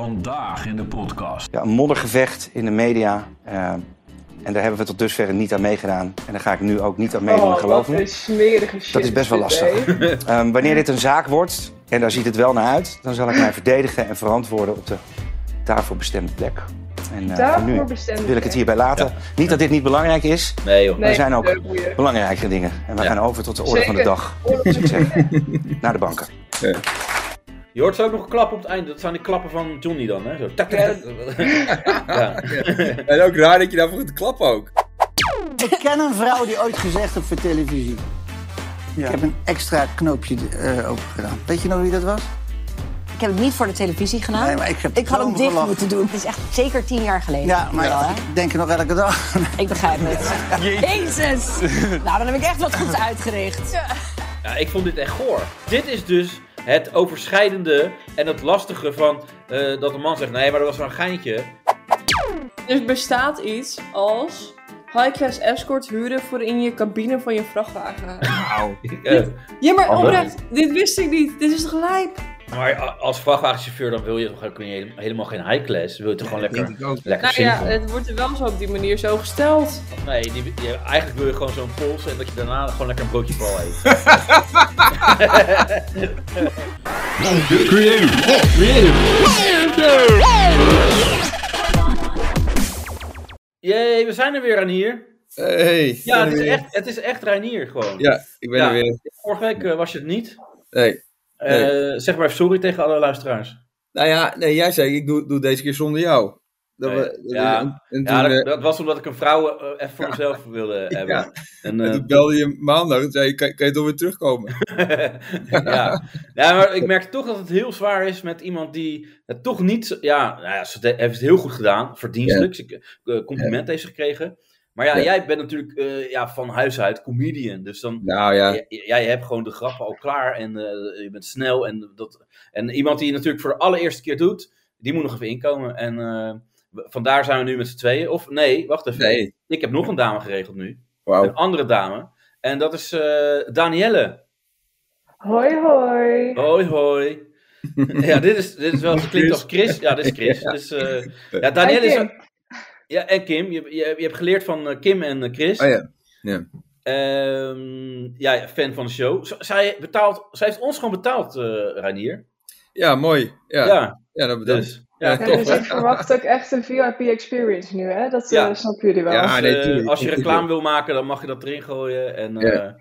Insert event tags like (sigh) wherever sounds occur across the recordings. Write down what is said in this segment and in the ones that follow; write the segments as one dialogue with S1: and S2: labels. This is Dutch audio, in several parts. S1: Vandaag in de podcast.
S2: Ja, een moddergevecht in de media. eh, en daar hebben we tot dusver niet aan meegedaan. En daar ga ik nu ook niet aan meedoen,
S3: Oh,
S2: geloof
S3: wat
S2: me.
S3: een smerige shit.
S2: Dat is best wel
S3: dit, hè?
S2: lastig. Ehm, wanneer dit een zaak wordt, en daar ziet het wel naar uit, dan zal ik mij verdedigen en verantwoorden op de daarvoor bestemde plek. En eh, voor nu
S3: Daarvoor bestemd.
S2: wil ik het hierbij laten. Niet dat dit niet belangrijk is,
S4: Nee joh.
S2: er zijn ook
S3: leuk, boeien.
S2: belangrijkere dingen. En we
S4: Ja.
S2: gaan over tot de orde van de
S3: Zeker.
S2: dag. zou ik zeggen.
S4: (laughs)
S2: Naar de banken.
S4: Je hoort zo ook nog een klap op het eind. Dat zijn de klappen van Johnny dan, hè? Zo. Tak, tak, tak.
S5: (laughs)
S4: Ja.
S5: En ook raar dat je daarvoor gaat klappen ook.
S6: Ik ken een vrouw die ooit gezegd heeft voor televisie. Ik heb een extra knoopje eh open gedaan. Weet je nog wie dat was?
S7: Ik heb het niet voor de televisie gedaan.
S6: Nee, maar ik heb
S7: had hem
S6: erom
S7: dicht
S6: gelachen.
S7: moeten doen. Het is echt zeker tien jaar geleden.
S6: Ja, maar
S7: Wel, hè?
S6: ik denk er nog elke dag.
S7: Ik begrijp
S6: (laughs)
S7: het. Jezus! Nou, dan heb ik echt wat goeds uitgericht.
S4: Ja, ik vond dit echt goor. Dit is dus het overschrijdende en het lastige van eh, dat een man zegt: nee, maar dat was maar een geintje.
S3: Er bestaat iets als high-class escort huren voor in je cabine van je vrachtwagen.
S4: Eh,
S3: Ja, maar
S4: Hallo.
S3: oprecht, dit wist ik niet. Dit is toch lijp?
S4: maar a- als vrachtwagenchauffeur dan wil je toch ook niet- helemaal geen high class. Wil je toch gewoon lekker,
S5: denk ik ook.
S4: lekker
S3: Nou ja,
S4: simpel.
S3: het wordt er wel zo op die manier zo gesteld.
S4: Nee, die, die- eigenlijk wil je gewoon zo'n pols en dat je daarna gewoon lekker een broodje bal eet.
S5: (laughs)
S4: Jee, we zijn er weer aan hier.
S5: Hey,
S4: Ja, het is
S5: weer.
S4: echt, het is echt Reinier gewoon.
S5: Ja, ik ben
S4: Ja.
S5: er weer.
S4: Vorige week eh, was je het niet.
S5: Nee.
S4: Eh, zeg maar even sorry tegen alle luisteraars.
S5: Nou ja, nee, jij zei ik doe, doe deze keer zonder jou. Dat
S4: Nee.
S5: we, dat
S4: Ja.
S5: we- en toen,
S4: Ja,
S5: eh,
S4: dat, dat was omdat ik een vrouw eh, even voor
S5: (laughs)
S4: mezelf wilde
S5: Ja.
S4: hebben. En,
S5: en
S4: eh,
S5: toen belde je maandag en zei je, kan, kan je toch weer
S4: (laughs)
S5: terugkomen?
S4: ja. ja, maar ik merk toch dat het heel zwaar is met iemand die het toch niet... zo- Ja, nou ja, ze de- heeft het heel goed gedaan, verdienstelijk. Ze- eh, Compliment heeft ze gekregen. Maar ja,
S5: Ja.
S4: jij bent natuurlijk eh, ja, van huis uit comedian. Dus dan,
S5: Nou ja,
S4: Ja, ja, je hebt gewoon de grappen al klaar en eh, je bent snel. En, dat, en iemand die het natuurlijk voor de allereerste keer doet, die moet nog even inkomen. En eh, w- vandaar zijn we nu met z'n tweeën. Of nee, wacht even.
S5: nee. Oh.
S4: Ik heb nog een dame geregeld nu. Een
S5: Wauw.
S4: andere dame. En dat is eh Danielle.
S3: Hoi, hoi.
S4: Hoi,
S5: (laughs)
S4: hoi. ja, dit is, dit is wel, het klinkt als Chris. Ja, dit is Chris. Dus, eh, ja, Danielle
S3: Hi,
S4: is...
S3: Kim.
S4: Ja, en Kim. Je, je, je hebt geleerd van eh, Kim en eh, Chris.
S5: Oh ja, ja.
S4: Ehm, ja, fan van de show. Z- zij, betaalt, zij heeft ons gewoon betaald, eh Reinier.
S5: Ja, mooi. Ja, ja.
S4: Ja,
S5: dat bedankt.
S4: dus. Ja,
S5: Ja,
S3: Ja,
S5: Tof,
S3: dus
S5: hè?
S3: ik verwacht ook echt een VIP experience nu, hè? Dat eh,
S4: Ja.
S3: snappen jullie wel.
S5: Ja.
S4: als,
S5: nee,
S4: eh,
S5: tuurlijk,
S4: als je
S5: tuurlijk.
S4: reclame wil maken, dan mag je dat erin gooien. En eh,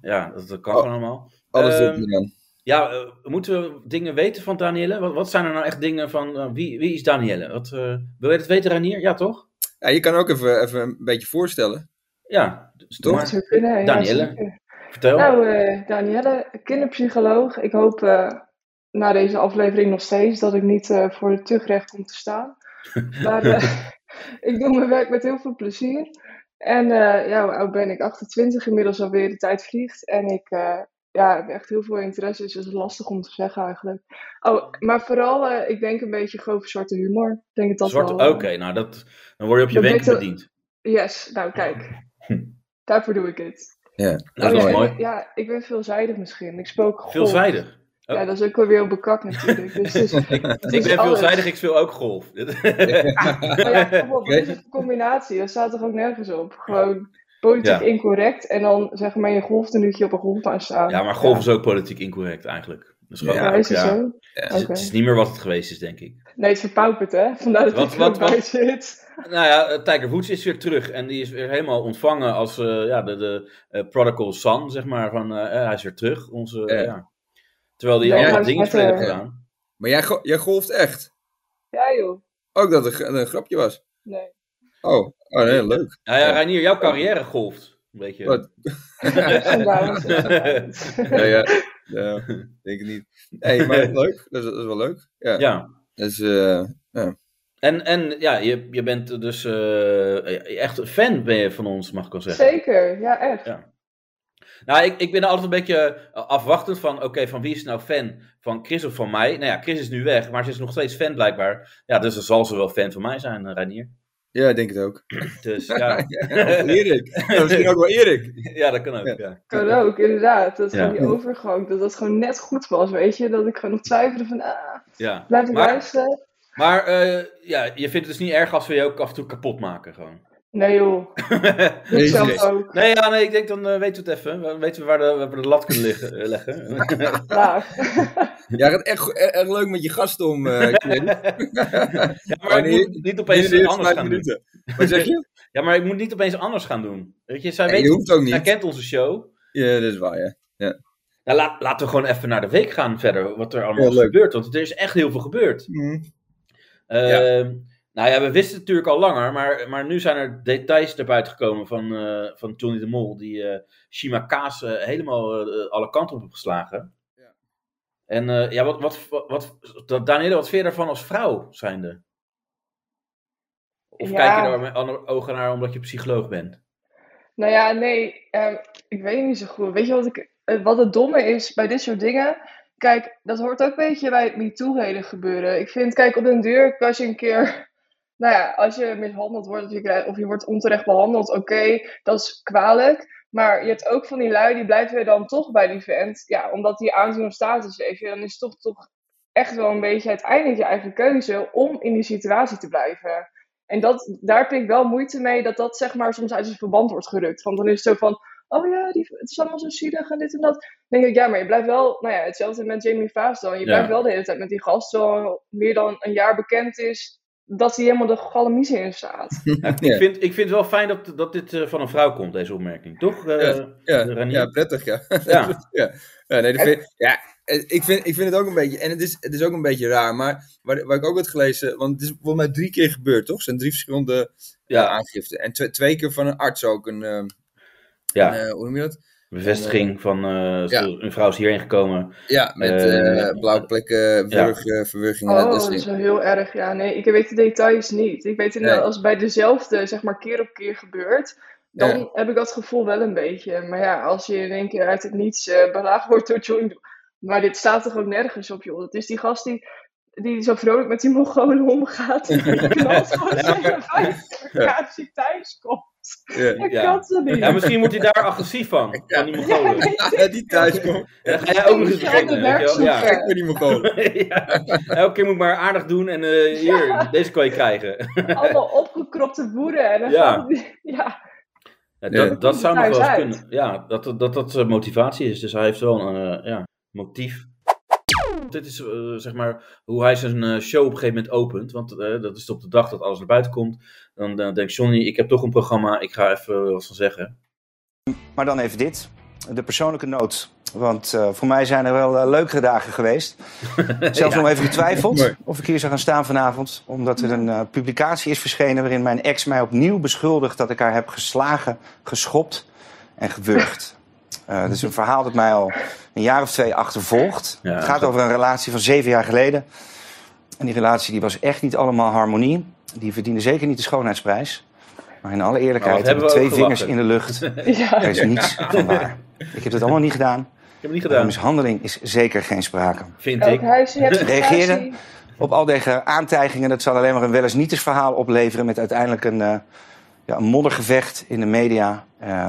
S4: ja, dat, dat kan
S5: Oh.
S4: gewoon allemaal.
S5: Alles
S4: Ehm,
S5: doet dan.
S4: Ja, eh, moeten we dingen weten van Danielle? Wat, wat zijn er nou echt dingen van, eh, wie, wie is Danielle? Wat, eh, wil je dat weten, Ranier? Ja, toch?
S5: Ja, je kan ook even, even een beetje voorstellen.
S4: Ja, dus doe
S5: Toch?
S3: Dat
S4: maar.
S3: zou kunnen, ja,
S4: Danielle.
S3: zeker.
S4: Vertel.
S3: Nou, eh, Danielle, kinderpsycholoog. Ik hoop eh, na deze aflevering nog steeds dat ik niet eh, voor het tuchtrecht kom te staan. Maar eh, (laughs) ik doe mijn werk met heel veel plezier. En eh, ja, hoe oud ben ik? 28 inmiddels alweer. De tijd vliegt. En ik eh, ja, heb echt heel veel interesse, dus dat is lastig om te zeggen eigenlijk. Oh, maar vooral, eh, ik denk een beetje grove zwarte humor. Ik denk dat dat
S4: Zwart,
S3: wel,
S4: oké,
S3: eh,
S4: nou dat, dan word je op je
S3: Dat
S4: wenken
S3: weten-
S4: bediend.
S3: Yes, nou kijk. Daarvoor doe ik het.
S4: Hm. Dat
S3: Oh,
S4: is
S3: ja,
S4: wel
S3: ik
S4: mooi.
S3: ben- Ja, ik ben veelzijdig misschien. Ik spook golf.
S4: Veelzijdig. Oh.
S3: Ja, dat is ook wel weer op bekak natuurlijk.
S4: (laughs)
S3: Dus het is, het
S4: Ik
S3: is
S4: ben
S3: alles.
S4: veelzijdig, ik speel ook
S3: (laughs)
S4: golf.
S3: Maar ja, kom op, dit is een combinatie. Dat staat toch ook nergens op. Gewoon
S4: Ja.
S3: politiek incorrect en dan zeg maar je golftenuutje op een golfbaan staan.
S4: ja, maar golf is ook politiek incorrect eigenlijk. Dus gewoon-
S3: Ja, is het
S4: ja.
S3: zo?
S4: Het is-
S3: Oké.
S4: Het is niet meer wat het geweest is, denk ik.
S3: Nee, het verpaupert hè. Vandaar dat
S4: Wat-
S3: ik
S4: wat-
S3: er ook bij
S4: wat-
S3: zit.
S4: Nou ja, eh, Tiger Woods is weer terug en die is weer helemaal ontvangen als eh, ja, de, de eh, prodigal son, zeg maar. Van, eh, eh, hij is weer terug. Onze,
S5: Ja.
S4: ja. Terwijl hij
S3: Ja,
S4: allemaal
S5: hij is
S4: dingen
S3: net,
S4: voor heeft
S3: eh,
S4: gedaan.
S5: Maar jij, go- jij golft echt.
S3: Ja joh.
S5: Ook dat het een, gra- een grapje was.
S4: (laughs)
S3: Nee.
S5: Oh, oh nee, leuk.
S4: Nou ja,
S5: Ja.
S4: Reinier, jouw carrière golft. Weet je.
S5: Wat?
S3: Vandaar.
S4: (laughs)
S5: Ja, ja. Ja, denk ik niet. Nee, maar leuk. Dat is, dat is wel leuk. Ja.
S4: Ja.
S5: Dat is, eh,
S4: En, en ja, je, je bent dus eh, echt een fan ben je van ons, mag ik wel zeggen.
S3: Zeker, ja echt.
S4: Ja. Nou, ik, ik ben er altijd een beetje eh, afwachtend van, oké, van wie is nou fan? Van Chris of van mij? Nou ja, Chris is nu weg, maar ze is nog steeds fan blijkbaar. Ja, dus dan zal ze wel fan van mij zijn, eh, Reinier.
S5: ja, ik denk het ook.
S4: Dus
S5: (laughs)
S4: ja,
S5: Of
S4: (laughs)
S5: Erik. Ja, Misschien ook wel Erik.
S4: ja dat kan ook, ja.
S3: Kan ook, inderdaad. Dat
S4: Ja.
S3: van die overgang, dat dat gewoon net goed was, weet je. Dat ik gewoon nog twijfelde van, ah,
S4: Ja,
S3: blijf ik
S4: maar,
S3: luisteren?
S4: Maar eh, ja, je vindt het dus niet erg als we je ook af en toe kapot maken gewoon.
S3: Nee joh, doe het zelf ook.
S4: nee, ja, nee, ik denk dan eh, weten we het even. Dan weten we waar de, waar we de lat kunnen liggen, eh,
S5: (laughs)
S4: leggen.
S3: Graag. (laughs)
S5: Ja, gaat echt, go- e- echt leuk met je gast
S4: (laughs)
S5: om, eh Quinn.
S4: ja, maar ik
S5: Wanneer-
S4: moet niet opeens
S5: Binnen de eerste
S4: anders
S5: vijf
S4: gaan doen.
S5: minuten. Wat zeg je?
S4: (laughs) Ja, maar ik moet niet opeens anders gaan doen. Weet je, zij,
S5: Nee,
S4: weet,
S5: je hoeft ook
S4: zij
S5: niet.
S4: kent onze show.
S5: Ja, dat is waar, ja.
S4: Nou, laat, laten we gewoon even naar de week gaan verder, wat er allemaal
S5: Ja,
S4: is
S5: leuk.
S4: gebeurd. Want er is echt heel veel gebeurd.
S5: Ja.
S4: Ehm, Nou ja, we wisten het natuurlijk al langer, maar, maar nu zijn er details naar buiten gekomen van, eh, van Johnny de Mol, die eh Shima Kaas eh, helemaal eh, alle kanten op heeft geslagen.
S5: Ja.
S4: En eh, ja, wat, wat, wat, wat, Danielle, wat vind je daarvan als vrouw zijnde? Of
S3: Ja.
S4: kijk je daar met andere ogen naar omdat je psycholoog
S5: (laughs)
S4: bent?
S3: Nou ja, nee, ehm, ik weet niet zo goed. Weet je wat, ik, eh, wat het domme is bij dit soort dingen? Kijk, dat hoort ook een beetje bij het MeToo-hele gebeuren. Ik vind, kijk, op den duur, als je een keer, (laughs) nou ja, als je mishandeld wordt of je, krijgt, of je wordt onterecht behandeld, oké, dat is kwalijk. Maar je hebt ook van die lui, die blijven weer dan toch bij die vent. Ja, omdat die aanzien of status heeft. Ja, Dan is toch toch echt wel een beetje uiteindelijk je eigen keuze om in die situatie te blijven. En dat, daar heb ik wel moeite mee dat dat zeg maar soms uit zijn verband wordt gerukt. Want dan is het zo van, oh ja, die, het is allemaal zo zielig en dit en dat. Dan denk ik, ja, maar je blijft wel, nou ja, hetzelfde met Jamie Vaas dan. Je
S4: Ja.
S3: blijft wel de hele tijd met die gast, die al meer dan een jaar bekend is, dat hij helemaal de galamiezen in staat.
S4: Nou, Ik, vind, ik vind het wel fijn dat, dat dit eh, van een vrouw komt, deze opmerking, toch? Eh,
S5: Ja,
S4: Ranier.
S5: ja prettig, ja. (laughs)
S4: Ja.
S5: ja. ja, nee, dat vind- ja eh, ik, vind, ik vind het ook een beetje... En het is, het is ook een beetje raar, maar waar, waar ik ook had gelezen... Want het is volgens mij drie keer gebeurd, toch? Er zijn drie verschillende ja.
S4: ja,
S5: aangiften. En twee, twee keer van een arts ook. Een, ehm,
S4: ja.
S5: een, eh, hoe noem je dat?
S4: bevestiging van eh,
S5: ja.
S4: een vrouw is hierheen gekomen.
S5: Ja, met
S4: Eh,
S5: eh, blauwe plekken,
S4: ja.
S5: verwurg- eh, verwurgingen.
S3: Oh,
S5: dat soort
S3: dat is
S5: dingen.
S3: wel heel erg. Ja, nee, ik weet de details niet. Ik weet inderdaad,
S5: Nee.
S3: als het bij dezelfde, zeg maar, keer op keer gebeurt, dan
S5: Ja.
S3: heb ik dat gevoel wel een beetje. Maar ja, als je in één keer uit het niets eh belaagd wordt door John. Maar dit staat toch ook nergens op, joh. Het is die gast die, die zo vrolijk met die Mongolen omgaat.
S5: (laughs)
S3: Die knalt gewoon zijn vuist elkaar als hij thuis komt.
S5: Ja. (laughs)
S3: Dat
S4: Ja.
S3: kan ze niet.
S4: Ja, misschien wordt hij daar agressief van. Van die Mongolen. Ja,
S5: Ja, die thuis komt.
S4: dan ga jij ook nog eens
S3: Misschien
S4: beginnen.
S3: ander
S4: weet je wel.
S3: werk
S4: Ja.
S5: Ik ben niet meer gewoon.
S4: Ja. (laughs) Elke keer moet ik maar aardig doen en eh, hier, deze kan je krijgen.
S3: Allemaal opgekropte boeren. En dan
S4: Ja.
S3: gaan die- (laughs) ja.
S4: Ja,
S5: Ja.
S4: dat, dat zou nog
S3: Thuis
S4: wel eens
S3: uit.
S4: kunnen. Ja, dat dat, dat, dat eh, motivatie is. Dus hij heeft wel een eh, ja, motief. Dit is eh, zeg maar hoe hij zijn eh, show op een gegeven moment opent. Want eh, dat is op de dag dat alles naar buiten komt. Dan eh, denkt Johnny, ik heb toch een programma, ik ga even eh, wat van zeggen.
S2: Maar dan even dit. De persoonlijke noot. Want eh, voor mij zijn er wel eh, leukere dagen
S4: (laughs)
S2: geweest. Zelfs nog even getwijfeld
S5: Mooi.
S2: of ik hier zou gaan staan vanavond. Omdat er een eh, publicatie is verschenen waarin mijn ex mij opnieuw beschuldigt dat ik haar heb geslagen, geschopt en gewurgd. Eh dat is een verhaal dat mij al een jaar of twee achtervolgt.
S4: Ja,
S2: het gaat
S4: dat-
S2: over een relatie van zeven jaar geleden. En die relatie die was echt niet allemaal harmonie. Die verdiende zeker niet de schoonheidsprijs. Maar in alle eerlijkheid
S4: Maar wat hebben
S2: hebben
S4: we
S2: twee
S4: ook gelachen.
S2: vingers in de lucht.
S3: Ja.
S2: Er is
S3: (laughs)
S2: niets van waar. Ik heb dat allemaal niet gedaan.
S4: Ik heb het niet
S2: Van
S4: gedaan,
S2: mishandeling is zeker geen sprake.
S4: vind
S3: Elk
S4: ik.
S3: huis heeft een
S2: Reageren?
S3: relatie.
S2: Op al deze aantijgingen, dat zal alleen maar een wel eens niet eens verhaal opleveren... met uiteindelijk een, eh, ja, een moddergevecht in de media. Eh,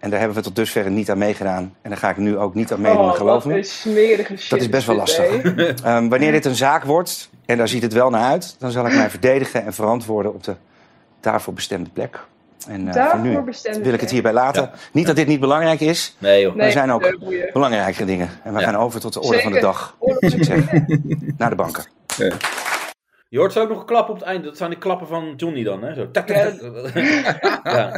S2: en daar hebben we tot dusver niet aan meegedaan. En daar ga ik nu ook niet aan meedoen,
S3: Oh,
S2: geloof
S3: wat
S2: me.
S3: een smerige shit.
S2: Dat is best wel
S3: dit,
S2: lastig.
S3: hè?
S2: Ehm, wanneer dit een zaak wordt, en daar ziet het wel naar uit... dan zal ik mij verdedigen en verantwoorden op de daarvoor bestemde plek. En eh, voor nu
S3: Daarvoor bestemd.
S2: wil ik het hierbij laten. Niet dat dit niet belangrijk is,
S4: Nee joh.
S2: Maar er zijn ook-
S3: eh, boeien.
S2: belangrijke dingen. En we
S4: Ja.
S2: gaan over tot de orde van de
S3: Zeker.
S2: dag. (laughs) Succes. Naar de banken.
S4: Je hoort zo ook nog een klap op het eind. Dat zijn de klappen van Johnny dan, hè? Zo. tak, tak,
S3: Ja.
S4: tak. ja.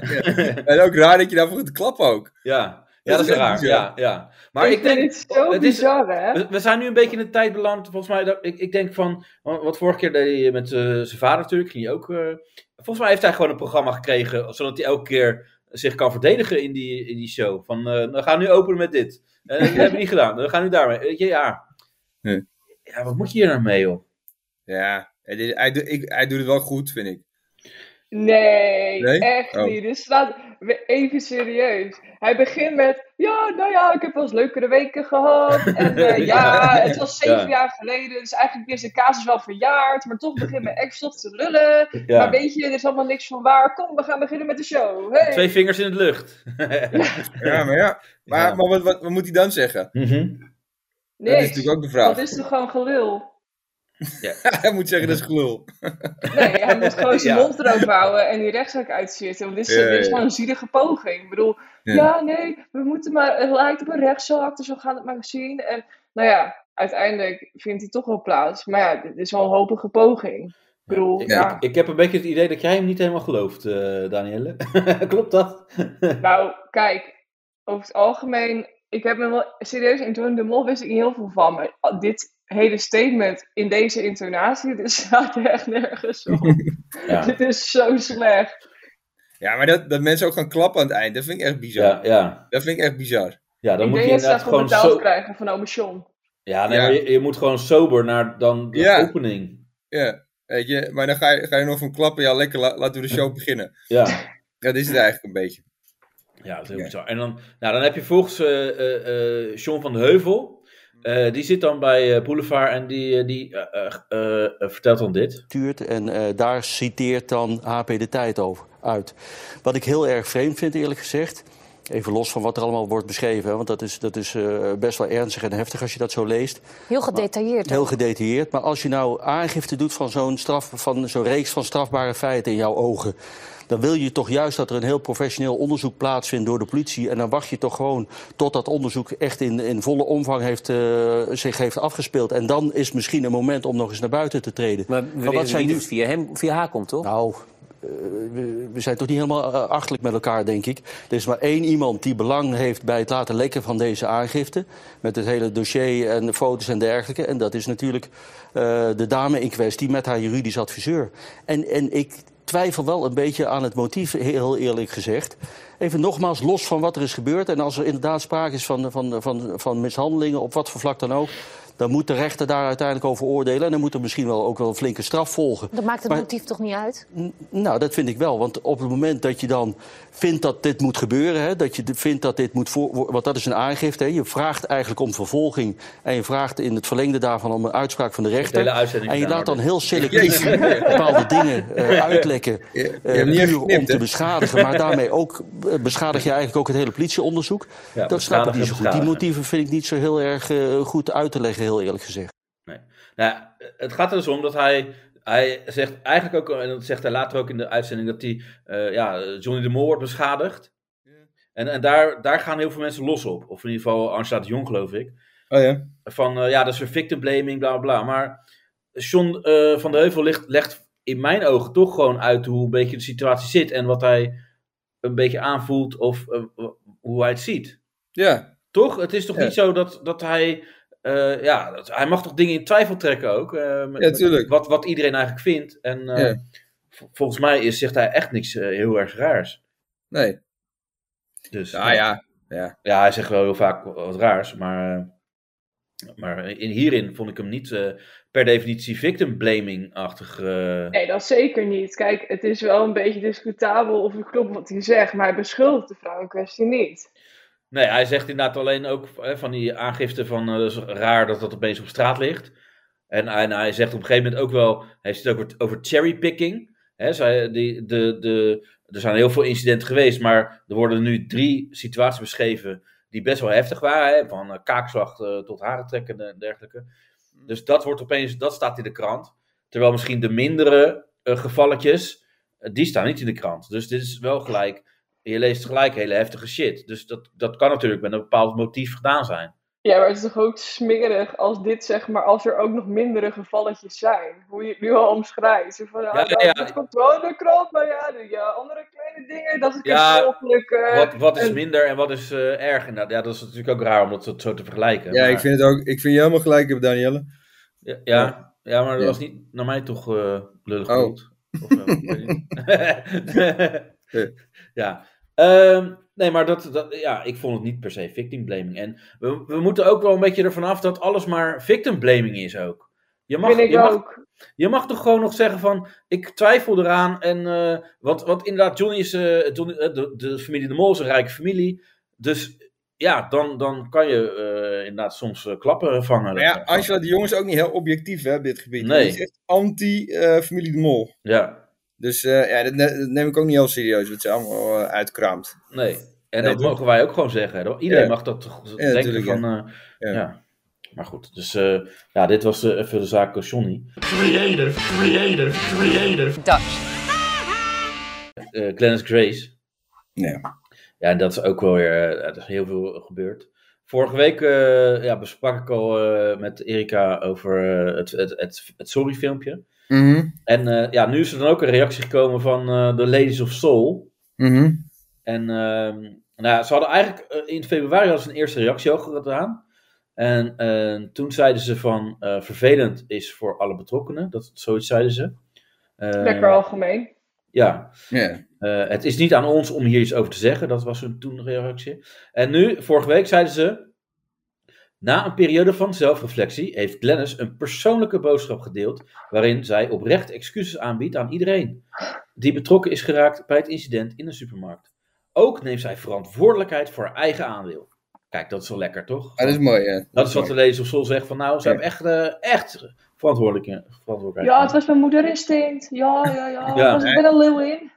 S5: En ook raar dat je daarvoor gaat klappen ook.
S4: ja. Ja,
S5: Dat
S4: dat
S5: is
S4: is
S5: echt
S4: raar.
S5: bizar.
S4: Ja, ja. Maar ik, denk,
S3: vind het zo
S4: het is-
S3: bizar, hè?
S4: we, we zijn nu een beetje in de tijd beland. Volgens mij, dat, ik, ik denk van, wa- wat vorige keer deed hij met eh, zijn vader natuurlijk, ging hij ook. eh, volgens mij heeft hij gewoon een programma gekregen, zodat hij elke keer zich kan verdedigen in die, in die show. Van, eh, we gaan nu openen met dit. Eh, dat hebben we niet gedaan. We gaan nu daarmee. Weet je, ja.
S5: Ja.
S4: Ja, wat moet je hier nou mee, joh?
S5: Ja, het is- hij, doet- ik, hij doet het wel goed, vind ik.
S3: Nee,
S5: Nee?
S3: echt
S5: Oh.
S3: niet. Dus laat we- even serieus. Hij begint met: Ja, nou ja, ik heb wel eens leukere weken
S4: (laughs)
S3: gehad. En eh, ja, het was zeven
S4: Ja.
S3: jaar geleden. Dus eigenlijk is de casus wel verjaard. Maar toch begint mijn ex toch te lullen. Maar
S4: Ja.
S3: weet je, er is allemaal niks van waar. Kom, we gaan beginnen met de show. Hey.
S4: Twee vingers in de lucht. (laughs)
S5: Ja, maar ja. Maar,
S4: Ja.
S5: maar wat, wat, wat moet hij dan zeggen?
S4: Mhm.
S3: Niks.
S5: Dat is natuurlijk ook de vraag.
S3: Dat is toch gewoon gelul?
S5: (laughs) Hij moet zeggen, dat is gelul.
S3: Nee, hij moet gewoon zijn
S4: Ja.
S3: mond erop houden en die rechtszaak uitzitten. Want dit is,
S5: Ja,
S3: dit
S5: ja,
S3: is gewoon een zielige poging. Ik bedoel,
S5: Ja.
S3: ja, nee, we moeten maar, het lijkt op een rechtszaak, dus we gaan het maar zien. En nou ja, uiteindelijk vindt die toch wel plaats. Maar ja, dit is wel een hopige poging. Ik bedoel,
S4: Ik,
S3: ja.
S4: ik, ik heb een beetje het idee dat jij hem niet helemaal gelooft, eh Danielle. (laughs) Klopt dat?
S3: Nou, kijk, over het algemeen, ik heb me wel serieus in Toen de Mol wist ik niet heel veel van, maar a- dit hele statement in deze intonatie, (laughs) dit staat echt nergens op.
S4: Ja,
S3: Dit is zo slecht.
S5: Ja, maar dat, dat mensen ook gaan klappen aan het eind, dat vind ik echt bizar.
S4: ja, ja.
S5: Dat vind ik echt bizar.
S4: ja dan
S3: ik
S4: moet je
S3: denk dat
S4: inderdaad
S3: ze dat gewoon
S4: gewoon
S3: betaald
S4: zo...
S3: krijgen van Ome John.
S4: Ja, nee,
S5: Ja.
S4: maar je, je moet gewoon sober naar dan de
S5: Ja.
S4: opening.
S5: Ja, weet je. Maar dan ga je, ga je nog van klappen, ja lekker, la- laten we de show beginnen.
S3: (laughs)
S4: Ja,
S5: Ja, dat is het eigenlijk een beetje.
S4: ja dat is heel
S5: Ja.
S4: bizar. En dan, nou, dan heb je volgens eh eh, eh, John van de Heuvel... Eh, die zit dan bij eh, Boulevard en die, eh, die eh, eh, eh, eh, vertelt dan dit.
S8: stuurt. En eh, daar citeert dan HP de tijd over uit. Wat ik heel erg vreemd vind, eerlijk gezegd. Even los van wat er allemaal wordt beschreven. Hè, want dat is, dat is eh, best wel ernstig en heftig als je dat zo leest.
S9: Heel gedetailleerd.
S8: Heel gedetailleerd. Maar als je nou aangifte doet van zo'n straf, van zo'n reeks van strafbare feiten in jouw ogen. Dan wil je toch juist dat er een heel professioneel onderzoek plaatsvindt door de politie. En dan wacht je toch gewoon tot dat onderzoek echt in, in volle omvang heeft, eh, zich heeft afgespeeld. En dan is misschien een moment om nog eens naar buiten te treden.
S10: Maar we
S8: wat
S10: weten
S8: zijn
S10: niet
S8: nu-
S10: of het via, hem, via haar komt, toch?
S8: Nou, eh, we, we zijn toch niet helemaal eh, achterlijk met elkaar, denk ik. Er is maar één iemand die belang heeft bij het laten lekken van deze aangifte. Met het hele dossier en de foto's en dergelijke. En dat is natuurlijk eh, de dame in kwestie met haar juridisch adviseur. En, en ik twijfel wel een beetje aan het motief, heel eerlijk gezegd. Even nogmaals, los van wat er is gebeurd... en als er inderdaad sprake is van, van, van, van mishandelingen, op wat voor vlak dan ook... dan moet de rechter daar uiteindelijk over oordelen... en dan moet er misschien wel ook wel een flinke straf volgen.
S9: Dat maakt het
S8: Maar-
S9: motief toch niet uit?
S8: N- Nou, dat vind ik wel. Want op het moment dat je dan vindt dat dit moet gebeuren, hè, dat je de- vindt dat dit moet voor. wo- Want dat is een aangifte. Hè, je vraagt eigenlijk om vervolging. En je vraagt in het verlengde daarvan om een uitspraak van de rechter.
S4: hele uitzending
S8: en je
S4: gedaan,
S8: laat dan
S4: hoor, dit.
S8: heel selectief (laughs) bepaalde dingen eh, uitlekken.
S5: Je- je hebt
S8: eh,
S5: niet echt
S8: puur om
S5: geknipt,
S8: te
S5: hè?
S8: beschadigen. Maar daarmee ook eh, beschadig je eigenlijk ook het hele politieonderzoek. dat snap ik
S4: beschadigen,
S8: niet zo goed. Die
S4: beschadigen.
S8: motieven vind ik niet zo heel erg eh, goed uit te leggen, heel eerlijk gezegd.
S4: Nou, het gaat er dus om dat hij, hij zegt eigenlijk ook, en dat zegt hij later ook in de uitzending, dat hij, eh, ja, Johnny de Mol wordt beschadigd. En, en daar, daar gaan heel veel mensen los op. Of in ieder geval Angela de Jong, geloof ik.
S5: Oh ja.
S4: Van, eh, ja, dat is weer victim blaming, bla bla, bla. Maar John eh, van de Heuvel legt, legt in mijn ogen toch gewoon uit hoe een beetje de situatie zit. En wat hij een beetje aanvoelt of eh, hoe hij het ziet.
S5: Ja.
S4: Toch? Het is toch
S5: Ja.
S4: niet zo dat, dat hij. eh, ja, dat- hij mag toch dingen in twijfel trekken ook. eh, met-
S5: Ja, tuurlijk.
S4: Wat, wat iedereen eigenlijk vindt. En eh,
S5: Ja.
S4: v- volgens mij is, zegt hij echt niks eh, heel erg raars.
S5: Nee.
S4: Dus,
S5: Ah ja.
S4: ja, hij zegt wel heel vaak wat raars. Maar, eh, maar in, hierin vond ik hem niet eh, per definitie victim blaming-achtig. eh,
S3: Nee, dat zeker niet. Kijk, het is wel een beetje discutabel of het klopt wat hij zegt, maar hij beschuldigt de vrouw in kwestie niet.
S4: Nee, hij zegt inderdaad alleen ook eh, van die aangifte van eh, dat is raar dat dat opeens op straat ligt. En, en hij zegt op een gegeven moment ook wel, hij heeft het over, over cherrypicking. Hè, zij, die, de, de, er zijn heel veel incidenten geweest, maar er worden nu drie situaties beschreven die best wel heftig waren. Hè, van eh, kaakslag eh, tot haren trekken en dergelijke. Dus dat wordt opeens, dat staat in de krant. Terwijl misschien de mindere eh, gevalletjes, eh, die staan niet in de krant. Dus dit is wel gelijk je leest gelijk hele heftige shit. Dus dat, dat kan natuurlijk met een bepaald motief gedaan zijn.
S3: Ja, maar het is toch ook smerig als dit, zeg maar, als er ook nog mindere gevalletjes zijn. Hoe je het nu al omschrijft. Zo Van, ja,
S4: Ja,
S3: ja,
S4: ja.
S3: Dat komt wel in de krant, maar ja, de, ja, andere kleine dingen, dat is een
S4: Ja,
S3: keer ongeluk. eh,
S4: Wat, wat is
S3: en-
S4: minder en wat is eh, erg? inderdaad? ja, dat is natuurlijk ook raar om dat zo- zo te vergelijken.
S5: Ja,
S4: maar-
S5: ik vind het ook. Ik vind je helemaal gelijk, hebt, Danielle.
S4: ja, ja, ja, maar dat
S5: Ja.
S4: was niet naar mij toch eh lullig
S5: Oh.
S4: bedoeld. Of, eh, ik weet
S5: (laughs)
S4: niet. (laughs) ja. Ehm, nee, maar dat, dat, ja, ik vond het niet per se victim blaming. En we, we moeten ook wel een beetje ervan af dat alles maar victim blaming is ook. Je mag,
S3: vind ik
S4: je mag
S3: ook.
S4: Je mag toch gewoon nog zeggen van, ik twijfel eraan. En, eh, want, want inderdaad, Johnny is, eh, Johnny- eh, de, de familie De Mol is een rijke familie. Dus ja, dan, dan kan je eh, inderdaad soms eh, klappen vangen.
S5: Maar ja, Angela de Jong is ook niet heel objectief hè, op dit gebied.
S4: Nee.
S5: Die is echt anti-familie de Mol.
S4: Ja,
S5: Dus eh, ja, dat, ne- dat neem ik ook niet heel serieus, wat ze allemaal eh, uitkraamt.
S4: nee. En
S5: Nee,
S4: dat
S5: toch?
S4: mogen wij ook gewoon zeggen. hè. Iedereen
S5: Ja.
S4: mag dat toch denken
S5: natuurlijk,
S4: van... eh, ja.
S5: Ja.
S4: Ja. Maar goed, dus eh, ja, dit was eh, even de zaak Johnny.
S1: Creative, creative, creative.
S7: Dutch.
S4: eh Glennis Grace.
S5: Ja.
S4: Ja, en dat is ook wel weer, eh, er is heel veel gebeurd. Vorige week eh, ja, besprak ik al eh, met Erika over eh, het, het, het, het Sorry filmpje.
S5: Mhm.
S4: En eh, ja, nu is er dan ook een reactie gekomen van eh The Ladies of Soul.
S5: Mhm.
S4: En ehm, nou, ja, ze hadden eigenlijk eh, in februari hadden ze een eerste reactie al gedaan. En eh, toen zeiden ze van eh, vervelend is voor alle betrokkenen. Dat, zoiets zeiden ze. Eh,
S3: Lekker algemeen.
S4: Ja,
S5: Ja.
S4: eh, het is niet aan ons om hier iets over te zeggen. Dat was hun toen reactie. En nu, vorige week, zeiden ze. Na een periode van zelfreflectie heeft Glennis een persoonlijke boodschap gedeeld. waarin zij oprecht excuses aanbiedt aan iedereen die betrokken is geraakt bij het incident in een supermarkt. Ook neemt zij verantwoordelijkheid voor haar eigen aandeel. Kijk, dat is wel lekker, toch?
S5: Ah, dat is mooi, ja.
S4: Dat is wat de
S5: mooi.
S4: lezers of Sol zegt van nou, ze
S5: Ja.
S4: hebben echt, eh, echt verantwoordelijk- verantwoordelijkheid.
S3: Ja, het was mijn moederinstinct. Ja, ja, ja.
S4: Ja.
S3: ja. Was, ik ben een leeuw in.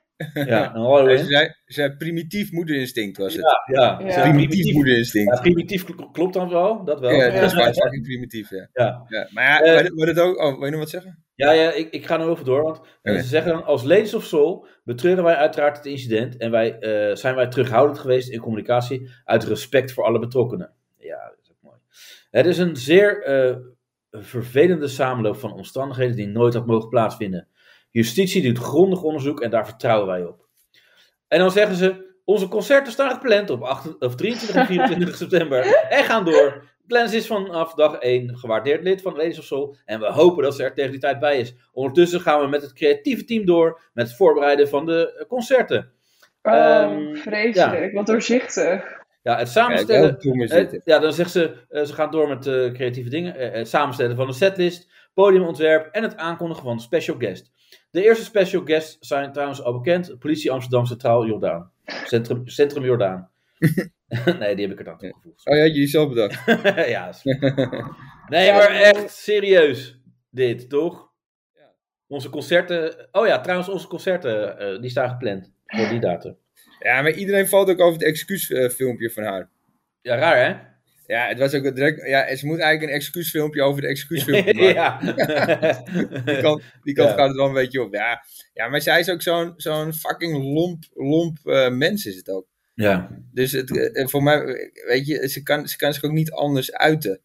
S4: ja, een all
S5: Ze
S4: in.
S5: zei, ze zei primitief moederinstinct was het.
S4: Ja,
S3: Ja.
S4: ze-
S5: Primitief
S4: Ja,
S5: moederinstinct.
S4: primitief kl- klopt dan wel, dat wel.
S5: Ja,
S4: Ja,
S5: dat is waar, fucking primitief, ja.
S4: ja.
S5: ja. Maar ja,
S4: Eh,
S5: maar dat- maar dat ook... Oh, wil je nog wat zeggen?
S4: ja, ik, ik ga nog heel veel door. Want eh,
S5: Oké.
S4: ze zeggen dan, als Ladies of Soul betreuren wij uiteraard het incident en wij, eh, zijn wij terughoudend geweest in communicatie uit respect voor alle betrokkenen. Ja, dat is ook mooi. Het is een zeer eh, vervelende samenloop van omstandigheden die nooit had mogen plaatsvinden. Justitie doet grondig onderzoek en daar vertrouwen wij op. En dan zeggen ze, onze concerten staan gepland op 8, of 23 en
S5: (laughs)
S4: 24 september en gaan door. Glennis is vanaf dag 1 gewaardeerd lid van Ladies of Soul en we hopen dat ze er tegen die tijd bij is. Ondertussen gaan we met het creatieve team door met het voorbereiden van de eh, concerten. Ehm,
S3: Oh, vreselijk. Wat doorzichtig.
S4: Ja, het
S5: Ja, ik
S4: samenstellen
S5: wil Thomas
S4: eh,
S5: zitten.
S4: ja, dan zegt ze, eh, ze gaan door met eh, creatieve dingen. eh, het samenstellen van een setlist, podiumontwerp en het aankondigen van een special guest. De eerste special guests zijn trouwens al bekend. Politie Amsterdam Centraal Jordaan. Centrum, Centrum Jordaan. nee, die heb ik er dan toegevoegd.
S5: Oh ja, jullie zelf bedacht. (laughs)
S4: (laughs) ja, is- nee, maar echt serieus. Dit, toch? Onze concerten... Oh ja, trouwens, onze concerten, eh, die staan gepland. Voor die datum.
S5: Ja, maar iedereen valt ook over het excuusfilmpje van haar.
S4: Ja, raar, hè?
S5: Ja, het was ook direct... Ja, ze moet eigenlijk een excuusfilmpje over het
S4: (laughs)
S5: excuusfilmpje maken.
S4: ja.
S5: (laughs) Die kant, die kant
S4: Ja.
S5: gaat het wel een beetje op. Ja, ja maar zij is ook zo'n zo'n fucking lomp, lomp eh, mens is het ook.
S4: ja,
S5: Dus het, eh, eh, voor mij, eh, weet je, ze kan, ze kan zich ook niet anders uiten.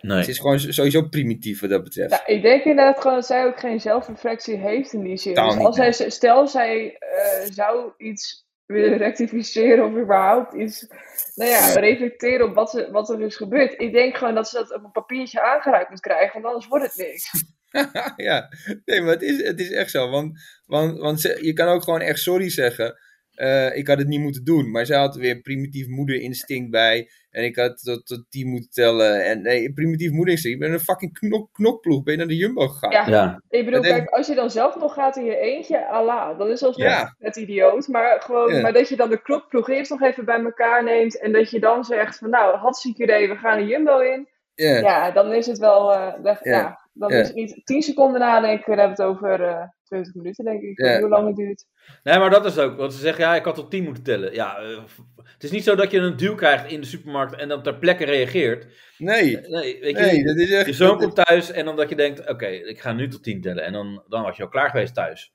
S4: nee.
S5: Ze is gewoon sowieso primitief wat dat betreft.
S3: Nou, ik denk inderdaad gewoon dat zij ook geen zelfreflectie heeft in die zin.
S5: Totaal
S3: Dus
S5: niet,
S3: als
S5: nee.
S3: zij, stel zij eh, zou iets willen rectificeren of überhaupt iets, nou ja, reflecteren op wat, ze- wat er is gebeurd. Ik denk gewoon dat ze dat op een papiertje aangereikt moet krijgen, want anders wordt het niks.
S5: (laughs) ja, nee, maar het is, het is echt zo. Want, want, want ze- je kan ook gewoon echt sorry zeggen. Eh, ik had het niet moeten doen. Maar zij had weer primitief moederinstinct bij. En ik had tot, tot die moeten tellen. En nee, primitief moederinstinct. Ik ben een fucking knok, knokploeg. Ben je naar de Jumbo gegaan?
S3: Ja.
S4: Ja,
S3: Ik bedoel,
S5: Dat denk-
S3: kijk, als je dan zelf nog gaat in je eentje, ala, dan is dat
S5: Ja.
S3: net- net idioot. Maar, gewoon,
S5: Ja.
S3: maar dat je dan de klokploeg eerst nog even bij elkaar neemt en dat je dan zegt van nou, hartstikke idee, we gaan de Jumbo in.
S5: Ja. (laughs)
S3: Ja, dan is het wel. eh, weg-
S5: Ja.
S3: Ja, dan
S5: Ja.
S3: is het niet 10 seconden nadenken. Dan hebben we het over eh 20 minuten, denk ik.
S5: Ja.
S3: Hoe lang het duurt.
S4: nee, maar dat is ook. Want ze zeggen, ja, ik had tot 10 moeten tellen. Ja, eh, f- het is niet zo dat je een duw krijgt in de supermarkt en dan ter plekke reageert.
S5: Nee,
S4: Nee, weet je,
S5: nee, dat is echt...
S4: je zoon komt thuis en dan dat je denkt, oké, ik ga nu tot 10 tellen. En dan, dan was je al klaar geweest thuis.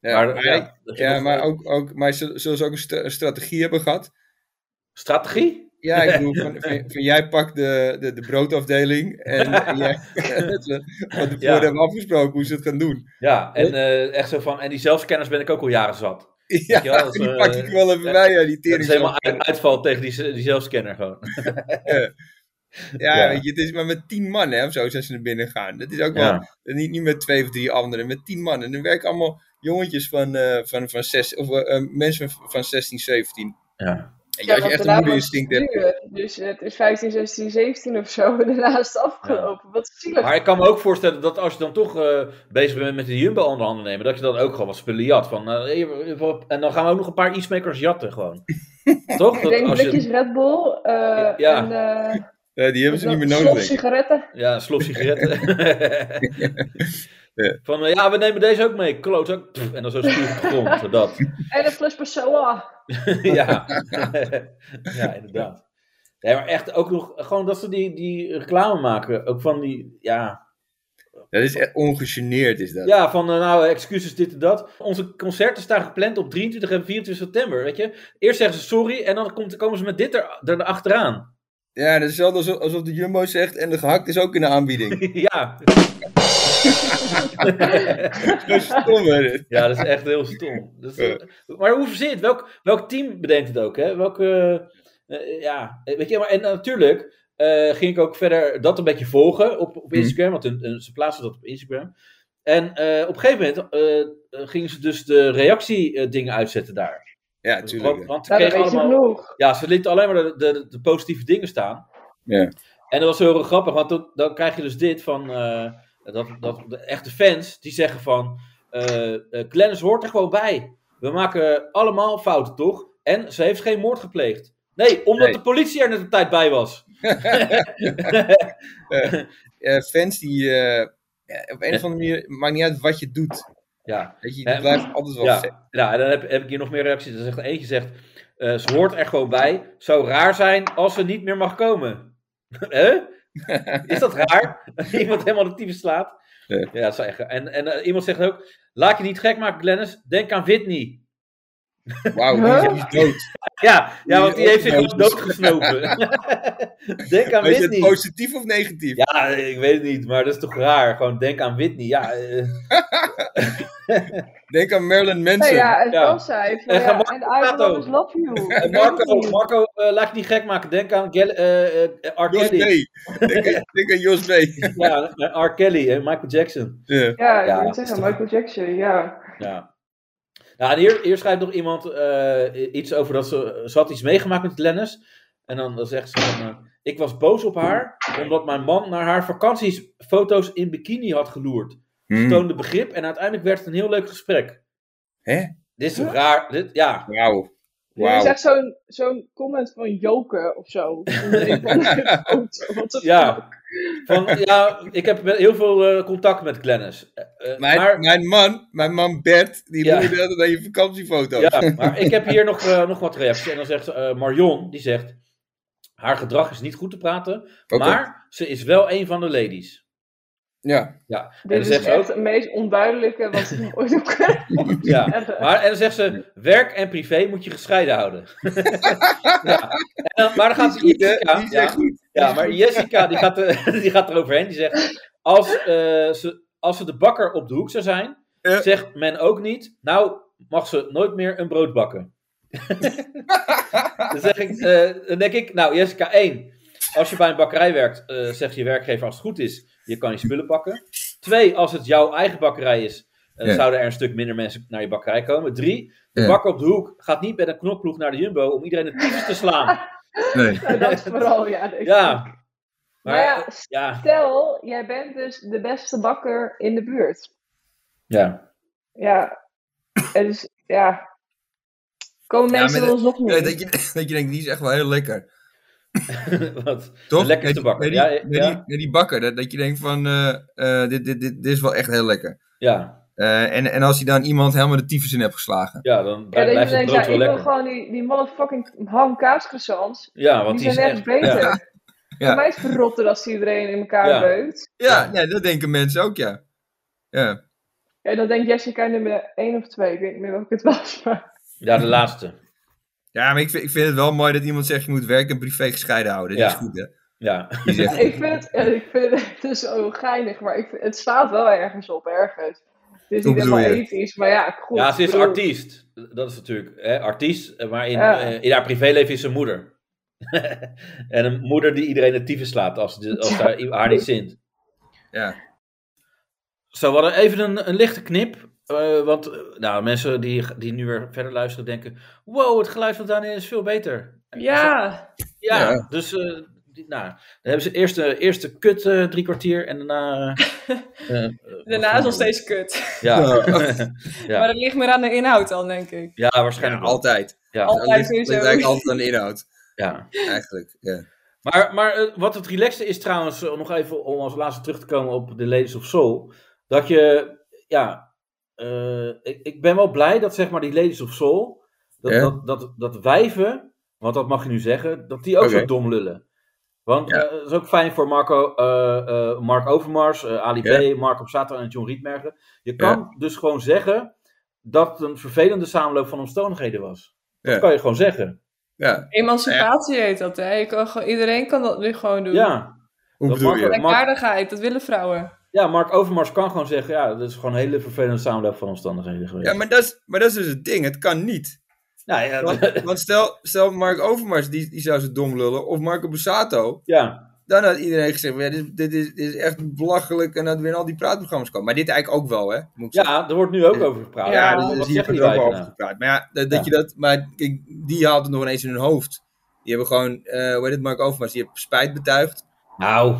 S5: Ja,
S4: maar,
S5: maar-
S4: ja, dat je
S5: Ja,
S4: nog- eh,
S5: maar, ook, ook, maar zullen zullen ze ook een, stra- een strategie hebben gehad?
S4: Strategie?
S5: Ja, ik bedoel, van, van, van jij pakt de, de, de broodafdeling
S4: (laughs)
S5: en, en jij... (laughs) dat we van tevoren
S4: Ja.
S5: hebben afgesproken hoe ze het gaan doen.
S4: Ja, en eh, echt zo van, en die zelfscanners ben ik ook al jaren zat.
S5: Ja,
S4: je wel, dat is,
S5: die
S4: eh,
S5: pak ik wel even
S4: ja,
S5: bij, ja, die
S4: Dat
S5: tering.
S4: is helemaal uit- uitval tegen die, die zelfscanner gewoon.
S5: Ja,
S4: ja.
S5: weet je, het is maar met tien man, hè, of zo, zijn ze naar binnen gaan. Dat is ook wel,
S4: Ja.
S5: niet, niet met twee of drie anderen, met tien man. En dan werken allemaal jongetjes van, eh, van, van zes, of eh, eh, mensen van, van 16, 17.
S4: Ja.
S5: En als je
S3: want
S5: echt een
S3: daarna wordt
S5: moederinstinct
S3: het
S5: hebt,
S3: duur. Dus het is 15, 16, 17 of zo. (laughs) en Daarna is het afgelopen. Wat zielig.
S4: Maar ik kan me ook voorstellen dat als je dan toch eh, bezig bent met de Jumbo onder handen nemen, dat je dan ook gewoon wat spullen jat. Van, eh, hier- en dan gaan we ook nog een paar e-smakers jatten
S3: (laughs)
S4: gewoon. Toch?
S3: ik
S4: Dat
S3: denk
S4: als je-
S3: blikjes Red Bull. eh,
S4: Ja.
S3: En, eh,
S5: eh, die hebben ze
S3: dan
S5: niet meer nodig.
S3: slot
S5: denk ik.
S3: sigaretten.
S4: Ja, een slof
S3: (laughs)
S4: sigaretten.
S5: Ja.
S4: Van, eh, (laughs) ja, we nemen deze ook mee. Kloot ook. Pff, en dan zo spuug op de grond. zo Dat.
S3: Nou,
S4: (laughs)
S3: En een fles Passoa.
S4: ja. ja, inderdaad. Nee, maar echt ook nog, gewoon dat ze die, die reclame maken. Ook van die, ja,
S5: Dat is echt ongegeneerd, is dat.
S4: ja van eh, nou, excuses, dit en dat. Onze concerten staan gepland op 23 en 24 september, weet je. Eerst zeggen ze sorry en dan komt, komen ze met dit er, er achteraan. (laughs)
S5: Ja, dat is hetzelfde alsof, alsof de Jumbo zegt en de gehakt is ook in de
S4: (laughs)
S5: aanbieding.
S4: ja.
S5: Zo stom, hè, dit.
S4: ja, dat is echt heel stom. Dat is- eh, maar hoe verzin je het? Welk, welk team bedenkt het ook? Hè? Welke, eh, eh, ja, eh, weet je, maar, en natuurlijk eh, ging ik ook verder dat een beetje volgen op,
S5: Mhm.
S4: op Instagram, want hun- hun- ze plaatsen dat op Instagram. En eh, op een gegeven moment eh, eh, gingen ze dus de reactiedingen dingen uitzetten daar.
S5: Ja,
S4: Want,
S5: natuurlijk.
S4: want ze
S3: Nou, dat
S4: kregen
S3: weet je
S4: allemaal
S3: genoeg.
S4: ja, ze lieten alleen maar de, de, de positieve dingen staan.
S5: Ja.
S4: En dat was heel grappig, want dan, dan krijg je dus dit van eh, dat, dat, de echte fans die zeggen van eh eh, Glennis hoort er gewoon bij. We maken allemaal fouten, toch? En ze heeft geen moord gepleegd. Nee, omdat
S5: Nee.
S4: de politie er net op tijd bij was.
S5: Eh, fans die eh, ja, op een of andere manier, maakt niet uit wat je doet.
S4: Ja,
S5: Weet je,
S4: Eh,
S5: je blijft altijd wel vet.
S4: ja. Nou, en dan heb, heb ik hier nog meer reacties. Er zegt eentje zegt, eh, ze hoort er gewoon bij. Zou raar zijn als ze niet meer mag komen. (laughs) Hè? Is dat raar? (laughs) Als iemand helemaal de tyfus slaat.
S5: Ja.
S4: Ja, dat zou echt. En, en eh, iemand zegt ook, laat je niet gek maken, Glennis. Denk aan Whitney.
S5: Wauw, die is- die is
S3: (laughs)
S5: dood.
S4: Ja, ja want die heeft zich
S5: Dood.
S4: gewoon doodgesnopen. (laughs) Denk aan
S5: Maar is het
S4: Whitney.
S5: positief of negatief?
S4: Ja, ik weet het niet, maar dat is toch raar. Gewoon denk aan Whitney. Ja, eh, (laughs)
S5: Denk aan Marilyn Manson.
S3: Nee, ja, en
S4: Ja.
S3: dan zei ik van,
S4: En
S3: ja,
S4: ga
S3: and I will
S4: Kato.
S3: always love you.
S4: en Marco, Marco eh, laat je niet gek maken. Denk aan Gal- eh, eh, R.
S5: Jos
S4: Kelly.
S5: B. Denk aan, denk aan
S4: (laughs)
S5: Jos B.
S4: Ja, eh, R. Kelly en Michael Jackson.
S5: Ja.
S3: Ja, ik
S4: Ja,
S3: moet
S4: dat is
S3: zeggen,
S4: toch-
S3: Michael Jackson, ja.
S4: Ja. Nou, en hier, hier schrijft nog iemand eh, iets over dat ze, ze had iets meegemaakt met Lennis. En dan, dan zegt ze van, eh, ik was boos op haar omdat mijn man naar haar vakantiefoto's in bikini had geloerd. Ze
S5: Hmm.
S4: toonde begrip en uiteindelijk werd het een heel leuk gesprek.
S5: Hè?
S4: Dit is toch raar? Dit, ja.
S5: Wauw.
S3: Dit is
S5: Wauw.
S3: echt zo'n zo'n comment van joken of zo.
S4: (laughs)
S3: Wat de
S4: Ja. Van, ja, ik heb met- heel veel eh, contact met Glennis. Eh, eh,
S5: Mijn, mijn man, mijn man Bert, die
S4: Ja.
S5: ja. loerde altijd aan je vakantiefoto's. (laughs)
S4: Ja, maar ik heb hier nog, eh, nog wat reacties. En dan zegt eh, Marion, die zegt... Haar gedrag is niet goed te praten,
S5: Oké.
S4: maar ze is wel een van de ladies.
S5: Ja.
S4: Ja, en dan
S3: Dit is
S4: zegt
S3: echt
S4: ze ook...
S3: het meest onduidelijke
S4: (laughs)
S3: wat ik ooit heb gehoord. (laughs)
S4: Ja,
S3: Echt, eh.
S4: maar, en dan zegt ze, werk en privé moet je gescheiden houden. (laughs) ja. en dan, maar dan gaat
S5: Goed, hè?
S4: Jessica...
S5: Die zijn
S4: Ja,
S5: goed.
S4: ja, maar Jessica die gaat, er, (laughs) die gaat eroverheen. Die zegt, als, eh, ze, als ze de bakker op de hoek zou zijn,
S5: Ja.
S4: zegt men ook niet... Nou, mag ze nooit meer een brood bakken. (laughs) Dan, zeg ik, eh, dan denk ik, nou Jessica, één. Als je bij een bakkerij werkt, eh zegt je werkgever als het goed is, je kan je spullen pakken. Twee, als het jouw eigen bakkerij is, eh,
S5: Ja.
S4: zouden er een stuk minder mensen naar je bakkerij komen. Drie, de
S5: Ja.
S4: bakker op de hoek gaat niet met een knokploeg naar de Jumbo om iedereen het tyfus te slaan.
S5: Nee.
S4: (laughs)
S3: Ja, dat is vooral, ja. denk ik.
S4: Ja. Maar,
S3: Maar ja,
S4: eh, ja,
S3: Stel, jij bent dus de beste bakker in de buurt.
S4: ja. (laughs)
S3: Ja, het is, ja. Komen
S5: Ja,
S3: mensen
S5: maar
S3: ons nog
S5: Ja,
S3: niet?
S5: dat, je, dat je denkt, die is echt wel heel lekker.
S4: Wat?
S5: Toch?
S4: De lekkerste
S5: Met-
S4: bakker,
S5: met die-
S4: ja, ja.
S5: met die- met die bakker, dat, dat je denkt van, eh, eh, dit, dit, dit, dit is wel echt heel lekker.
S4: Ja,
S5: Eh, en, en als hij dan iemand helemaal de tyfus in hebt geslagen.
S4: ja dan
S3: Ja, dat je
S4: blijft het
S3: denkt,
S4: brood
S3: ja,
S4: wel
S3: ik wil
S4: lekker.
S3: gewoon die, die motherfucking ham kaascroissants.
S4: Ja, want
S3: Die
S4: die is
S3: zijn echt
S4: echt...
S3: beter.
S4: Ja.
S5: Ja.
S3: Voor mij is het verrotter als die iedereen in elkaar
S4: Ja.
S3: beukt.
S5: Ja, ja, dat denken mensen ook, ja. Ja,
S3: Ja, dat denkt Jessica nummer 1 of 2. Ik weet niet meer welke het was. Maar...
S4: ja, de laatste.
S5: ja maar ik vind, ik vind het wel mooi dat iemand zegt, je moet werk en privé gescheiden houden. Dat
S4: Ja.
S5: is goed, hè.
S4: Ja.
S5: Die zegt,
S3: ik vind het, ja, ik vind het, het (laughs) is zo geinig, maar ik vind- het staat wel ergens op, ergens. Dus Het is
S5: Hoe
S3: niet
S5: bedoel
S3: helemaal
S5: je?
S3: ethisch, maar ja, goed.
S4: Ja, ze
S3: ik
S4: is
S3: bedoel-
S4: artiest. Dat is natuurlijk hè, artiest, eh, maar in,
S3: Ja.
S4: eh, in haar privéleven is ze moeder. (laughs) en een moeder die iedereen het tyfus slaat als, de- als haar, haar niet zint.
S5: ja.
S4: Zo, we hadden even een, een lichte knip. eh, want eh, nou, mensen die, die nu weer verder luisteren denken... Wow, het geluid van Daniel is veel beter.
S7: Ja.
S4: Ja,
S5: Ja.
S4: dus eh, die- nou, dan hebben ze eerst de eerste kut eh, drie kwartier en daarna... eh, eh,
S7: Daarna is nog steeds kut.
S4: Ja, (laughs) Ja.
S7: Maar dat ligt meer aan de inhoud dan, denk ik.
S4: ja (laughs)
S5: ja,
S4: waarschijnlijk wel.
S5: altijd.
S4: Ja,
S7: Altijd
S5: Dat ligt- dat
S7: sowieso.
S5: lijkt altijd aan de inhoud,
S4: ja.
S5: eigenlijk. Ja.
S4: Maar, maar eh, wat het relaxte is trouwens, eh, nog even om als laatste terug te komen op de Ladies of Soul. Dat je, ja, eh, ik, ik ben wel blij dat zeg maar die Ladies of Soul, dat,
S5: Ja.
S4: dat, dat, dat wijven want dat mag je nu zeggen, dat die ook
S5: Oké.
S4: zo dom lullen. Want
S5: Ja.
S4: eh, dat is ook fijn voor Marco, eh, eh, Mark Overmars, eh, Ali
S5: Ja.
S4: B, Marco Sato en John Rietmergen. Je kan dus gewoon zeggen dat het een vervelende samenloop van omstandigheden was.
S5: Ja.
S4: Dat kan je gewoon zeggen.
S5: Ja,
S9: Emancipatie heet dat, hè? Je kan gewoon, iedereen kan dat nu gewoon doen.
S4: Ja,
S5: hoe
S4: Dat
S5: bedoel
S4: mag
S5: je?
S4: wel.
S9: Gelijkwaardigheid, dat willen vrouwen.
S4: ja, Mark Overmars kan gewoon zeggen, ja, dat is gewoon een hele vervelende samenloop van omstandigheden geweest.
S5: Ja, maar dat, is, maar dat is dus het ding. Het kan niet.
S4: Nou, ja,
S5: Want, want stel, stel Mark Overmars, die, die zou ze dom lullen. Of Marco Bussato.
S4: (laughs) ja,
S5: Dan had iedereen gezegd, ja, dit, dit, is, dit is echt belachelijk. En dat weer in al die praatprogramma's komen. Maar dit eigenlijk ook wel, hè? Moet ik zeggen.
S4: ja, er wordt nu ook over gepraat.
S5: ja,
S4: Oh Ja,
S5: dat
S4: wat
S5: is hier
S4: zeggen
S5: wordt
S4: die
S5: ook
S4: wijven
S5: wel over
S4: nou?
S5: gepraat. Maar ja, dat, dat
S4: Ja.
S5: je dat... Maar kijk, die haalt het nog ineens in hun hoofd. Die hebben gewoon, eh hoe heet het, Mark Overmars, die heeft spijt betuigd.
S4: Nou,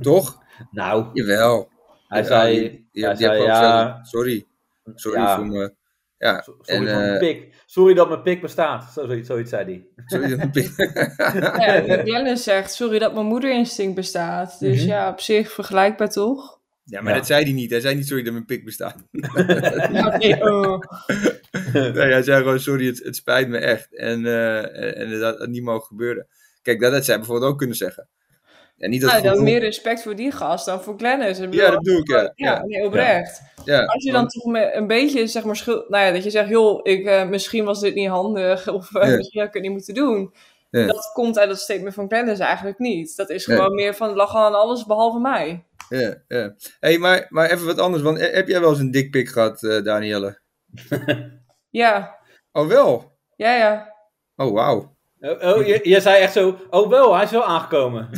S5: Toch?
S4: nou.
S5: Jawel.
S4: Hij
S5: Ja,
S4: zei,
S5: die- die- die
S4: hij
S5: heeft
S4: zei
S5: gewoon
S4: ja,
S5: gezegd, sorry. Sorry
S4: Ja.
S5: voor me. Ja,
S4: sorry
S5: en,
S4: voor mijn
S5: eh,
S4: pik. Sorry dat mijn pik bestaat. Zo, zoiets, zoiets zei hij.
S5: sorry dat
S4: (laughs)
S5: mijn pik-
S9: Ja, Dennis zegt, sorry dat mijn moederinstinct bestaat. Dus
S4: Mhm.
S9: ja, op zich vergelijkbaar toch?
S5: Ja, maar
S4: Ja.
S5: dat zei hij niet. Hij zei niet sorry dat mijn pik bestaat.
S9: Ja, nee, oh.
S5: nee, hij zei gewoon sorry, het, het spijt me echt. En, eh, en- en dat had niet mogen gebeuren. Kijk, dat had zij bijvoorbeeld ook kunnen zeggen. En niet dat
S9: Nou, dan
S5: gevoel-
S9: meer respect voor die gast dan voor Glennis. Ik bedoel,
S5: Ja, dat doe ik, ja.
S9: ja,
S5: ja.
S9: nee, oprecht.
S5: ja.
S9: Als je dan toch me- een beetje, zeg maar, schuld... Nou ja, dat je zegt, joh, ik, eh, misschien was dit niet handig. (laughs) Of eh,
S5: Ja.
S9: misschien had ik het niet moeten doen.
S5: Ja.
S9: Dat komt uit dat statement van Glennis eigenlijk niet. Dat is
S5: Nee.
S9: gewoon meer van, het lag al aan alles behalve mij.
S5: Ja, ja. hey, maar, maar even wat anders. Want eh, heb jij wel eens een dikpik gehad, eh Danielle?
S9: Ja,
S5: Oh, wel?
S9: ja, ja. (laughs)
S5: Oh, wauw.
S4: Oh, oh, je, je zei echt zo, oh wel, hij is wel aangekomen.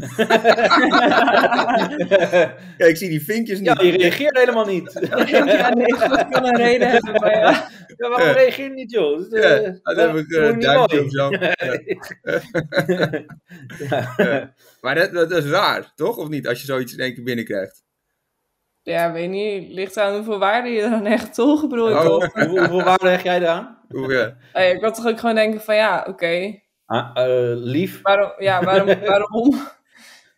S5: Kijk, ik zie die vinkjes niet.
S4: ja, je reageert helemaal niet.
S9: ja nee, dat kan een reden hebben, maar ja.
S4: Ja, waarom
S5: Ja.
S4: reageer je niet, joh? Dat, is,
S5: Ja,
S4: eh,
S5: dan
S4: dat
S5: heb ik
S4: is
S5: eh,
S4: gewoon
S5: een
S4: niet
S5: duimpje
S4: mooi.
S5: of
S4: (laughs)
S5: zo. Ja.
S4: Ja.
S5: Maar dat, dat is raar, toch? Of niet? Als je zoiets in één keer binnenkrijgt.
S9: Ja, weet niet. Ligt aan hoeveel waarde je dan echt toch, bedoel ik.
S5: Oh.
S9: hoor.
S4: Hoe- Hoeveel waarde hecht jij eraan?
S5: Hoe, ja.
S9: Eh, ik kan toch ook gewoon denken van, ja, oké.
S4: Ah, eh, lief.
S9: Waarom? Ja, waarom? waarom? Nou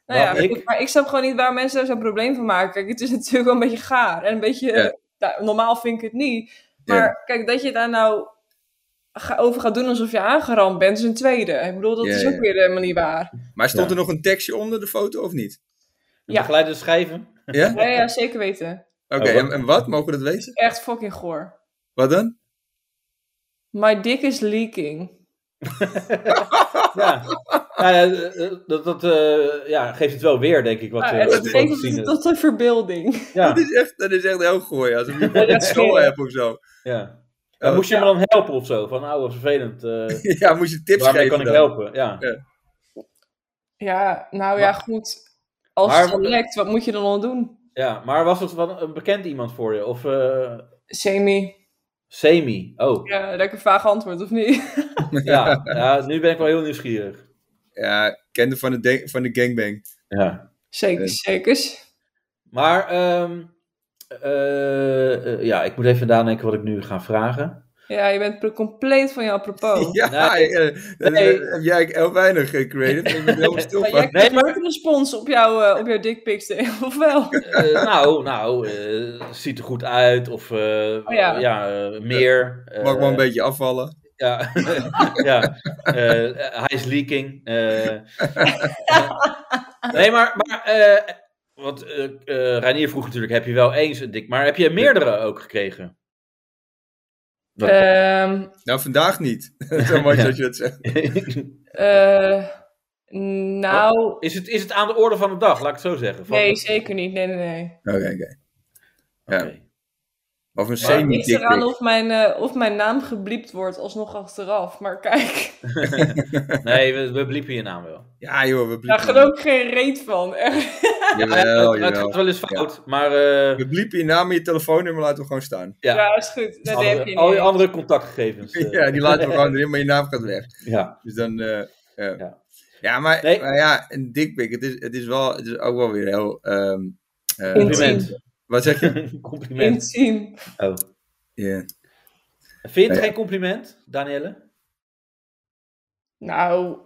S9: ja,
S4: Waarom ik?
S9: goed, maar ik snap gewoon niet waar mensen daar zo'n probleem van maken. Kijk, het is (laughs) natuurlijk wel een beetje gaar. En een beetje,
S5: Ja.
S9: nou, normaal vind ik het niet.
S5: Ja.
S9: Maar kijk, dat je daar nou ga- over gaat doen alsof je aangerand bent, is een tweede. Ik bedoel, dat
S5: Ja,
S9: is
S5: ja.
S9: ook weer helemaal niet waar.
S5: Maar stond
S4: Ja.
S5: er nog een tekstje onder de foto of niet?
S4: Ja. Begeleiders schrijven.
S5: Ja? Oké,
S9: Ja, ja, zeker weten.
S4: Oh, wat?
S5: en, en wat? Mogen we dat weten?
S9: Echt fucking goor.
S5: Wat dan?
S9: My dick is leaking.
S4: Ja. Nou ja, eh, eh, dat, dat eh, ja, geeft het wel weer, denk ik. Wat,
S9: Ah,
S4: eh,
S9: en
S4: wat
S9: dat
S4: we
S9: betekent
S4: zien.
S9: dat tot een verbeelding.
S4: Ja,
S5: Dat, is echt, dat is echt heel gooi. Als
S4: (laughs)
S5: ik nu een school heb of zo.
S4: ja. Ja, moest je me dan helpen of zo? Van, nou, wat vervelend. eh
S5: Ja, moest je Oh, (laughs) tips
S4: waarmee
S5: geven
S4: kan ik
S5: dan.
S4: helpen? Ja.
S9: Ja, nou ja,
S4: Maar-
S9: goed. Als
S4: Maar-
S9: het dan lekt, wat moet je dan al doen?
S4: ja, maar was het wel een bekend iemand voor je? Of eh,
S9: Semi.
S4: semi? Oh, ja.
S9: Ja, lekker vaag antwoord, of niet?
S4: Ja. nu ben ik wel heel nieuwsgierig.
S5: Ja, kende van de, de- van de gangbang.
S4: Ja.
S9: Zeker,
S5: Eh.
S9: zeker.
S4: Maar, ehm, eh, eh, ja, ik moet even nadenken wat ik nu ga vragen.
S9: Ja, je bent pre- compleet van je apropos.
S5: Ja,
S4: Nee.
S5: eh, dat
S4: Nee.
S5: heb jij eigenlijk heel weinig eh, creative. Ik ben er helemaal stil
S9: Maar
S5: van.
S9: jij krijgt
S4: Nee, maar-
S9: nooit een respons op jouw, eh, op jouw dickpics, (laughs) eh, of wel?
S4: Eh, nou, nou, eh, ziet er goed uit. Of eh,
S9: Oh,
S4: ja,
S9: ja.
S4: eh, meer. eh,
S5: Mag wel een beetje afvallen.
S4: Ja, (laughs) ja. Eh, eh, hij is leaking. eh. Eh, nee, maar, maar eh, want eh eh, Reinier vroeg natuurlijk, heb je wel eens een dik, maar heb je meerdere ook gekregen? Dat-
S9: Ehm,
S5: Nou, vandaag niet. (laughs) Zo mooi
S4: Ja.
S5: dat je dat zegt.
S9: eh, nou,
S4: (laughs) is, het, is het aan de orde van de dag, laat ik het zo zeggen? Oh, Van-
S9: nee, zeker niet. Nee, nee, nee.
S5: Oké, oké.
S4: Oké.
S5: Of een
S4: Maar
S9: Niks
S5: semi-dick
S9: eraan
S5: pic.
S9: of mijn, eh, of mijn naam gebliept wordt alsnog achteraf. Maar kijk,
S4: Nee, we, we bliepen je naam wel.
S5: Ja joh, we
S9: daar
S5: bliepen.
S9: gaat ook geen reet van. (laughs) echt.
S5: Jawel,
S4: het, het gaat
S5: jawel.
S4: wel eens fout, maar eh,
S5: We bliepen je naam en je telefoonnummer laten we gewoon staan.
S4: ja,
S9: Ja, is goed. Dat
S4: andere-
S9: heb je
S4: al je
S9: niet.
S4: andere contactgegevens. eh,
S5: (laughs) Ja, die laten we gewoon erin, maar je naam gaat weg.
S4: (laughs) ja.
S5: Dus dan... eh, eh.
S4: Ja.
S5: ja. maar,
S4: Nee.
S5: maar ja, een dikpik, het is, het, is wel, het is ook wel weer heel... ehm, eh,
S4: Compliment. (laughs)
S5: wat zeg je?
S4: compliment.
S9: Intiem.
S4: Oh.
S5: Ja.
S4: Vind je het
S5: Ja.
S4: geen compliment, Danielle? (laughs)
S9: Nou,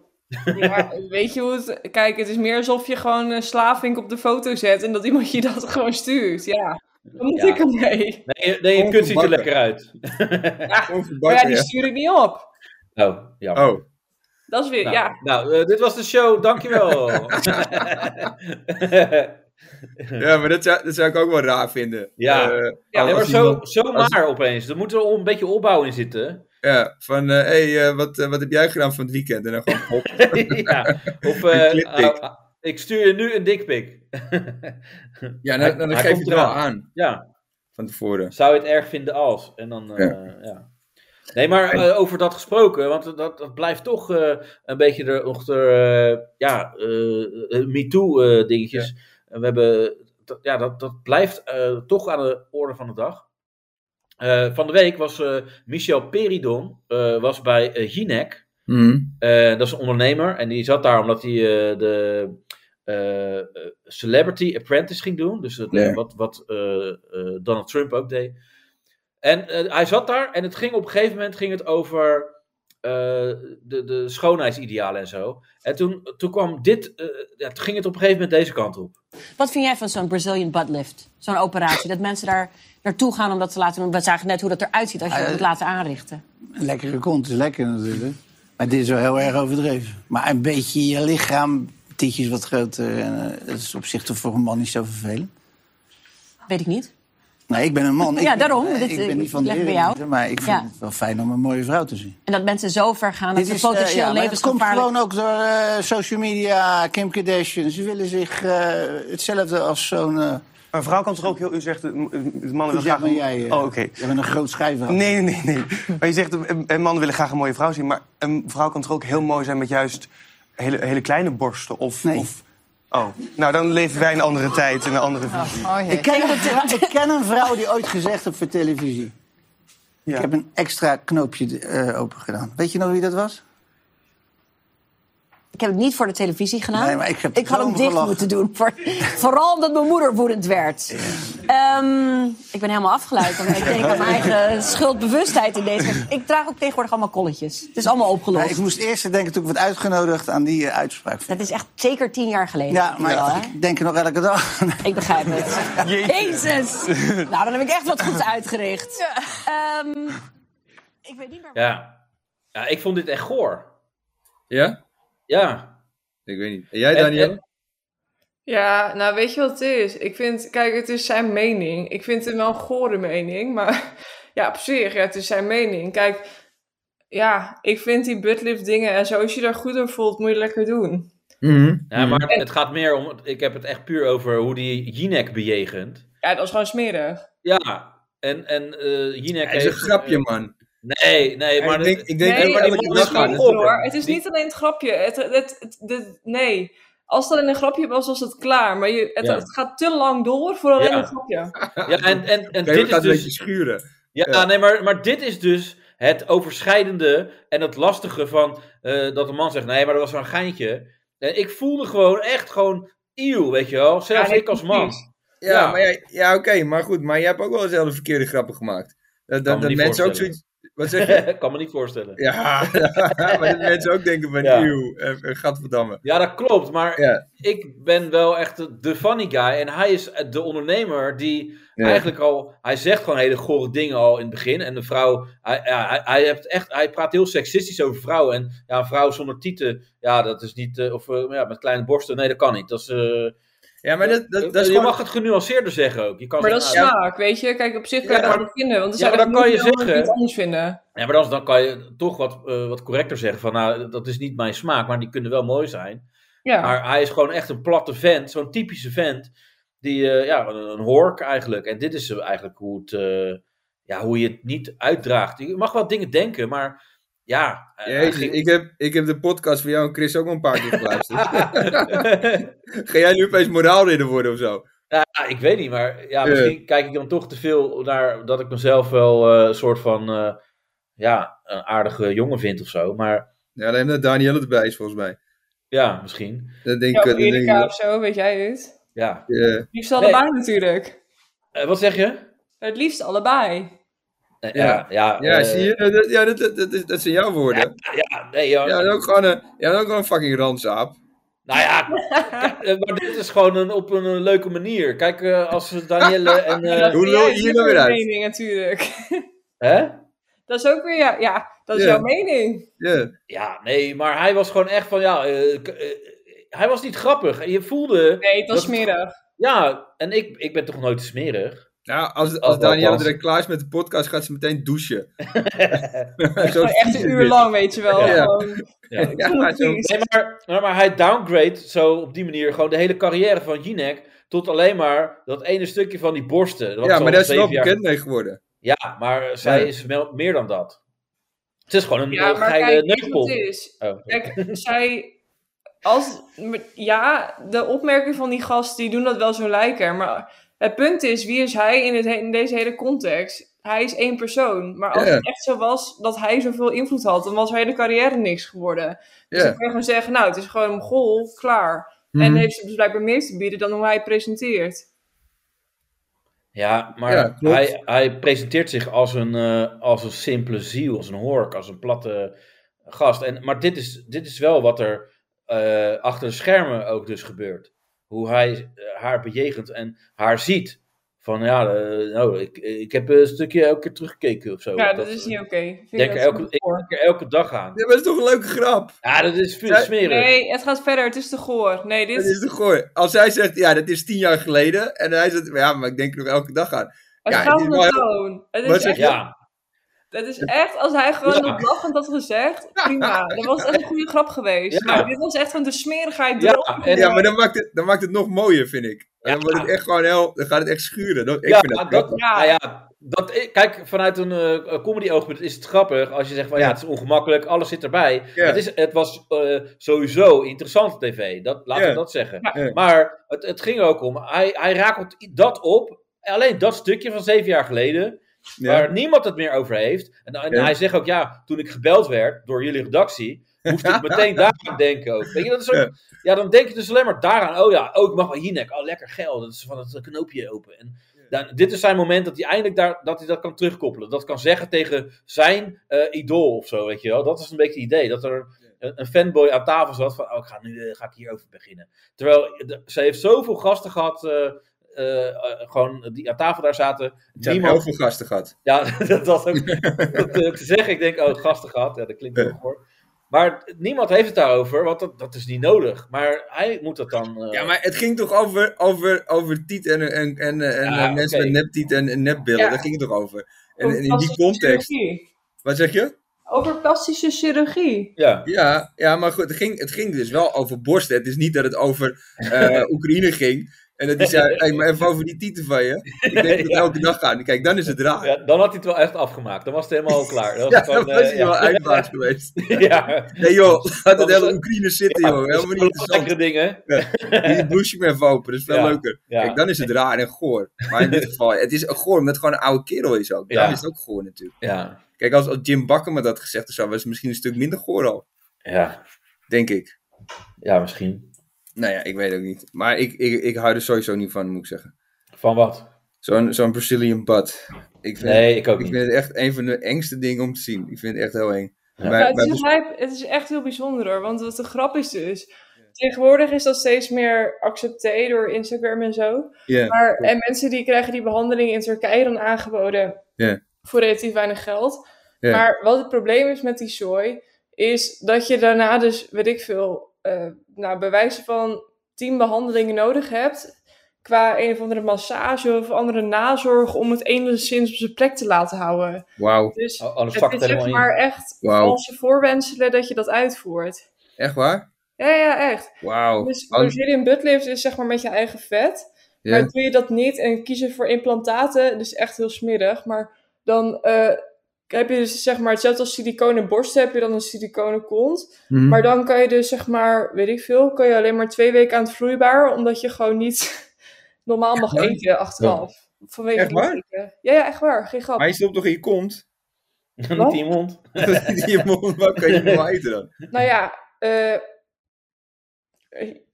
S9: ja, weet je hoe het... Kijk, het is meer alsof je gewoon een slavink op de foto zet en dat iemand je (laughs) dat gewoon stuurt. Ja, dan moet
S4: Ja.
S9: ik ermee.
S4: Nee, je- nee je kut ziet er
S5: Onverbakken.
S4: lekker uit.
S5: Onverbakken,
S9: Maar ja, die
S5: ja.
S9: stuur ik niet op.
S4: Oh, jammer.
S5: Oh.
S9: Dat is weer,
S4: Nou,
S9: ja.
S4: nou eh, dit was de show. (laughs) Dankjewel.
S5: Ja, maar dat zou, dat zou ik ook wel raar vinden.
S4: Ja.
S5: Eh,
S4: ja,
S5: als
S4: maar zo,
S5: iemand-
S4: zomaar opeens. Er moet er een beetje opbouw in (laughs) zitten.
S5: ja, van, hé, hey, eh, wat, eh, wat heb jij gedaan van het weekend? En dan gewoon
S4: (laughs)
S5: pop.
S4: ja. Of eh,
S5: Een clippic.
S4: ah, ah, ik stuur je nu een dikpik.
S5: Ja,
S4: Hij-
S5: dan, dan
S4: hij
S5: geef je
S4: komt
S5: het wel
S4: eraan.
S5: aan
S4: (laughs) ja,
S5: van tevoren.
S4: zou je het erg vinden als? En dan, eh, ja. Nee, maar eh, over dat gesproken, want dat, dat blijft toch eh, een beetje er, nog er, eh, ja, eh, MeToo-dingetjes. We hebben, dat, ja, dat, dat blijft eh, toch aan de orde van de dag. Eh, van de week was eh, Michel Peridon eh, was bij eh, Jinek.
S5: Mhm.
S4: Eh, dat is een ondernemer. En die zat daar omdat hij eh, de eh, eh, Celebrity Apprentice ging doen. Dus het,
S5: Ja.
S4: eh, wat, wat eh, eh, Donald Trump ook deed. En eh, hij zat daar en het ging op een gegeven moment ging het over eh, de, de schoonheidsidealen en zo. En toen, toen kwam dit, eh, ja, toen ging het op een gegeven moment deze kant op.
S7: Wat vind jij van zo'n Brazilian butt lift? Zo'n operatie, dat mensen daar naartoe gaan om dat te laten doen. We zagen net hoe dat eruit ziet als je dat
S6: eh,
S7: moet laten aanrichten.
S6: Een lekkere kont is lekker natuurlijk. Maar dit is wel heel erg overdreven. Maar een beetje je lichaam, tietjes wat groter. En, eh, dat is op zich toch voor een man niet zo vervelend.
S7: Weet ik niet.
S6: Nou, ik ben een man.
S7: Ja,
S6: ik,
S7: daarom.
S6: eh,
S7: Dit,
S6: ik
S7: eh,
S6: ben niet van de
S7: leg bij
S6: heren,
S7: jou.
S6: maar ik vind
S7: Ja.
S6: het wel fijn om een mooie vrouw te zien.
S7: En dat mensen zo ver gaan dat ze
S6: eh,
S7: potentieel
S6: ja, maar het komt
S7: levensgevaarlijk...
S6: gewoon ook door eh, social media, Kim Kardashian. Ze willen zich eh, hetzelfde als zo'n... eh,
S10: Een vrouw kan toch ook heel... U zegt, eh, m- eh, mannen
S6: hoe
S10: willen graag...
S6: zeg maar
S10: een-
S6: jij? eh,
S10: Oh, oké.
S6: Jij bent een groot schijver.
S10: Nee, nee, nee. Maar je zegt, eh, eh, mannen willen graag een mooie vrouw zien. Maar een vrouw kan toch ook heel mooi zijn met juist hele, hele kleine borsten? Of,
S6: Nee.
S10: of... Oh, nou dan leven wij in een andere tijd, in een andere visie.
S6: Ik ken, een vrou- Ah, oh, ik ken een vrouw die ooit gezegd heeft voor televisie.
S10: Ja.
S6: Ik heb een extra knoopje eh open gedaan. Weet je nog wie dat was?
S7: Ik heb het niet voor de televisie gedaan.
S6: Nee, maar ik heb
S7: had hem
S6: erom
S7: dicht
S6: gelachen.
S7: moeten doen. Voor, vooral omdat mijn moeder woedend werd. Ehm, ik ben helemaal afgeleid. omdat ik denk aan mijn
S6: (laughs)
S7: eigen schuldbewustheid in deze. Ik draag ook tegenwoordig allemaal kolletjes. Het is allemaal
S6: Nou,
S7: opgelost.
S6: ik moest eerst denken toen ik werd uitgenodigd aan die eh, uitspraak.
S7: Dat is echt zeker tien jaar geleden.
S6: Ja, maar
S7: Wel, hè?
S6: ik denk er nog elke dag. aan.
S7: Ik begrijp het.
S6: (laughs)
S7: Jezus. Nou, dan heb ik echt wat goeds uitgericht. Ehm, ik weet niet meer...
S4: Ja. ja, ik vond dit echt goor.
S5: Ja?
S4: Ja.
S5: Ik weet niet. En jij,
S4: En-
S5: Daniel?
S4: en-
S9: Ja, nou weet je wat het is? Ik vind, kijk, het is zijn mening. Ik vind het wel een gore mening, maar (laughs) ja, op zich, ja, het is zijn mening. Kijk, ja, ik vind die buttlift dingen en zo, als je daar goed door voelt, moet je lekker doen.
S5: Mhm.
S4: Ja, maar het gaat meer om, ik heb het echt puur over hoe die Jinek bejegent.
S9: Ja, dat is gewoon smerig.
S4: Ja, en, en eh Jinek
S5: Het is een
S4: heeft-
S5: grapje, man.
S4: Nee, nee, maar
S5: ik denk,
S4: dat-
S5: ik denk
S9: Nee,
S5: dat
S9: maar
S5: elke
S9: die
S4: man
S5: dag
S4: is
S5: gaat
S4: niet
S5: het.
S4: op.
S9: Hoor, het is
S4: Die-
S9: niet alleen het grapje. Het, het, het, het- nee, als dat alleen een grapje was, was het klaar. Maar je, het,
S4: Ja.
S9: het gaat te lang door voor alleen
S4: Ja.
S9: een grapje.
S4: Ja, en, en, en
S5: Kijk,
S4: dit
S5: het
S4: is
S5: ah, gaat een beetje
S4: dus...
S5: schuren.
S4: Ja,
S5: ja.
S4: nee, maar, maar dit is dus het overschrijdende en het lastige van eh, dat een man zegt, nee, maar dat was maar een geintje. En ik voelde gewoon echt gewoon, eeuw, weet je wel, zelfs
S9: Ja,
S4: ik als man.
S9: precies.
S5: Ja,
S4: Ja.
S5: maar ja, ja oké, maar goed. Maar jij hebt ook wel eens hele verkeerde grappen gemaakt. Dat,
S4: Kan
S5: dat,
S4: me
S5: dat
S4: niet
S5: mensen ook
S4: voorstellen.
S5: zoiets... Wat zeg
S4: (laughs)
S5: je?
S4: kan me niet voorstellen.
S5: Ja, (laughs) maar dat mensen ook denken van,
S4: Ja.
S5: eeuw, eh, eh, gadverdamme.
S4: Ja, dat klopt, maar
S5: Ja.
S4: ik ben wel echt de- de funny guy en hij is eh, de ondernemer die
S5: Ja.
S4: Eigenlijk al, hij zegt gewoon hele gore dingen al in het begin. En de vrouw, hij, ja, hij, hij, heeft echt, hij praat heel seksistisch over vrouwen. En ja, een vrouw zonder tieten, ja, dat is niet, eh, of eh, ja, met kleine borsten, nee, dat kan niet. Dat is, eh,
S5: Ja, maar dat, dat, dat is
S4: je
S5: gewoon...
S4: mag het genuanceerder zeggen ook. Je kan
S9: Maar dat is
S4: zeggen, nou,
S9: smaak, weet je. Kijk, op zich kan
S4: Ja,
S9: je dat
S4: maar-
S9: niet vinden. Want er
S4: Ja,
S9: zijn
S4: maar
S9: ook
S4: dan kan je
S9: miljoenen die
S4: zeggen-
S9: het anders vinden.
S4: ja, maar dan, dan kan je toch wat, eh, wat correcter zeggen van, nou, dat is niet mijn smaak, maar die kunnen wel mooi zijn.
S9: Ja.
S4: Maar hij is gewoon echt een platte vent, zo'n typische vent, die, eh, ja, een, een hork eigenlijk. En dit is eh, eigenlijk hoe het, eh, ja, hoe je het niet uitdraagt. Je mag wel dingen denken, maar... Ja, eh, hij
S5: Jezus,
S4: ging-
S5: ik, heb, ik heb de podcast van jou en Chris ook al een paar keer geluisterd. (laughs) Ga jij nu opeens moraalridder worden of zo?
S4: Ja, ik weet niet, maar ja,
S5: Ja.
S4: misschien kijk ik dan toch te veel naar dat ik mezelf wel eh, een soort van eh, ja, een aardige jongen vind of zo. Maar
S5: Ja, dan hebben we Danielle erbij is volgens mij.
S4: ja, misschien.
S5: Dat denk
S9: Ja,
S5: ik...
S9: of
S5: dat denk ik
S9: Erika
S5: wel.
S9: of zo, weet jij het?
S4: Ja.
S5: Ja.
S9: Liefst allebei natuurlijk.
S4: Eh, wat zeg je?
S9: Het liefst allebei.
S4: Eh,
S5: Ja.
S4: ja, ja,
S5: Ja,
S4: eh,
S5: zie je? Dat- Dat, ja, dat, dat, dat, is- dat zijn jouw woorden.
S4: Ja, nee, joh.
S5: Ja, dat is ook gewoon een, ja, dat is ook gewoon een fucking randzaap.
S4: Nou ja,
S9: (laughs)
S4: kijk, eh, maar dit is gewoon een, op een, eh, leuke manier. Kijk,
S5: (laughs)
S4: eh, als Danielle en... eh,
S5: Hoe lul je
S9: jij
S5: hier
S9: zit
S5: nou weer
S9: met
S5: uit?
S9: mening natuurlijk.
S4: hè?
S9: Dat is ook weer, ja, ja dat is
S5: Ja.
S9: jouw mening.
S5: Ja.
S4: Ja, nee, maar hij was gewoon echt van, ja, eh, k- eh, hij was niet grappig. En je voelde,
S9: Nee, dat is
S4: Dat-
S9: smerig.
S4: ja, en ik, ik ben toch nooit smerig?
S5: Nou, als, als
S4: Althans.
S5: Danielle direct klaar is met de podcast, gaat ze
S4: (laughs)
S5: meteen douchen. (laughs) Zo
S9: Gewoon echt een uur lang, weet je wel.
S5: Ja.
S9: Gewoon,
S4: Ja.
S5: Ja, maar zo-
S4: Nee, maar, maar, maar hij downgrade zo op die manier gewoon de hele carrière van Jinek tot alleen maar dat ene stukje van die borsten. wat
S5: ja,
S4: ze
S5: maar
S4: al
S5: daar is ze
S4: zeven
S5: wel
S4: jaar-
S5: bekend mee geworden.
S4: Ja, maar zij
S5: Ja.
S4: is wel meer dan dat. Het is gewoon een
S9: ja, maar
S4: geile
S9: kijk, weet je
S4: neukpop.
S9: wat het is.
S4: Oh.
S9: Kijk, zij. Als, ja, de opmerking van die gast, die doen dat wel zo lijken. Maar het punt is, wie is hij in, het, he- in deze hele context? Hij is één persoon. Maar als
S5: Ja.
S9: het echt zo was dat hij zoveel invloed had, dan was haar hele carrière niks geworden. Dus
S5: Ja. Mhm.
S9: dan kun je gewoon zeggen, nou, het is gewoon een gol, klaar. En heeft ze dus blijkbaar meer te bieden dan hoe hij presenteert.
S4: Ja, maar
S5: Ja, klopt.
S4: hij, hij presenteert zich als een, eh, als een simpele ziel, als een hork, als een platte gast. En, maar dit is, dit is wel wat er eh, achter de schermen ook dus gebeurt. Hoe hij eh, haar bejegent en haar ziet. Van ja, eh, nou, ik, ik heb een stukje elke keer teruggekeken of zo.
S9: Ja, Oh, dat is niet oké. Vind ik
S4: denk
S9: dat
S4: er elke,
S9: zo
S4: ik
S9: goor.
S4: denk er elke dag aan.
S5: Ja, maar dat is toch een leuke grap?
S4: Ja, dat is veel
S5: Nee.
S4: smerig.
S9: Nee, het gaat verder. Het is te goor. Nee, dit
S5: Dat is toch gooi. Als hij zegt, ja, dat is tien jaar geleden. En hij zegt, ja, maar ik denk er nog elke dag aan.
S9: het
S5: Ja,
S9: gaat
S5: dit
S9: om
S5: is
S9: de
S5: wel-
S9: toon. Het
S5: Wat
S9: is
S5: zeg
S9: echt
S5: je?
S4: Ja,
S9: Dat is echt, als hij gewoon
S4: Ja.
S9: op lachend had gezegd, prima. Dat was echt een goede grap geweest.
S4: Ja.
S9: Maar dit was echt van de smerigheid
S4: Ja,
S9: erop.
S4: en-
S5: Ja, maar dan maakt, het, dan maakt het nog mooier, vind ik. En dan,
S4: Ja.
S5: wordt het echt gewoon heel, dan gaat het echt schuren. Dan, ik
S4: ja,
S5: vind dat,
S4: dat,
S5: grappig.
S9: Ja.
S4: nou ja, dat, i- kijk, vanuit een eh, comedy-oogpunt is het grappig als je zegt van ja, het is ongemakkelijk, alles zit erbij.
S5: Ja.
S4: Het, is, het was eh, sowieso interessante tv, dat, laten
S5: Ja.
S4: we dat zeggen.
S5: Ja.
S4: Maar het, het ging er ook om, hij, hij rakelt i- dat op, alleen dat stukje van zeven jaar geleden,
S5: Ja.
S4: waar niemand het meer over heeft. En, en
S5: Ja.
S4: hij zegt ook ja, toen ik gebeld werd door jullie redactie, moest ik
S5: (laughs)
S4: meteen daaraan denken ook. Weet je, dat is ook,
S5: Ja.
S4: ja. dan denk je dus alleen maar daaraan. Oh ja, oh, ik mag wel Hinek. Oh, lekker geil. Dat is van het knoopje open. En dan, dit is zijn moment dat hij eindelijk daar, dat, hij dat kan terugkoppelen. Dat kan zeggen tegen zijn eh, idool of zo, weet je wel. Dat is een beetje het idee. Dat er een, een fanboy aan tafel zat van, oh, ik ga nu eh, ga ik hierover beginnen. Terwijl, eh, de- ze heeft zoveel gasten gehad... eh, eh, eh, gewoon die aan tafel daar zaten.
S5: Ik heb
S4: Niemand
S5: heel veel gasten gehad.
S4: ja, (laughs) dat was
S5: (laughs)
S4: ook dat, eh, te zeggen. Ik denk, oh, gasten gehad. Ja, dat klinkt wel hoor. Maar niemand heeft het daarover, want dat, dat is niet nodig. Maar hij moet dat dan... eh,
S5: Ja, maar het ging toch over, over, over tiet en, en, en, en
S4: Ja,
S5: en mensen
S4: oké.
S5: met neptiet en, en nepbillen.
S9: Ja.
S5: Daar ging het toch over. En,
S9: Over
S5: en in die
S9: plastische
S5: context.
S9: chirurgie.
S5: Wat zeg je?
S9: Over plastische chirurgie.
S4: ja.
S5: Ja, ja maar goed, het ging, het ging dus wel over borsten. Het is niet dat het over
S4: (laughs)
S5: eh, Oekraïne ging. En dat die zei, hey, maar even over die tieten van je. Ik denk dat het
S4: Ja.
S5: elke dag gaat. Kijk, dan is het raar.
S4: Ja, dan had hij het wel echt afgemaakt. Dan was het helemaal klaar. Dan was
S5: (laughs) Ja,
S4: het
S5: dat
S4: gewoon,
S5: was
S4: eh,
S5: hij wel eindbaas geweest.
S4: (laughs) ja. ja.
S5: Nee joh, laat het
S4: Dat is
S5: hele
S4: een-
S5: Oekraïne zitten
S4: Ja,
S5: joh.
S4: dat is
S5: Helemaal niet
S4: wel
S5: interessant.
S4: lekkere dingen.
S5: Doe je bloesje maar even open, dat is veel
S4: Ja,
S5: leuker.
S4: ja.
S5: Kijk, dan is het raar en goor.
S4: (laughs)
S5: Maar in dit geval, het is goor omdat het gewoon een oude kerel is ook. Dan
S4: Ja.
S5: is het ook goor natuurlijk.
S4: Ja.
S5: Kijk, als, als Jim Bakker me dat had gezegd of zo, was het misschien een stuk minder goor al.
S4: Ja.
S5: Denk ik.
S4: ja, misschien.
S5: Nou ja, ik weet ook niet. Maar ik, ik, ik hou er sowieso niet van, moet ik zeggen.
S4: Van wat?
S5: Zo'n zo'n Brazilian butt. Ik vind,
S4: Nee, ik ook
S5: ik
S4: niet.
S5: vind het echt een van de engste dingen om te zien. Ik vind het echt heel eng. Mijn-
S9: Ja, Nou, het,
S5: mijn-
S9: is heel hype. het is echt heel bijzonder hoor. Want wat de grap is dus. Tegenwoordig is dat steeds meer accepté door Instagram en zo.
S5: ja.
S9: Maar, en mensen die krijgen die behandeling in Turkije dan aangeboden.
S5: Ja.
S9: Voor relatief weinig geld.
S5: Ja.
S9: Maar wat het probleem is met die zooi. Is dat je daarna dus, weet ik veel, eh nou, bewijzen van 10 behandelingen nodig hebt. Qua een of andere massage of andere nazorg. Om het enigszins op zijn plek te laten houden.
S5: Wauw,
S9: Dus
S4: Oh, Alles
S9: het
S4: zakt
S9: is
S4: er helemaal
S9: zeg maar
S4: in.
S9: echt
S5: Wauw.
S9: valse voorwenselen dat je dat uitvoert.
S5: echt waar?
S9: Ja, ja, echt.
S5: Wauw.
S9: Dus
S5: Al-
S9: Brazilian buttlift is zeg maar met je eigen vet.
S5: Oh, ja.
S9: Maar doe je dat niet en kies je voor implantaten, dus echt heel smerig. Maar dan eh, heb je dus zeg maar hetzelfde als siliconen borsten, heb je dan een siliconen kont.
S5: Mhm.
S9: Maar dan kan je dus zeg maar, weet ik veel, kan je alleen maar twee weken aan het vloeibaar, omdat je gewoon niet (laughs) normaal mag
S5: waar?
S9: eten achteraf. Vanwege
S5: Echt
S9: die
S5: waar?
S9: ziekte. Ja, ja, echt waar. Geen grap.
S5: Maar je stopt toch in je kont?
S4: Niet (laughs) in je mond.
S5: (laughs) Dat is
S4: (laughs)
S5: in je mond, waar kan je normaal eten dan?
S9: Nou ja, eh,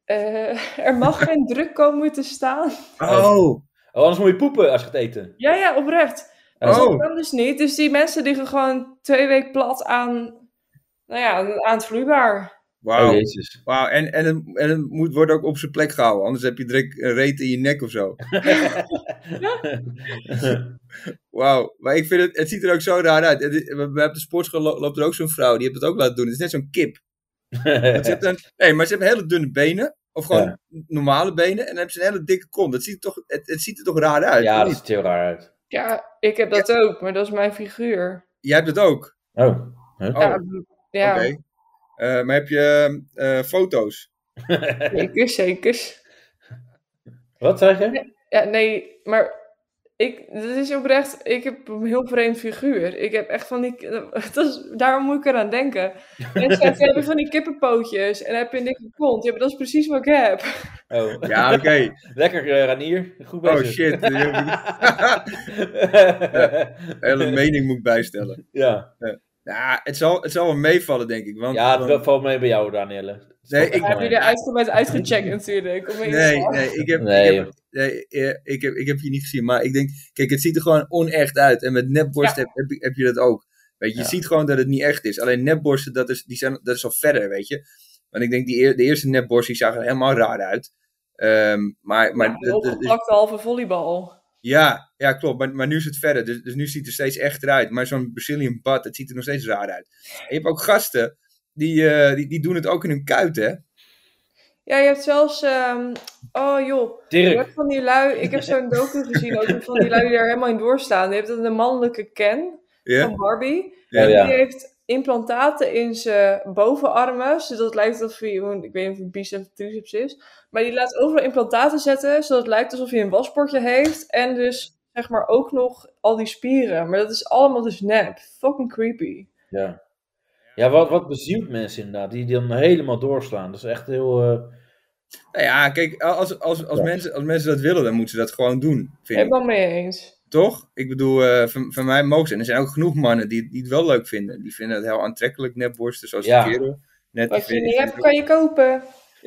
S9: eh, (laughs) er mag geen druk komen te staan.
S5: Oh,
S4: Oh, anders moet je poepen als je gaat eten.
S9: Ja, ja, oprecht. Dus
S5: Oh.
S9: Dat kan dus niet. Dus die mensen liggen gewoon twee weken plat aan, nou ja, aan het vloeibaar.
S5: Wauw.
S4: Oh, jezus.
S5: (laughs) Wauw, en, en, het, en het moet worden ook op zijn plek gehouden, anders heb je direct een reet in je nek of zo. Wauw, maar ik vind het, het ziet er ook zo raar uit. Het is- we, we hebben de sportschool lo- loopt er ook zo'n vrouw, die heeft het ook laten doen. Het is net zo'n kip.
S4: (laughs)
S5: Want ze heeft een, nee, maar ze hebben hele dunne benen, of gewoon normale benen, en dan hebben ze een hele dikke kont. Het ziet, toch, het, het ziet er toch raar uit?
S4: ja,
S5: of
S4: dat
S5: niet?
S4: ziet er heel raar uit.
S9: Ja, ik heb dat ook, maar dat is mijn figuur.
S5: Jij hebt het ook?
S4: Oh.
S5: Oh,
S9: Ja,
S5: oké.
S9: ja.
S5: Eh, maar heb je eh, foto's?
S9: zeker, zeker.
S4: Wat zeg je?
S9: Ja, nee, maar ik, dat is oprecht, ik heb een heel vreemd figuur. Ik heb echt van die, (laughs) dat is, daarom moet ik eraan denken. Mensen (laughs) zeggen, "Ja, heb je van die kippenpootjes en heb je een dikke kont. Ja, maar dat is precies wat ik heb.
S4: Oh. (laughs)
S5: Ja, oké.
S4: Lekker, eh, Ranier. Goed bezig.
S5: Oh
S4: (laughs)
S5: shit, hele mening moet ik bijstellen.
S4: ja.
S5: Nou, het zal, het zal wel meevallen, denk ik. Want,
S4: ja,
S5: want-
S4: het valt mee bij jou, Danielle.
S5: Nee, ik-
S9: Maar heb jullie uitgebreid uitgecheckt natuurlijk. Om eens-
S5: nee, nee, ik heb,
S4: Nee,
S5: ik, heb, nee eh, ik, heb, ik heb je niet gezien. Maar ik denk, kijk, het ziet er gewoon onecht uit. En met nepborsten heb, heb, je- heb je dat ook. Weet je, je ziet gewoon dat het niet echt is. Alleen nepborsten, dat is, die zijn, dat is al verder, weet je. Want ik denk, die, eer- de eerste nepborst, die zag er helemaal raar uit. Ehm, maar, maar
S9: Een
S5: dat- dat is-
S9: Opgeplakte halve volleybal.
S5: Ja, ja klopt. Maar, maar nu is het verder. Dus, dus nu ziet het er steeds echter uit. Maar zo'n Brazilian bad, het ziet er nog steeds raar uit. En je hebt ook gasten, die, eh, die, die doen het ook in hun kuit, hè?
S9: Ja, je hebt zelfs, ehm, oh joh. Je
S4: Dirk.
S9: hebt van die lui, ik heb zo'n
S5: (laughs)
S9: docu gezien ook van die lui die daar helemaal in doorstaan. Je hebt dan de mannelijke Ken
S5: Ja,
S9: van Barbie.
S5: ja,
S4: Ja,
S5: ja.
S4: ja.
S9: Die heeft implantaten in zijn bovenarmen, zodat het lijkt alsof hij, ik weet niet of het biceps of triceps is, maar die laat overal implantaten zetten, zodat het lijkt alsof hij een wasbordje heeft en dus zeg maar ook nog al die spieren. Maar dat is allemaal dus nep. Fucking creepy.
S4: Ja, ja wat, wat bezielt mensen inderdaad, die die dan helemaal doorslaan. Dat is echt heel... eh,
S5: Nou ja, kijk, als, als, als, mensen, als mensen dat willen, dan moeten ze dat gewoon doen, vind ik.
S9: Helemaal mee eens.
S5: Toch? Ik bedoel, eh, van, van mij mogen ze. En er zijn ook genoeg mannen die, die het wel leuk vinden. Die vinden het heel aantrekkelijk, nepborsten, zoals
S4: Ja.
S5: die kerel. Net
S9: Wat je
S5: die
S9: niet
S5: vind-
S9: hebt, kan je kopen.
S5: Ja,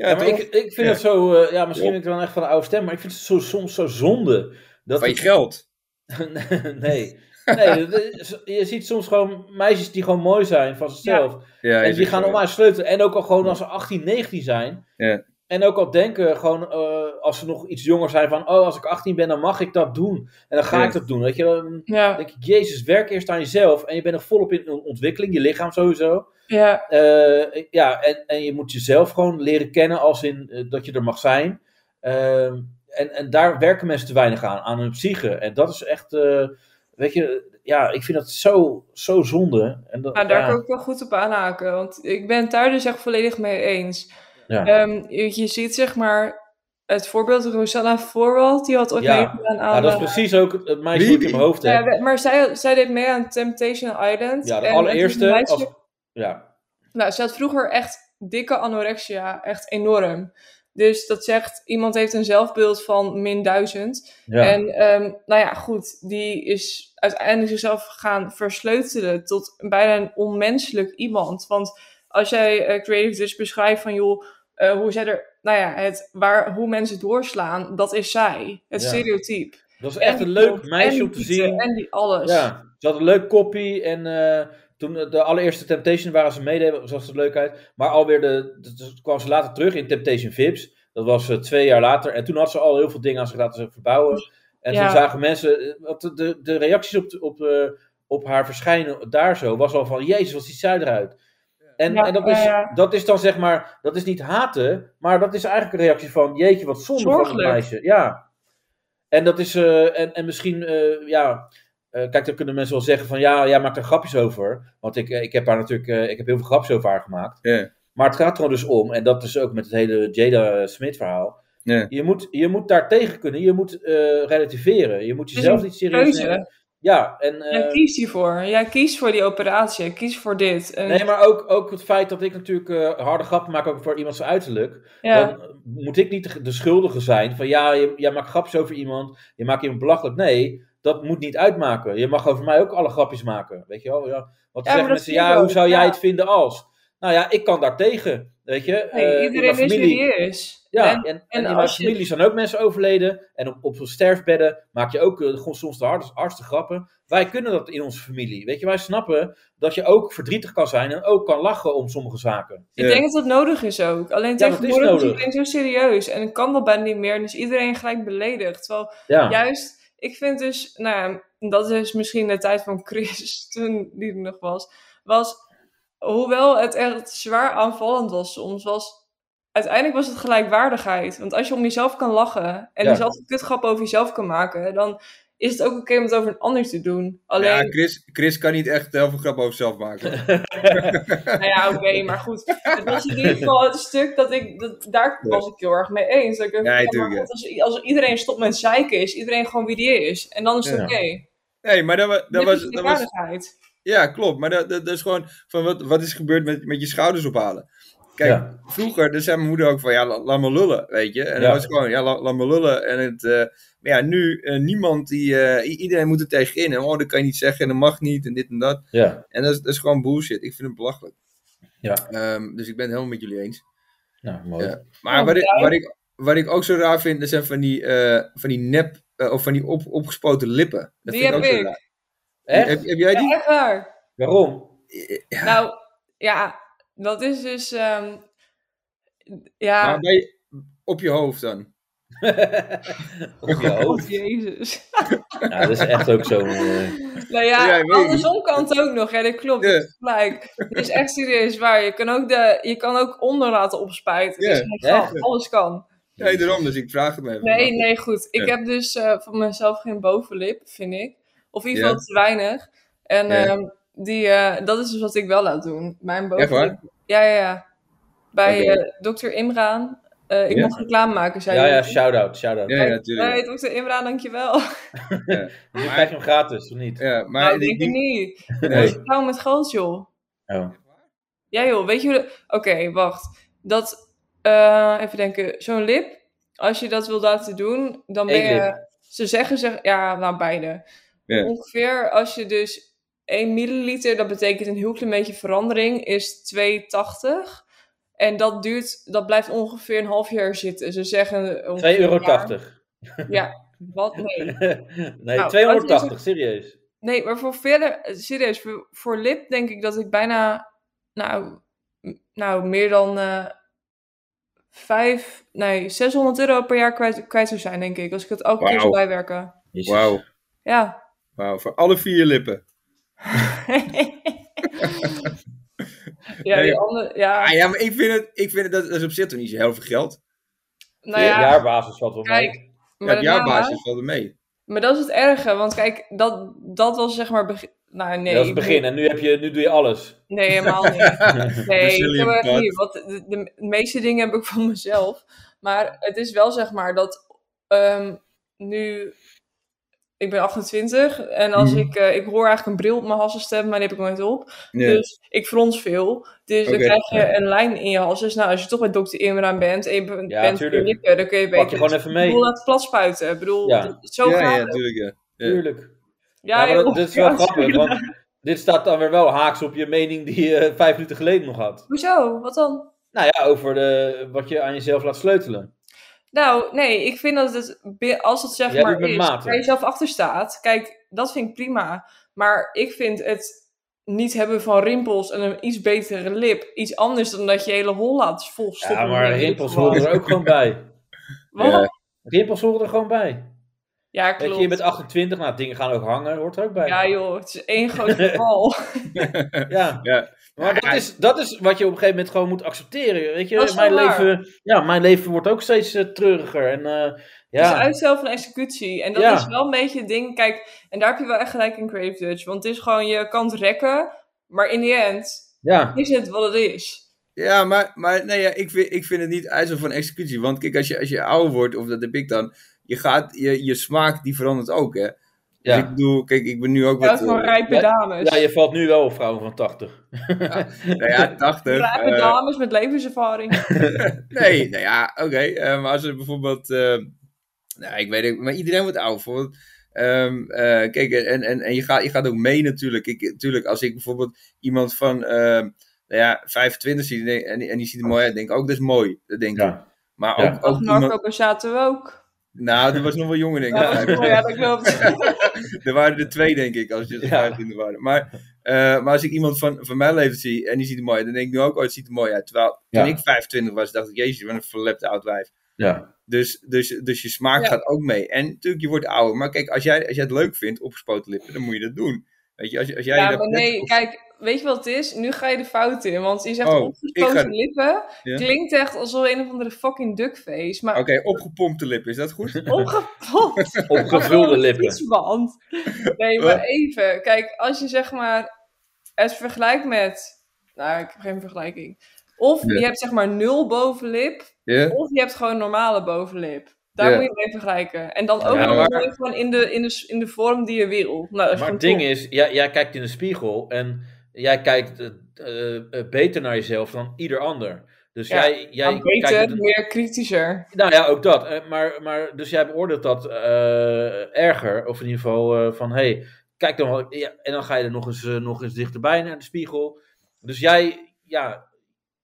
S4: Ja, maar
S5: toch?
S4: ik, ik vind
S5: Ja.
S4: het zo... eh, ja, misschien
S5: Ja.
S4: ben ik dan echt van de oude stem, maar ik vind het zo, soms zo zonde. Dat
S5: Van je geld.
S4: (laughs) nee. Nee, dat is- je ziet soms gewoon meisjes die gewoon mooi zijn van zichzelf.
S5: Ja,
S4: en die gaan
S5: normaal.
S4: normaal sleutelen. En ook al gewoon als ze 18, 19 zijn.
S5: Ja.
S4: En ook al denken, gewoon eh, als ze nog iets jonger zijn van... Oh, als ik 18 ben, dan mag ik dat doen. En dan ga
S5: Ja.
S4: ik dat doen, weet je. Dan
S9: Ja,
S4: denk ik, jezus, werk eerst aan jezelf. En je bent nog volop in ontwikkeling, je lichaam sowieso.
S9: ja,
S4: Eh, ja, en, en je moet jezelf gewoon leren kennen als in eh, dat je er mag zijn. Ehm, en, en daar werken mensen te weinig aan, aan hun psyche. En dat is echt, eh, weet je, ja, ik vind dat zo, zo zonde. En dat,
S9: maar daar
S4: ja,
S9: kan ik wel goed op aanhaken. Want ik ben het daar dus echt volledig mee eens.
S4: Ja.
S9: Ehm, je, je ziet zeg maar het voorbeeld Rosanna Voorwald. Die had ooit
S4: Ja.
S9: meegedaan aan...
S4: Ja, dat is
S9: de-
S4: precies ook het, het meisje dat ik in mijn hoofd
S9: Oh, Ja,
S4: heb.
S9: we- maar zij, zij deed mee aan Temptation Island.
S4: Ja, de
S9: En
S4: allereerste.
S9: het meisje-
S4: Als, ja,
S9: Nou, ze had vroeger echt dikke anorexia. Echt enorm. Dus dat zegt, iemand heeft een zelfbeeld van min duizend.
S4: ja.
S9: En ehm, nou ja, goed, die is uiteindelijk zichzelf gaan versleutelen tot bijna een onmenselijk iemand. Want als jij eh, Creative dus beschrijft van joh, eh, hoe zij er, nou ja, het, waar, hoe mensen doorslaan, dat is zij. Het
S4: Ja.
S9: stereotype.
S4: dat is echt
S9: En
S4: een
S9: die
S4: leuk
S9: kont,
S4: meisje
S9: en
S4: om te
S9: die tieten,
S4: zien.
S9: En die alles.
S4: Ja, ze had een leuk koppie en eh, toen de allereerste Temptation waren ze meededen, zag ze leuk uit. Maar alweer de, de- de- kwam ze later terug in Temptation Vips. Dat was eh, twee jaar later. En toen had ze al heel veel dingen aan zich laten verbouwen. En
S9: Ja.
S4: toen zagen mensen, eh, wat de- de, de reacties op, op, eh, op haar verschijnen daar zo, was al van, jezus, wat ziet zij eruit. En,
S9: Ja,
S4: en dat, is,
S9: ja, ja.
S4: dat is dan zeg maar, dat is niet haten, maar dat is eigenlijk een reactie van, jeetje, wat zonde van het
S9: Zorgelijk.
S4: meisje. Ja. En dat is, eh, en, en misschien, eh, ja, eh, kijk, dan kunnen mensen wel zeggen van ja, jij maakt er grapjes over. Want ik, eh, ik heb haar natuurlijk, eh, ik heb heel veel grapjes over haar gemaakt.
S5: Ja.
S4: Maar het gaat gewoon dus om, en dat is ook met het hele Jada Smith verhaal.
S5: Ja.
S4: Je, moet, je moet daar tegen kunnen, je moet eh, relativeren. Je moet
S9: is
S4: jezelf
S9: een
S4: niet serieus
S9: keuze.
S4: nemen. Ja, en, eh,
S9: Jij kiest hiervoor. Jij kiest voor die operatie. Kies voor dit. En,
S4: nee, maar ook, ook het feit dat ik natuurlijk eh, harde grappen maak over voor iemand zijn uiterlijk.
S9: ja.
S4: Dan moet ik niet de, de schuldige zijn van ja, je- jij maakt grapjes over iemand, je maakt iemand belachelijk. Nee, dat moet niet uitmaken. Je mag over mij ook alle grapjes maken. Weet je wel? Ja, want dan
S9: maar
S4: zeggen
S9: dat
S4: mensen,
S9: vind ik
S4: ja,
S9: ook,
S4: hoe zou jij
S9: ja.
S4: het vinden als? Nou ja, ik kan daar tegen. Weet je,
S9: Hey,
S4: Eh, in
S9: iedereen
S4: mijn
S9: is
S4: familie-
S9: serieus.
S4: Ja,
S9: En-
S4: en, en,
S9: en
S4: in mijn
S9: als je-
S4: familie zijn ook mensen overleden. En op, op sterfbedden maak je ook eh, gewoon soms de hardste, hardste grappen. Wij kunnen dat in onze familie. Weet je, wij snappen dat je ook verdrietig kan zijn en ook kan lachen om sommige zaken.
S9: Ik denk dat dat nodig is ook. Alleen
S4: dat is
S9: tegenwoordig is
S4: nodig.
S9: iedereen zo serieus. En het kan dat bijna niet meer. En is iedereen gelijk beledigd. Terwijl
S4: Ja.
S9: juist, ik vind dus... Nou ja, dat is misschien de tijd van Chris, toen die er nog was. Was, hoewel het echt zwaar aanvallend was soms, was... Uiteindelijk was het gelijkwaardigheid. Want als je om jezelf kan lachen en
S4: Ja.
S9: dezelfde kutgrap over jezelf kan maken, dan is het ook oké om het over een ander te doen. Alleen,
S5: Ja, Chris, Chris kan niet echt heel veel grap over
S4: (laughs)
S5: zelf maken.
S9: Nou ja, oké,
S5: (laughs)
S9: maar goed. Het was in ieder geval het stuk dat ik... Dat, daar was ik heel erg mee eens. Dat ik,
S5: Ja,
S9: ja,
S5: tuurlijk,
S9: maar
S5: ja.
S9: goed, als, als iedereen stopt met zeiken, is iedereen gewoon wie die is. En dan is het
S4: Ja.
S9: oké.
S5: Nee, maar dat, wa- dat,
S9: Dit is
S5: was, dat was...
S9: gelijkwaardigheid.
S5: Ja, klopt. Maar dat, dat, dat is gewoon van wat, wat is gebeurd met, met je schouders ophalen. Kijk,
S4: Ja.
S5: vroeger daar zei mijn moeder ook van ja, la- laat me lullen, weet je. En
S4: Ja.
S5: dat was gewoon ja, la- laat me lullen. En het, eh, maar ja, nu eh, niemand die, eh, i- iedereen moet er tegenin. En oh, dat kan je niet zeggen en dat mag niet en dit en dat.
S4: Ja,
S5: En dat is, dat is gewoon bullshit. Ik vind het belachelijk.
S4: ja.
S5: Ehm, dus ik ben het helemaal met jullie eens.
S4: Nou, mooi.
S5: Ja. Maar
S9: Oh,
S5: wat, ik,
S9: ja.
S5: wat, ik, wat ik ook zo raar vind, dat zijn van die, eh, van die nep eh, of van die op, opgespoten lippen. Dat
S9: Die
S5: vind
S9: heb
S5: ook zo
S9: ik.
S5: raar.
S4: Echt?
S5: Heb, heb jij die?
S9: Ja, echt waar.
S4: Waarom?
S9: Nou, ja, dat is dus... ehm, ja,
S5: Maar bij, op je hoofd dan.
S4: Op
S9: (laughs)
S4: je hoofd?
S9: god, Oh, jezus.
S4: Ja, dat is echt ook zo. eh,
S9: Nou ja,
S5: Ja, ik weet
S9: andersom kan het ook nog. Ja, dat klopt.
S5: Ja.
S9: Dat is gelijk. Het is echt serieus waar. Je kan ook, de, je kan ook onder laten opspijten. Het
S5: Ja,
S9: is geen grap.
S4: echt.
S9: Alles kan.
S5: Nee, daarom, dus ik vraag het me even.
S9: Nee, nee, goed. Ik
S5: Ja.
S9: heb dus eh, van mezelf geen bovenlip, vind ik. Of in ieder
S5: Ja.
S9: geval te weinig. En
S5: Ja.
S9: ehm, die, eh, dat is dus wat ik wel laat doen. Mijn
S5: Echt
S9: bovenlip.
S5: waar?
S9: Ja, ja, ja. Bij
S5: Oké.
S9: eh, dokter Imraan. Eh, ik
S5: Ja.
S9: mocht reclame maken, zei
S4: Ja,
S9: hij.
S4: ja, shout-out, shout-out.
S5: Ja, ja, natuurlijk.
S9: Nee, dokter Imraan, dankjewel.
S4: Nu krijg je hem gratis, of niet?
S5: Ja, maar
S9: nou,
S5: die-
S9: denk (laughs) ik
S5: die-
S9: niet.
S5: nee.
S9: Ik hou met geld, joh.
S4: Oh.
S9: Ja joh, weet je hoe... de- Oké, wacht. Dat, eh, even denken, zo'n lip, als je dat wil laten doen, dan ben
S4: Eén
S9: je...
S4: lip.
S9: Ze zeggen, zeg, ja, nou beide.
S5: Ja.
S9: Ongeveer als je dus 1 milliliter, dat betekent een heel klein beetje verandering, is 2,80. En dat duurt, dat blijft ongeveer een half jaar zitten. Ze zeggen... ongeveer
S4: 2,80
S9: een
S4: euro.
S9: jaar. Wat?
S4: (laughs)
S9: Nee.
S4: nee,
S9: Nou,
S4: 280,
S9: dat
S4: serieus.
S9: Nee, maar voor verder, serieus, voor, voor lip denk ik dat ik bijna, nou, m- nou meer dan eh vijf, nee, 600 euro per jaar kwijt, kwijt zou zijn, denk ik. Als ik het elke keer zou
S5: Wauw.
S9: bijwerken.
S4: Jezus.
S5: Wauw,
S9: Ja.
S5: wauw, voor alle vier je lippen.
S9: ja, die
S5: ja.
S9: andere, ja,
S5: Ah ja, maar ik vind het, ik vind het dat, dat is op zich toch niet zo heel veel geld.
S9: nou
S4: Op
S9: ja,
S4: jaarbasis valt wel mee.
S9: kijk.
S5: Ja,
S9: Maar, daarna-
S5: op jouw basis valt het mee.
S9: maar dat is het erge, want kijk, dat, dat was zeg maar... begin- nou, nee,
S4: dat is het
S9: ik bedoel-
S4: begin. En nu, heb je, nu doe je alles.
S9: Nee,
S4: (laughs)
S9: helemaal niet. Nee, ik
S5: Brazilian
S9: heb echt
S5: butt.
S9: niet. Want de, de meeste dingen heb ik van mezelf. Maar het is wel zeg maar dat ehm, nu. Ik ben 28 en als
S4: Mhm.
S9: ik, eh, ik hoor eigenlijk een bril op mijn hassen stemmen, maar die heb ik nooit op.
S5: Ja.
S9: Dus ik frons veel. Dus
S5: Oké,
S9: dan krijg je een lijn in je hals. Dus nou, als je toch bij dokter Imran bent en je bent
S4: Ja,
S9: bent
S4: tuurlijk.
S9: verlikker, dan kun je beter...
S4: Pak je gewoon even
S9: Ik
S4: mee.
S9: bedoel, laat plat spuiten. Ik bedoel,
S4: Ja.
S9: dat- zo
S5: ja,
S9: gaat
S5: ja,
S9: het.
S5: tuurlijk, ja. Ja.
S4: Tuurlijk. Ja,
S9: Ja,
S4: maar dat,
S9: joh.
S4: dit is wel
S9: Ja,
S4: grappig,
S9: sorry.
S4: want dit staat dan weer wel haaks op je mening die je (laughs) vijf minuten geleden nog had.
S9: Hoezo? Wat dan?
S4: Nou ja, over de, wat je aan jezelf laat sleutelen.
S9: Nou, nee, ik vind dat het, bi- als het zeg
S4: Jij
S9: maar
S4: doet met
S9: is,
S4: mate.
S9: waar je zelf achter staat, kijk, dat vind ik prima. Maar ik vind het niet hebben van rimpels en een iets betere lip iets anders dan dat je hele hol laat vol stoppen.
S4: Ja, maar
S9: met
S4: rimpels
S9: gewoon.
S4: horen er ook gewoon bij.
S9: Wat?
S5: Ja.
S4: (laughs) Rimpels horen er gewoon bij.
S9: Ja,
S4: Weet
S9: klopt.
S4: je, je bent 28, nou dingen gaan ook hangen, hoort er ook bij.
S9: Ja joh, het is één groot
S4: (laughs)
S9: geval.
S4: Ja.
S5: Ja.
S4: Maar dat is, dat is wat je op een gegeven moment gewoon moet accepteren. Weet
S9: Dat
S4: je,
S9: is wel
S4: mijn
S9: waar.
S4: leven, ja, mijn leven wordt ook steeds eh, treuriger. En, eh,
S9: Het
S4: ja.
S9: is uitstel van executie. En dat
S4: Ja.
S9: is wel een beetje het ding. Kijk, en daar heb je wel echt gelijk in Crave Dutch. Want het is gewoon, je kan het rekken, maar in the end
S4: ja,
S9: is het wat het is.
S5: Ja, maar, maar nee, ja, ik, vind, ik vind het niet uitstel van executie. Want kijk, als je, als je ouder wordt, of dat heb ik dan, je, gaat, je, je smaak die verandert ook, hè. Dus
S4: Ja.
S5: ik bedoel, kijk, ik ben nu ook
S9: Uit
S5: wat...
S9: van
S5: eh,
S9: rijpe
S4: ja,
S9: dames.
S4: ja, je valt nu wel op vrouwen van 80.
S5: nou ja, 80.
S9: Rijpe
S5: eh,
S9: dames met
S5: (laughs)
S9: levenservaring.
S4: (laughs)
S5: Nee, nou ja, oké. eh, maar als er bijvoorbeeld. eh, nou, ik weet het, maar iedereen wordt oud. Bijvoorbeeld. Ehm, eh, kijk, en, en, en je, gaat, je gaat ook mee natuurlijk. Ik, natuurlijk, als ik bijvoorbeeld iemand van. ehm, nou ja, 25 ziet en die- en, die- en die ziet er mooi uit. Denk ik, ook dat is mooi. Dat denk ik.
S4: Ja.
S5: Maar ook,
S4: Ja.
S5: ook
S9: Of Marco
S5: iemand-
S9: Borsato ook.
S5: nou, dat was nog wel jonger denk ik.
S9: Ja, dat (laughs) is mooi, ja, dat klopt.
S5: er waren er twee, denk ik, als je er
S4: Ja.
S5: 25 waren. Maar, eh, maar als ik iemand van, van mijn leven zie en die ziet er mooi uit, dan denk ik nu ook, oh, het ziet er mooi uit. Terwijl
S4: Ja.
S5: toen ik 25 was, dacht ik, jezus, wat een verlept oud wijf.
S4: Ja.
S5: Dus, dus, dus je smaak
S9: Ja.
S5: gaat ook mee. En natuurlijk, je wordt ouder. Maar kijk, als jij, als jij het leuk vindt, opgespoten lippen, dan moet je dat doen. Weet je, als, je- als jij
S9: Ja,
S5: dat
S9: maar nee, kijk, weet je wat het is? Nu ga je de fout in, want je zegt
S5: Oh,
S9: opgespoten
S5: ik ga-
S9: lippen.
S5: Ja.
S9: Klinkt echt alsof een of andere fucking duckface. Maar
S5: Oké, opgepompte lippen, is dat (laughs) goed?
S9: opgepopt.
S4: (laughs)
S9: (laughs)
S4: Opgevulde lippen.
S9: Fietsband. Nee, maar even. Kijk, als je zeg maar het vergelijkt met... Nou, ik heb geen vergelijking. Of
S5: Ja.
S9: je hebt zeg maar nul bovenlip,
S5: Ja.
S9: of je hebt gewoon normale bovenlip. Daar
S5: Ja.
S9: moet je mee vergelijken. En dan ook
S5: Ja,
S9: nog
S5: maar-
S9: mooi gewoon in de, in, de, s- in de vorm die je wil. Nou, dat is
S4: Maar
S9: gewoon
S4: het ding
S9: top.
S4: is, jij, jij kijkt in de spiegel en jij kijkt eh, eh, eh, beter naar jezelf dan ieder ander. Dus
S9: Ja,
S4: jij, jij
S9: Maar beter,
S4: kijkt...
S9: meer kritischer.
S4: Nou ja, ook dat. Eh, Maar, maar dus jij beoordeelt dat eh, erger. Of in ieder geval eh, van, hé, hey, kijk dan wel. Ja, en dan ga je er nog eens, eh, nog eens dichterbij naar de spiegel. Dus jij, ja,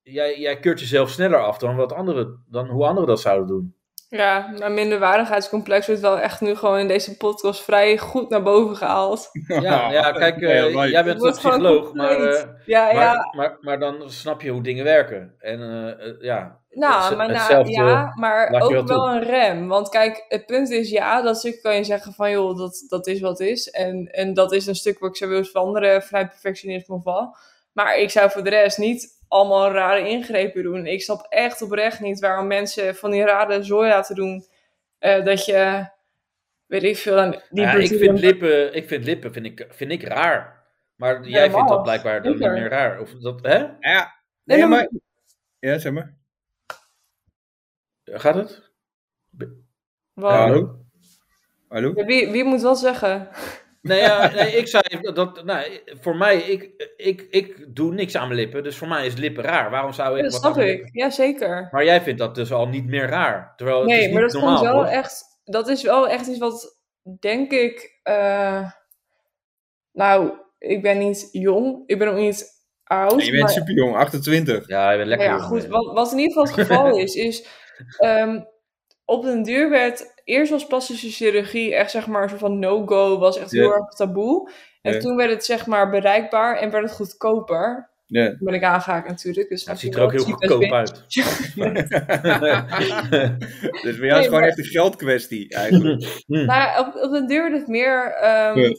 S4: jij, jij keurt jezelf sneller af dan, wat anderen, dan hoe anderen dat zouden
S5: (laughs)
S4: doen.
S9: Ja, mijn minderwaardigheidscomplex wordt wel echt nu gewoon in deze podcast vrij goed naar boven gehaald.
S4: Ja, ja kijk, eh,
S5: Ja, right.
S4: jij bent een
S9: Wordt gewoon
S4: psycholoog, maar,
S9: compleet.
S4: eh,
S9: Ja,
S4: maar,
S9: ja.
S4: maar, maar dan snap je hoe dingen werken. En eh, eh, ja,
S9: Nou,
S4: Het-
S9: maar, na-
S4: hetzelfde
S9: ja, maar
S4: laat je
S9: ook
S4: wel
S9: wel,
S4: toe.
S9: een rem. Want kijk, het punt is ja, dat stuk kan je zeggen van joh, dat, dat is wat is. En, en dat is een stuk wat ik zou willen veranderen, vrij perfectionisme of wat. Maar ik zou voor de rest niet allemaal rare ingrepen doen. Ik snap echt oprecht niet waarom mensen van die rare zooi laten doen. eh, dat je, weet ik veel, aan die
S4: ja, ik,
S9: brazilian-
S4: vind lippen, ik vind lippen vind ik, vind ik raar. Maar jij vindt dat
S9: Helemaal,
S4: blijkbaar dan niet
S9: zeker.
S4: meer raar. Of dat, hè?
S5: Ja,
S9: Nee,
S5: nee,
S9: maar-
S5: maar... Ja, zeg maar.
S4: Gaat het?
S9: Wow.
S5: Hallo? Hallo?
S9: Ja, wie, wie moet wat zeggen?
S4: Nee, Nou ja, nee ik zei dat. Nou, voor mij, ik, ik, ik doe niks aan mijn lippen. Dus voor mij is lippen raar. Waarom zou ik.
S9: (laughs) dat
S4: wat
S9: snap
S4: aan mijn
S9: ik.
S4: lippen-
S9: Ja, zeker.
S4: Maar jij vindt dat dus al niet meer raar. Terwijl het is
S9: Nee,
S4: niet
S9: maar dat
S4: normaal,
S9: komt wel
S4: hoor.
S9: echt. Dat is wel echt iets wat, denk ik. eh, nou, ik ben niet jong, ik ben ook niet oud.
S5: Nee, je bent
S9: maar-
S5: super jong, 28.
S4: Ja, je bent lekker.
S9: nou ja,
S4: jong,
S9: goed.
S4: hè.
S9: Wat, wat in ieder geval
S4: (laughs)
S9: het geval is, is ehm, op den duur werd eerst was plastische chirurgie echt zeg maar een soort van no-go, was echt
S5: Ja.
S9: heel erg taboe. En
S5: Ja.
S9: toen werd het zeg maar bereikbaar en werd het goedkoper.
S5: (laughs) Ja.
S9: Toen ben ik aangehaakt natuurlijk. Dus
S4: Het ziet er ook heel
S9: cheap as
S4: goedkoop
S9: bitch.
S4: uit.
S5: Dus bij jou is
S9: Nee,
S5: het gewoon
S9: maar-
S5: echt een geldkwestie, eigenlijk. (laughs)
S9: Nou ja, op, op den duur wordt het meer ehm,
S5: Hmm. Ja.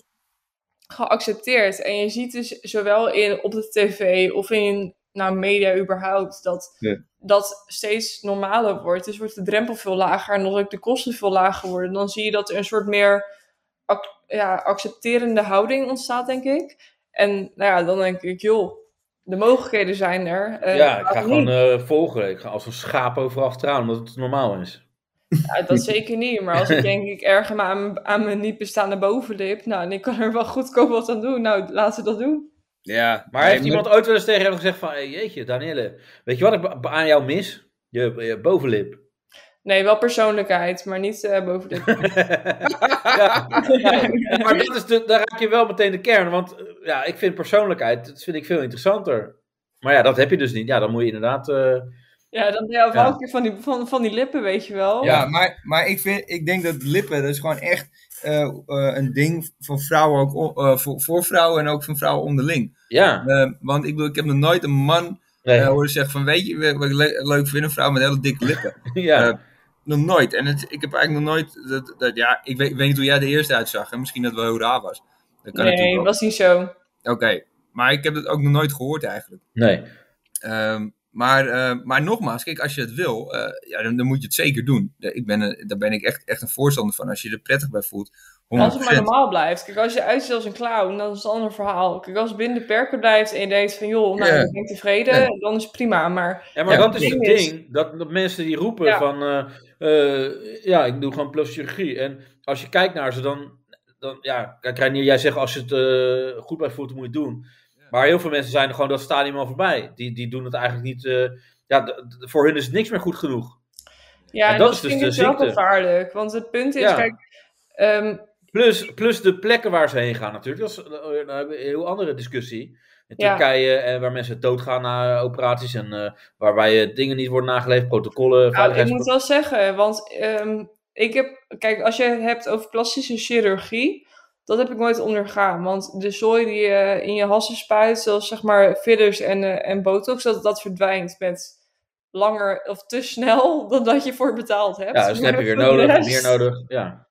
S9: geaccepteerd. En je ziet dus zowel in, op de tv of in nou, media überhaupt dat
S5: Ja.
S9: dat steeds normaler wordt. Dus wordt de drempel veel lager en dan ook de kosten veel lager worden. Dan zie je dat er een soort meer ac- ja, accepterende houding ontstaat, denk ik. En nou ja, dan denk ik, joh, de mogelijkheden zijn er. Eh,
S4: ja, ik ga
S9: waarom
S4: gewoon
S9: niet?
S4: eh, volgen. Ik ga als een schaap overal achteraan, omdat het normaal is.
S9: Ja, dat zeker niet. Maar als ik denk, ik erger me aan, mijn- aan mijn niet bestaande bovenlip. Nou, en ik kan er wel goedkoop wat aan doen. Nou, laten we dat doen.
S5: Ja,
S4: Maar heeft iemand ooit wel eens tegen jou gezegd van... Hey, jeetje, Danielle, weet je wat ik ba- ba- aan jou mis? Je, je bovenlip.
S9: Nee, wel persoonlijkheid, maar niet eh, bovenlip.
S4: ja, ja, (laughs) maar dat is de, daar raak je wel meteen de kern. Want eh, ja, ik vind persoonlijkheid dat vind ik veel interessanter. Maar ja, dat heb je dus niet. Ja, dan moet je inderdaad... eh,
S9: Ja, dan ben je wel een keer van die, van, van die lippen, weet je wel.
S5: Ja, maar, maar ik, vind, ik denk dat lippen, dat is gewoon echt eh, eh, een ding voor vrouwen, ook, on- eh, voor, voor vrouwen en ook van vrouwen onderling.
S4: ja,
S5: Eh, want ik bedoel, ik heb nog nooit een man
S4: nee, (laughs)
S5: eh, horen zeggen van, weet je wat ik le- leuk vind, een vrouw met hele dikke lippen.
S4: ja.
S5: eh, nog nooit. En het, ik heb eigenlijk nog nooit, dat, dat, ja, ik weet, ik weet niet hoe jij de eerste uitzag en misschien dat het wel heel raar was. Dat kan
S9: nee,
S5: natuurlijk wel.
S9: was niet zo.
S5: Oké, maar ik heb dat ook nog nooit gehoord eigenlijk.
S4: nee.
S5: Ehm, maar, eh, maar nogmaals, kijk, als je het wil, eh, ja, dan, dan moet je het zeker doen. Ja, Ik ben een, daar ben ik echt, echt een voorstander van, als je er prettig bij voelt. 100%.
S9: Als het maar normaal blijft. Kijk, als je uitziet als een clown, dan is het een ander verhaal. Kijk, als het binnen de perken blijft en je denkt van... joh, nou,
S5: Ja.
S9: ik ben tevreden,
S5: Ja.
S9: dan is het prima. Maar
S4: Ja, maar
S5: Ja,
S4: dat is het
S9: ding is-
S4: ding. Dat, dat mensen die roepen
S9: Ja.
S4: van... eh, eh, ja, ik doe gewoon plastische chirurgie. En als je kijkt naar ze, dan... dan ja, kijk, Reinier, jij zegt als je het eh, goed bij voelt, dan moet je het doen. Maar heel veel mensen zijn gewoon dat stadium al voorbij. Die, die doen het eigenlijk niet... eh, ja, d- d- voor hun is niks meer goed genoeg.
S9: ja,
S4: En
S9: en
S4: dat
S9: dat,
S4: is dus
S9: vind
S4: de
S9: ik wel
S4: ziekte.
S9: gevaarlijk. Want het punt is,
S4: Ja.
S9: kijk... ehm,
S4: Plus, plus de plekken waar ze heen gaan natuurlijk. Dat is eh, nou, een heel andere discussie. In
S9: Ja.
S4: Turkije, eh, waar mensen doodgaan na operaties en eh, waarbij eh, dingen niet worden nageleefd, protocollen,
S9: Nou, ik moet
S4: veiligheidsprotocollen.
S9: wel zeggen, want ehm, ik heb, kijk, als je het hebt over plastische chirurgie, dat heb ik nooit ondergaan. Want de zooi die je in je hassen spuit, zoals zeg maar fillers en, eh, en botox, dat, dat verdwijnt met langer of te snel (laughs) dan dat je voor betaald hebt.
S4: Ja, dus dan heb je weer
S9: Maar voor de
S4: nodig,
S9: rest-
S4: meer nodig. Ja.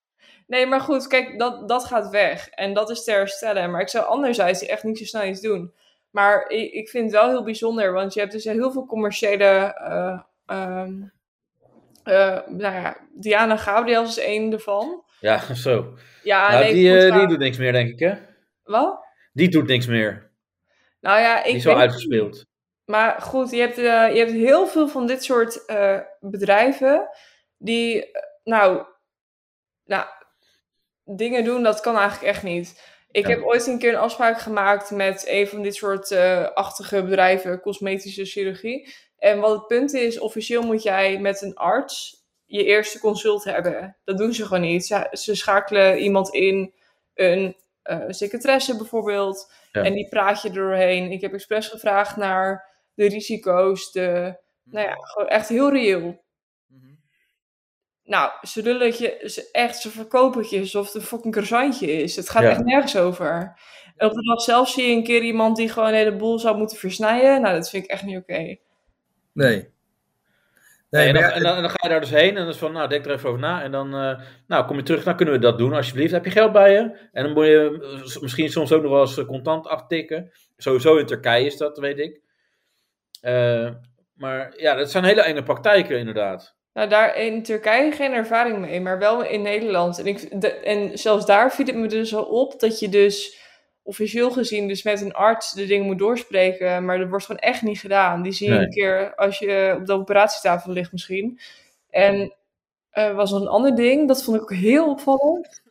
S9: Nee, maar goed, kijk, dat, dat gaat weg. En dat is te herstellen. Maar ik zou anderzijds echt niet zo snel iets doen. Maar ik, ik vind het wel heel bijzonder, want je hebt dus heel veel commerciële. eh, ehm, eh, nou ja, Diana Gabriel is één ervan.
S4: ja, (laughs) zo.
S9: Ja,
S4: nou,
S9: nee,
S4: die,
S9: goed,
S4: eh,
S9: maar-
S4: die doet niks meer, denk ik, hè?
S9: Wat?
S4: Die doet niks meer.
S9: Nou ja,
S4: Die
S9: ik
S4: is wel
S9: weet-
S4: uitgespeeld.
S9: Maar goed, je hebt, eh, je hebt heel veel van dit soort eh, bedrijven die, eh, nou, nou, dingen doen, dat kan eigenlijk echt niet. Ik
S4: Ja.
S9: heb ooit een keer een afspraak gemaakt met een van dit soort eh, achtige bedrijven, cosmetische chirurgie. En wat het punt is, officieel moet jij met een arts je eerste consult hebben. Dat doen ze gewoon niet. Ze, ze schakelen iemand in, een eh secretaresse bijvoorbeeld.
S4: Ja.
S9: En die praat je er doorheen. Ik heb expres gevraagd naar de risico's, de, nou ja, gewoon echt heel reëel. Nou, ze lullen het je, ze, echt, ze verkopen het je alsof het een fucking croissantje is. Het gaat
S4: Ja.
S9: echt nergens over. En op de dag zelf zie je een keer iemand die gewoon een heleboel zou moeten versnijden. Nou, dat vind ik echt niet oké.
S5: Nee.
S4: Nee,
S5: Nee,
S4: en,
S5: maar
S4: dan,
S5: ja,
S4: en, dan, en dan ga je daar dus heen en dan is van, nou, denk er even over na. En dan, eh, nou, kom je terug, nou kunnen we dat doen, alsjeblieft. Heb je geld bij je? En dan moet je eh, s- misschien soms ook nog wel eens eh, contant aftikken. Sowieso in Turkije is dat, weet ik. Eh, maar ja, dat zijn hele enge praktijken inderdaad.
S9: Nou, daar in Turkije geen ervaring mee, maar wel in Nederland. En, ik, de- en zelfs daar viel het me dus al op dat je dus officieel gezien dus met een arts de dingen moet doorspreken, maar dat wordt gewoon echt niet gedaan. Die zie je
S4: Nee.
S9: een keer als je eh, op de operatietafel ligt misschien. En eh was nog een ander ding, dat vond ik ook heel opvallend.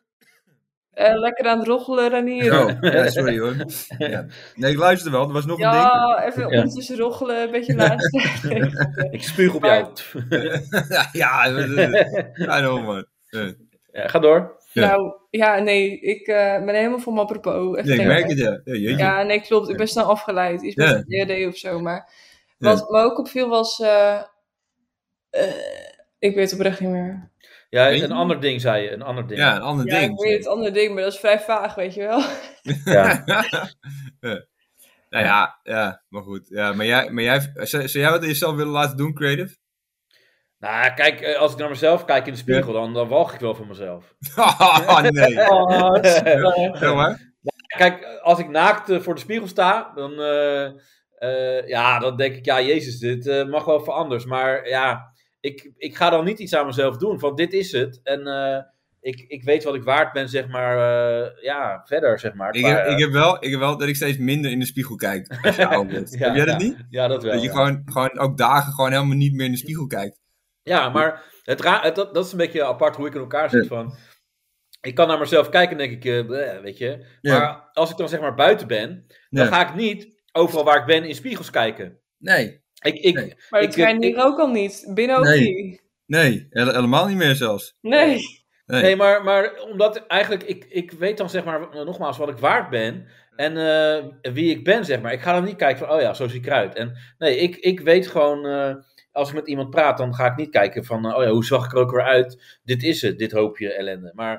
S9: Eh, lekker aan het roggelen, Ranier.
S5: Oh,
S9: (laughs)
S5: ja, sorry hoor. Ja. Nee, ik luister wel. Er was nog een ding.
S9: Ja, even
S4: Ja.
S9: ondertussen roggelen, een beetje (laughs) luisteren.
S4: Ik spuug op
S9: Maar-
S4: jou.
S5: (laughs) ja, I know man.
S4: (laughs) Ja, ga door.
S5: Ja.
S9: Nou, ja, nee, ik eh, ben helemaal van mijn apropos. Echt
S5: Ja, ik
S9: geen-
S5: merk het ja. Ja, jeetje.
S9: Ja, nee, klopt. Ik ben snel afgeleid. Iets
S5: Ja.
S9: met DHD of zo. Maar
S5: Ja.
S9: wat me ook opviel was... eh, eh, ik weet het oprecht niet meer.
S4: Ja,
S5: Weet je-
S4: een ander ding, zei je. Een ander ding.
S5: Ja, een ander
S9: Ja,
S5: ding.
S9: ik weet het andere ding, maar dat is vrij vaag, weet je wel. (laughs)
S5: (laughs)
S4: Ja.
S5: Ja. Nou ja, ja, maar goed. Ja, maar jij, maar jij, zou, zou jij wat aan jezelf willen laten doen, creative? (laughs)
S4: Nou, kijk, eh, als ik naar mezelf kijk in de spiegel, dan, dan walg ik wel van mezelf.
S5: Oh,
S4: (laughs)
S5: nee. Zeg maar.
S4: Kijk, als ik naakt eh, voor de spiegel sta, dan, eh, eh, ja, dan denk ik, ja, Jezus, dit eh, mag wel voor anders. Maar ja, ik, ik ga dan niet iets aan mezelf doen, want dit is het. En eh, ik, ik weet wat ik waard ben, zeg maar, eh, ja, verder, zeg maar.
S5: Ik
S4: qua,
S5: heb,
S4: eh,
S5: ik, heb wel, ik heb wel dat ik steeds minder in de spiegel kijk als je ouder
S4: Ja,
S5: wordt. heb jij dat
S4: ja.
S5: niet?
S4: ja, dat wel.
S5: dat je
S4: ja.
S5: gewoon, gewoon ook dagen gewoon helemaal niet meer in de spiegel kijkt.
S4: Ja, maar het ra- het, dat, dat is een beetje apart hoe ik in elkaar zit. Van, ik kan naar mezelf kijken en denk ik, eh, bleh, weet je.
S5: Ja.
S4: Maar als ik dan zeg maar buiten ben, dan
S5: Ja.
S4: ga ik niet overal waar ik ben in spiegels kijken.
S5: Nee,
S4: Ik, ik,
S5: Nee.
S9: Maar
S4: Ik,
S9: dat
S4: eh,
S9: kan je
S4: ik-
S9: hier ook al niet. Binnen ook
S5: Nee.
S9: niet.
S5: nee, hele- helemaal niet meer zelfs.
S9: Nee. (laughs)
S5: Nee.
S4: Nee, maar, maar omdat eigenlijk, ik, ik weet dan zeg maar eh, nogmaals wat ik waard ben en eh, wie ik ben, zeg maar. Ik ga dan niet kijken van, oh ja, zo zie ik eruit. En nee, ik, ik weet gewoon, eh, als ik met iemand praat, dan ga ik niet kijken van, eh, oh ja, hoe zag ik er ook weer uit? Dit is het, dit hoopje ellende. Maar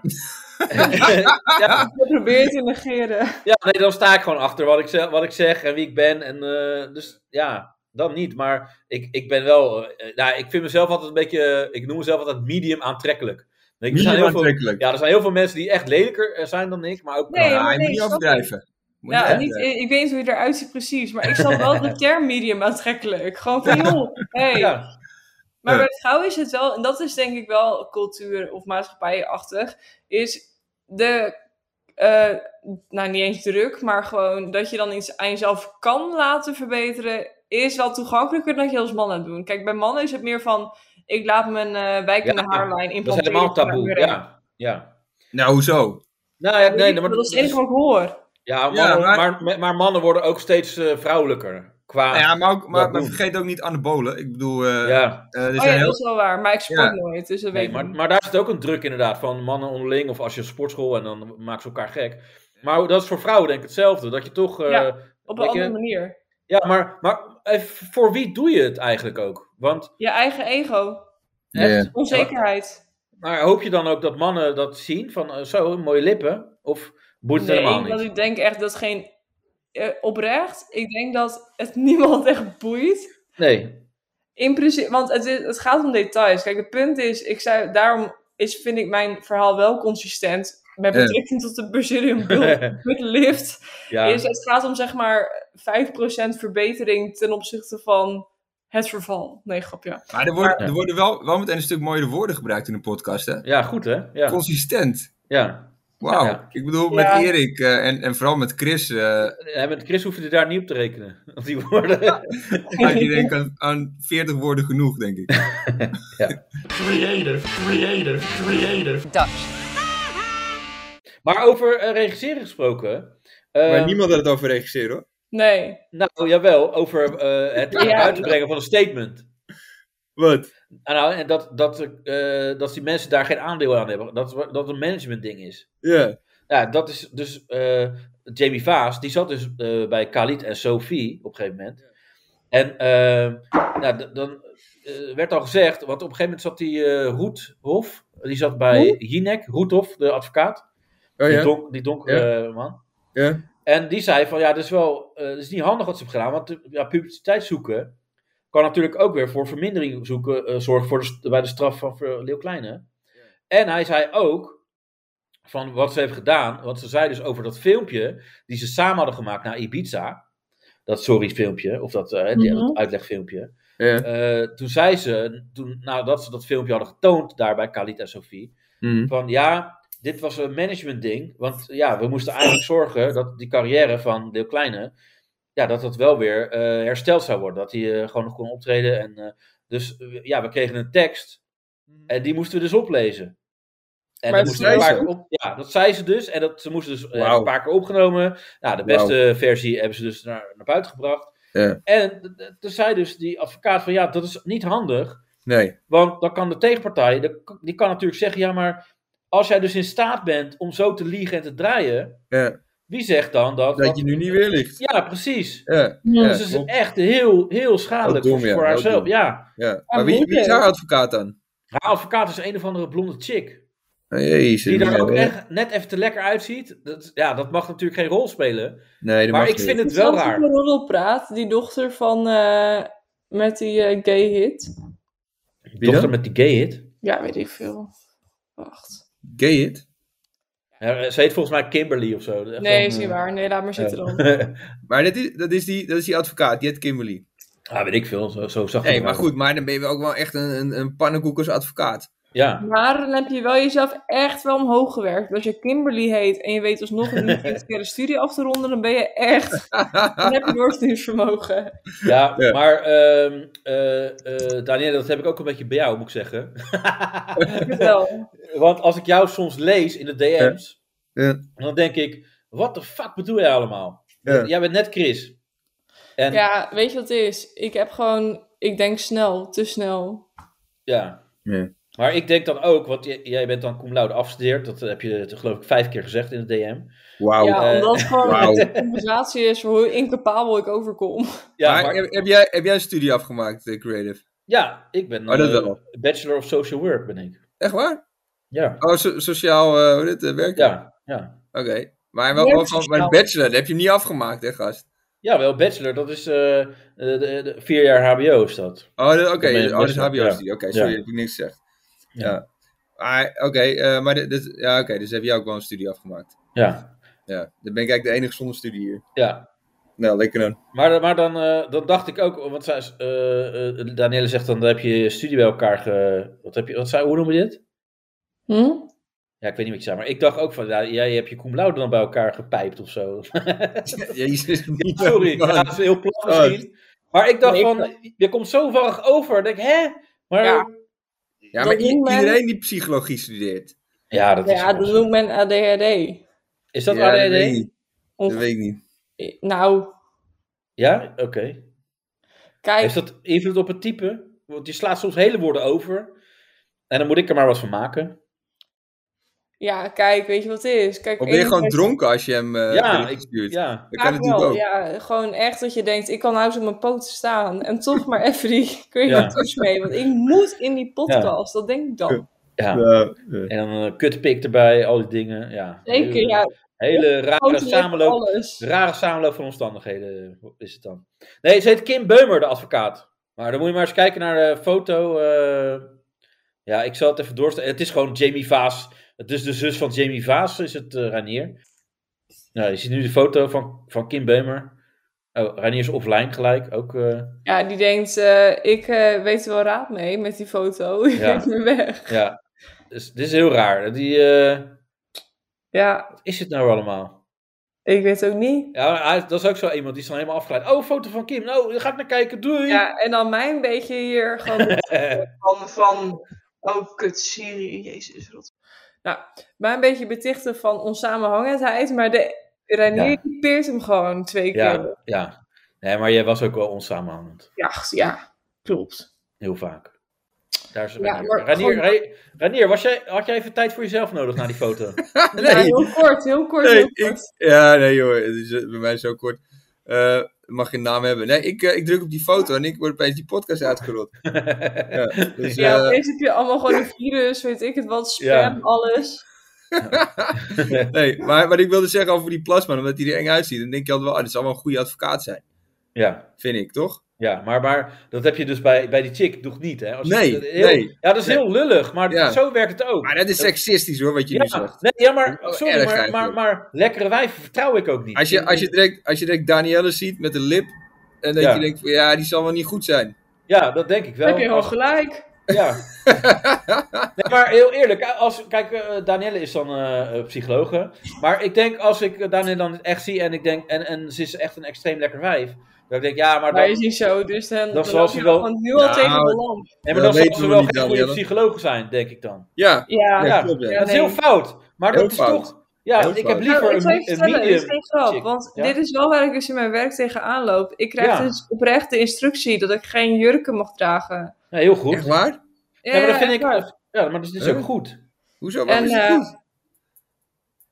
S4: (laughs) ja,
S9: Ik probeer te negeren.
S4: ja, nee, dan sta ik gewoon achter wat ik, ze- wat ik zeg en wie ik ben. En, eh, dus ja, dan niet. Maar ik, ik ben wel, eh, eh, nou, ik vind mezelf altijd een beetje, eh, ik noem mezelf altijd medium aantrekkelijk. Ik, er zijn
S5: Niet
S4: heel veel,
S5: aantrekkelijk.
S4: ja, er zijn heel veel mensen die echt lelijker eh, zijn dan ik, maar ook...
S9: Nee, maar
S5: Ja, je moet
S9: nee,
S5: niet
S9: snap ik.
S5: overdrijven. Moet
S9: Ja,
S5: niet
S9: niet,
S5: overdrijven.
S9: ik ik weet niet hoe je eruit ziet precies, maar ik snap wel de term medium aantrekkelijk. Gewoon van, joh, hey,
S4: Ja,
S9: Maar
S5: Ja.
S9: bij vrouwen is het wel, en dat is denk ik wel cultuur- of maatschappijachtig, is de, eh, nou niet eens druk, maar gewoon dat je dan iets aan jezelf kan laten verbeteren, is wel toegankelijker dan dat je als man aan doen. Kijk, bij mannen is het meer van, ik laat mijn eh, wijkende
S4: Ja,
S9: haarlijn
S4: dat
S9: implanteren.
S4: is helemaal
S9: zodat
S4: taboe,
S9: ik weer-
S4: ja. ja.
S5: Nou, hoezo?
S4: Nou ja, nee,
S9: dat
S4: maar,
S9: is het enige wat ik hoor.
S4: ja,
S5: Ja,
S4: mannen,
S5: maar-
S4: maar... Maar, maar mannen worden ook steeds eh, vrouwelijker. qua...
S5: Nou ja, maar, ook, maar,
S4: dat
S5: maar
S4: doen.
S5: vergeet ook niet anabolen. Ik bedoel, eh,
S4: ja.
S5: eh, er
S9: Oh ja,
S5: zijn
S9: dat
S5: heel...
S9: is wel waar. Maar ik sport
S5: Ja.
S9: nooit, dus dat
S4: Nee,
S9: weet ik
S4: maar,
S9: niet.
S4: maar daar zit ook een druk inderdaad van mannen onderling of als je een sportschool en dan maken ze elkaar gek. Maar dat is voor vrouwen denk ik hetzelfde. Dat je toch... eh,
S9: Ja. Op een
S4: weet je-
S9: andere manier.
S4: ja, maar, maar even, voor wie doe je het eigenlijk ook? Want
S9: Je eigen ego.
S4: echt,
S9: Onzekerheid.
S4: maar hoop je dan ook dat mannen dat zien? Van eh, zo, mooie lippen? Of boeit het helemaal
S9: Nee,
S4: niet?
S9: want ik denk echt dat geen... eh, oprecht, ik denk dat het (laughs) niemand echt boeit.
S4: Nee.
S9: In principe, want het, is- het gaat om details. Kijk, het punt is, ik zei, daarom is, vind ik mijn verhaal wel consistent met
S5: Ja.
S9: betrekking tot de Brazilian
S4: (laughs)
S9: Build with Lift.
S4: ja.
S9: Is, het gaat om zeg maar 5% verbetering ten opzichte van het verval. Nee, grapje.
S5: Maar er worden,
S4: Ja.
S5: er worden wel, wel meteen een stuk mooiere woorden gebruikt in de podcast, hè?
S4: ja, goed hè? Ja.
S5: Consistent.
S4: ja.
S5: Wauw.
S4: Ja.
S5: Ik
S9: Ja.
S5: bedoel, met Erik eh, en, en vooral met
S4: (laughs)
S5: Chris. eh
S4: En met Chris hoef je daar niet op te rekenen. (laughs) Op die woorden.
S5: had je denk ik aan, aan 40 woorden genoeg, denk ik.
S1: creative, creative, creative,
S4: Maar over eh, regisseren gesproken. eh,
S5: maar niemand had het over regisseren, hoor.
S9: Nee.
S4: Nou, jawel, over eh, het
S9: Ja.
S4: uitbrengen van een statement.
S5: Wat?
S4: En, nou, en dat, dat, eh, dat die mensen daar geen aandeel aan hebben. Dat dat een managementding is.
S5: Ja.
S4: Ja, dat is dus. eh, Jamie Vaas, die zat dus eh, bij Khalid en Sophie op een gegeven moment. En eh, nou, d- dan eh, werd al gezegd, want op een gegeven moment zat die eh Roethof, die zat bij Jinek, Roethof, de advocaat,
S5: Oh
S4: die,
S5: ja?
S4: donk, die donkere man.
S5: Ja.
S4: En die zei van, ja, dat is wel, eh, dat is niet handig wat ze hebben gedaan, want eh, ja, publiciteit zoeken kan natuurlijk ook weer voor vermindering zoeken, eh, zorgen voor de, st- bij de straf van eh, Leeuw Kleine. En hij zei ook van wat ze heeft gedaan, want ze zei dus over dat filmpje die ze samen hadden gemaakt naar Ibiza, dat sorry filmpje, of dat, eh, die-
S9: Mhm.
S4: dat uitlegfilmpje.
S5: Ja.
S4: Eh, toen zei ze, toen, nadat ze dat filmpje hadden getoond daar bij Khalid en Sophie,
S5: Hm.
S4: van ja, dit was een management ding. Want ja, we moesten eigenlijk zorgen dat die carrière van Deel Kleine, ja, dat dat wel weer eh, hersteld zou worden. Dat hij eh, gewoon nog kon optreden. En, eh, dus eh, ja, we kregen een tekst en die moesten we dus oplezen. En dat
S9: Mhm. Maar dat
S4: moesten we een
S9: zei
S4: paar keer op, ja, dat zei ze dus. En dat, ze moesten dus eh,
S5: Wauw.
S4: een paar keer opgenomen. Nou, de beste versie hebben ze dus naar, naar buiten gebracht.
S5: Ja.
S4: En d- d- toen zei dus die advocaat van ja, dat is niet handig.
S5: Nee.
S4: Want dan kan de tegenpartij, de- die kan natuurlijk zeggen, ja maar als jij dus in staat bent om zo te liegen en te draaien,
S5: Ja.
S4: wie zegt dan dat...
S5: Dat je nu niet weer ligt.
S4: Ja, precies.
S5: Ja.
S9: Ja,
S4: dus het is
S5: klopt.
S4: echt heel, heel schadelijk
S5: Wat dom,
S4: voor,
S5: ja,
S4: voor
S5: wat
S4: haarzelf.
S5: dom.
S4: Ja,
S5: ja.
S9: Maar
S5: Maar wie, wie is
S9: moeilijk.
S5: haar advocaat dan?
S4: haar advocaat is een of andere blonde chick.
S5: Oh, jezus.
S4: Die er ook
S5: nee,
S4: echt net even te lekker uitziet. Dat, ja, dat mag natuurlijk geen rol spelen.
S5: Nee, dat
S4: Maar
S5: mag
S4: ik
S5: niet.
S4: vind het
S9: Is dat
S4: wel
S9: die
S4: raar.
S9: Roddel praat, die dochter van... eh, met die eh, gay hit.
S5: Wie
S4: Dochter
S5: dan?
S4: met die gay hit.
S9: Ja, weet ik veel. Wacht.
S5: Gay it.
S4: Ja, eh, ze heet volgens mij Kimberly of zo. Echt eh,
S9: Nee,
S4: wel-
S9: is niet waar. Nee, laat maar zitten dan.
S5: Maar dat is, dat, is die, dat is die advocaat, die heet Kimberly.
S4: Ah, weet ik veel. Zo, zo zag ik
S5: Nee,
S4: het
S5: maar
S4: ook.
S5: goed, maar dan ben je ook wel echt een, een, een pannenkoekersadvocaat.
S4: Ja,
S9: Maar dan heb je wel jezelf echt wel omhoog gewerkt. Als je Kimberly heet en je weet alsnog
S4: (laughs)
S9: niet de universitaire studie af te ronden, dan ben je echt. Dan heb je doorzettingsvermogen.
S4: ja,
S5: Ja.
S4: maar ehm eh, eh, Daniel, dat heb ik ook een beetje bij jou, moet ik zeggen.
S9: Vertel.
S4: Want als ik jou soms lees in de DM's,
S5: Ja.
S4: dan denk ik, wat de fuck bedoel jij allemaal?
S5: Ja.
S4: Jij bent net Chris. En ja,
S9: Ja, weet je wat het is? Ik heb gewoon. Ik denk snel, te snel.
S5: Ja.
S4: maar ik denk dan ook, want j- jij bent dan cum laude afgestudeerd, dat heb je eh, geloof ik vijf keer gezegd in de DM.
S5: Wauw.
S9: ja,
S4: eh,
S9: omdat het gewoon
S5: wauw.
S9: een conversatie is voor hoe incapabel ik overkom.
S4: Ja,
S5: maar
S4: maar-
S5: heb, heb jij, heb jij een studie afgemaakt, eh, Creative?
S4: ja ik ben
S5: Oh, dat
S4: eh,
S5: wel.
S4: Bachelor of Social Work, ben ik.
S5: Echt waar?
S4: Ja,
S5: Oh, so- sociaal eh, hoe dit, eh, werken?
S4: ja, ja.
S5: Oké. Maar, wel,
S9: Werk
S5: wel van, maar
S9: sociaal.
S5: bachelor, dat heb je hem niet afgemaakt, hè, gast?
S4: Ja, wel Bachelor, dat is eh, eh, de- de- vier jaar HBO is dat.
S5: Oh, dat- oké.
S4: ben je
S5: Oh, dat is
S4: bachelor,
S5: HBO-studie. Oké, sorry, heb ik niks gezegd. Ja.
S4: Ja.
S5: Maar, oké, eh, maar dit, dit- ja, oké, dus heb jij ook wel een studie afgemaakt.
S4: Ja,
S5: Ja, dan ben ik eigenlijk de enige zonder studie hier.
S4: ja.
S5: Nou, lekker dan.
S4: (laughs) Maar, maar dan, eh, dan dacht ik ook, want zij, is, eh, eh, Danielle zegt dan, dan heb je je studie bij elkaar ge... Wat heb je, wat zei, hoe noem je dit?
S9: Hm?
S4: Ja, ik weet niet wat je zei, maar ik dacht ook van, ja, jij hebt je cum laude dan bij elkaar gepijpt of zo. (laughs)
S5: Jezus, niet
S4: Sorry,
S5: Oh, man. Oh.
S4: ja, dat is heel plat misschien. Maar ik dacht
S9: Nee, ik-
S4: van, je komt zo warrig over. Ik denk, hè? Maar
S9: Ja.
S4: ja,
S5: Ja, maar
S9: Dat doen
S5: i-
S9: men-
S5: iedereen die psychologie studeert.
S4: dat is
S9: Ja, dat noemt men ADHD.
S4: Is dat
S5: Ja,
S4: ADD?
S5: Dat weet ik niet.
S9: Onge-
S5: Dat weet ik niet.
S9: Nou,
S4: Ja? Oké.
S9: Kijk,
S4: Heeft dat invloed op het type? Want je slaat soms hele woorden over. En dan moet ik er maar wat van maken.
S9: ja, kijk, weet je wat het is? Kijk,
S5: Of ben je gewoon
S9: enerzijds-
S5: dronken als je hem eh
S4: Ja,
S5: berichtjes
S4: ik-
S5: stuurt?
S4: Ja.
S5: Dat kan
S9: Vaak
S5: natuurlijk
S9: wel,
S5: ook.
S9: Ja, gewoon echt dat je denkt, ik kan huis op mijn poten staan. En toch maar (laughs) even die
S4: Ja.
S9: creative touch mee. Want ik moet in die podcast, dat denk ik dan.
S4: ja.
S5: Ja, ja.
S4: En dan een kutpik erbij, al die dingen. Ja.
S9: Zeker,
S4: Hele-
S9: ja.
S4: Hele rare
S9: Poten ligt
S4: samenloop.
S9: alles.
S4: Rare samenloop van omstandigheden is het dan. Nee, ze heet Kim Beumer, de advocaat. Maar dan moet je maar eens kijken naar de foto. eh. ja, ik zal het even doorstellen. Het is gewoon Jamie Vaas. Het is de zus van Jamie Vaas, is het eh Ranier. Nou, je ziet nu de foto van, van Kim Beumer. Oh, Ranier is offline gelijk. Ook, eh,
S9: Ja, die denkt, eh, ik eh, weet er wel raad mee met die foto. (laughs) Je
S4: Ja.
S9: ja. me weg.
S4: ja. Dus, dit is heel raar. Die, eh,
S9: Ja,
S4: wat is het nou allemaal?
S9: ik weet ook niet.
S4: Ja, maar hij- dat is ook zo iemand. Die is dan helemaal afgeleid. Oh, foto van Kim. Nou, daar ga ik naar kijken. Doei.
S9: Ja, en dan mij een beetje hier gewoon...
S11: Van, van oh, kut Syrië, jezus. Rot.
S9: mij een beetje betichten van onsamenhangendheid. Maar de Renier
S4: Ja.
S9: die peert hem gewoon twee keer.
S4: ja, ja. Nee, maar jij was ook wel onsamenhangend.
S9: Ja, ja klopt.
S4: Heel vaak. Daar is
S9: Ja,
S4: Ranier.
S9: maar
S4: Ranier,
S9: gewoon-
S4: Ra- Ranier, was jij, had jij even tijd voor jezelf nodig na die (laughs) foto?
S9: Ja, heel kort, heel kort,
S5: Nee,
S9: heel kort.
S5: ik, ja, nee joh, het is eh, bij mij zo kort. Eh, mag geen naam hebben. Nee, ik, eh, ik druk op die foto en ik word opeens die podcast uitgerold. Ja, dus,
S9: Ja,
S5: eh,
S9: opeens heb je allemaal gewoon een virus, weet ik het wat, spam,
S4: Ja.
S9: alles.
S5: nee, maar wat ik wilde zeggen over die plasma, omdat hij er eng uitziet, dan denk je altijd wel, ah, dit zal wel een goede advocaat zijn.
S4: ja,
S5: Vind ik, toch?
S4: ja maar, maar dat heb je dus bij, bij die chick nog niet, hè? Als je-
S5: Nee,
S4: heel-
S5: nee.
S4: Ja, dat is heel lullig, maar
S5: Ja.
S4: zo werkt het ook.
S5: Maar dat is seksistisch hoor, wat je nu
S4: ja,
S5: zegt.
S4: nee, ja, maar
S5: Oh,
S4: sorry,
S5: erg
S4: maar,
S5: eigenlijk.
S4: maar, maar lekkere wijven vertrouw ik ook niet.
S5: Als je, als je, direct, als je direct Danielle ziet met de lip, en dat
S4: Ja.
S5: je denkt, van, ja, die zal wel niet goed zijn.
S4: Ja, dat denk ik wel.
S9: heb je wel
S4: Als-
S9: gelijk.
S5: (laughs)
S4: Ja. nee, maar heel eerlijk, als, kijk, eh, Danielle is dan eh eh, psychologe. Maar ik denk als ik eh, Danielle dan echt zie en ik denk, en, en ze is echt een extreem lekker wijf. Dat ik denk, ja, maar
S9: Maar is
S4: dan,
S9: niet zo, dus dan, dan
S4: zoals
S9: loop je
S4: je wel-
S9: gewoon nu al
S5: Nou,
S9: tegen de lamp.
S4: nee, maar
S5: dat
S4: dan zal
S5: weten
S4: ze
S5: we
S4: wel
S5: niet,
S4: geen goede
S5: Danielle.
S4: psycholoog zijn, denk ik dan.
S5: Ja,
S9: Ja,
S5: Ja,
S4: Ja,
S5: klopt, ja.
S4: dat is
S9: nee.
S4: heel fout. Maar
S5: Heel
S4: dat is
S5: fout.
S4: toch, ja,
S5: Heel
S4: ik
S5: fout.
S4: heb liever
S9: Nou, ik
S4: een,
S9: zal je
S4: een
S9: vertellen, dit is
S4: medium.
S9: geen grap,
S4: chick.
S9: want
S4: Ja.
S9: dit is wel waar ik dus in mijn werk tegenaan loop. Ik krijg
S4: Ja.
S9: dus oprecht de instructie dat ik geen jurken mag dragen.
S4: Ja, heel goed.
S5: echt waar?
S4: Ja, maar dat vind
S9: echt
S4: ik,
S9: waar.
S4: ja, maar dat is dus
S5: Huh?
S4: ook goed.
S5: Hoezo? Waarom
S9: En,
S5: is het
S9: eh,
S5: goed?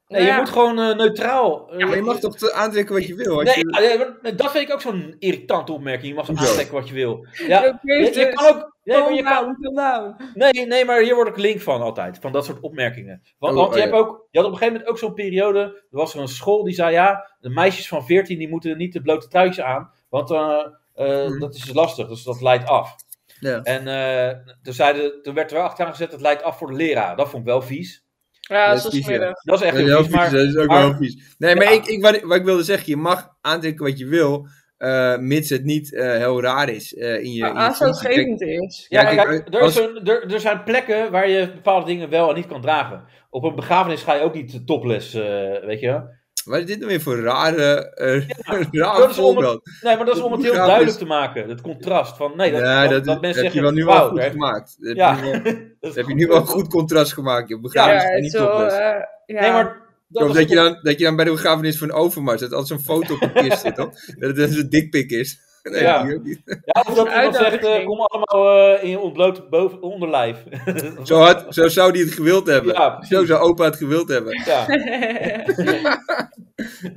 S4: Nee,
S9: ja,
S4: je moet gewoon eh, neutraal. eh,
S5: Ja, maar je mag toch te- aantrekken wat je wil? Als
S4: Nee,
S5: je...
S4: ja, nee, maar dat vind ik ook zo'n irritante opmerking. Je mag zo
S5: Hoezo?
S4: aantrekken wat je wil. Ja,
S9: weet
S4: je, je
S9: het.
S4: kan ook. Nee maar, je
S9: calm
S4: kan,
S9: down, calm down.
S4: nee, nee, maar hier word ik link van altijd. Van dat soort opmerkingen. Want,
S5: Oh,
S4: want je,
S5: oh,
S4: hebt ook, je had op een gegeven moment ook zo'n periode. Er was er een school die zei: ja, de meisjes van 14 die moeten niet de blote truitjes aan. Want eh, eh,
S5: Mhm.
S4: dat is dus lastig. Dus dat leidt af.
S5: Ja.
S4: En eh, toen, zeiden, toen werd er wel achteraan gezet: dat leidt af voor de leraar. Dat vond ik wel vies.
S9: Ja,
S5: Dat
S9: dat
S5: is
S9: is
S5: vies, ja.
S9: smerig.
S4: Dat is echt
S5: Dat is
S4: heel
S5: heel
S4: vies. Maar,
S5: vies, dat is ook
S4: maar-
S5: wel heel vies. Nee, maar
S4: Ja.
S5: ik, ik, wat, wat ik wilde zeggen, je mag aantrekken wat je wil, eh, mits het niet eh, heel raar is eh, in je.
S4: Ah,
S9: Maar
S5: in je functie. Kijk,
S9: aanstootgevend Ah, is.
S4: Ja,
S5: Ja,
S4: kijk,
S5: kijk,
S4: er,
S5: als-
S4: is een- er, er zijn plekken waar je bepaalde dingen wel en niet kan dragen. Op een begrafenis ga je ook niet topless, eh, weet je wel.
S5: Wat is dit nou weer voor rare, eh (laughs)
S4: dat
S5: raar
S4: is om het-
S5: voorbeeld?
S4: Nee, maar dat is om het heel
S5: Begrafenis-
S4: duidelijk te maken. Het contrast van, nee, dat,
S5: ja,
S4: dat,
S5: dat,
S4: dat
S5: dat
S4: mensen
S5: heb je
S4: zeggen,
S5: wel nu wel
S4: wauw,
S5: goed
S4: daar-
S5: gemaakt. Dat
S4: Ja.
S5: heb, je nu wel,
S4: dat (laughs)
S5: dat
S4: is
S5: heb je
S4: goed.
S5: nu wel een goed contrast gemaakt. Je begrafenis
S9: Ja,
S5: en niet
S9: zo,
S5: topless.
S9: eh, ja.
S4: Nee, maar... Dat
S5: of
S4: was
S5: dat je,
S4: goed.
S5: dan, dat je dan bij de begrafenis van Overmars, dat altijd zo'n foto op de kist
S4: (laughs)
S5: zit, toch? Dat het dus een dikpik is. (laughs) Nee,
S4: Ja.
S5: die ook niet.
S4: Ja, of dat
S9: een
S4: iemand zegt, eh,
S9: uitnodiging.
S4: kom allemaal eh, in je ontbloot boven, onderlijf. (laughs)
S5: Zo, had, zo zou die het gewild hebben.
S4: Ja, precies.
S5: zo zou opa het gewild
S4: (laughs)
S5: hebben.
S4: Ja.
S9: (laughs)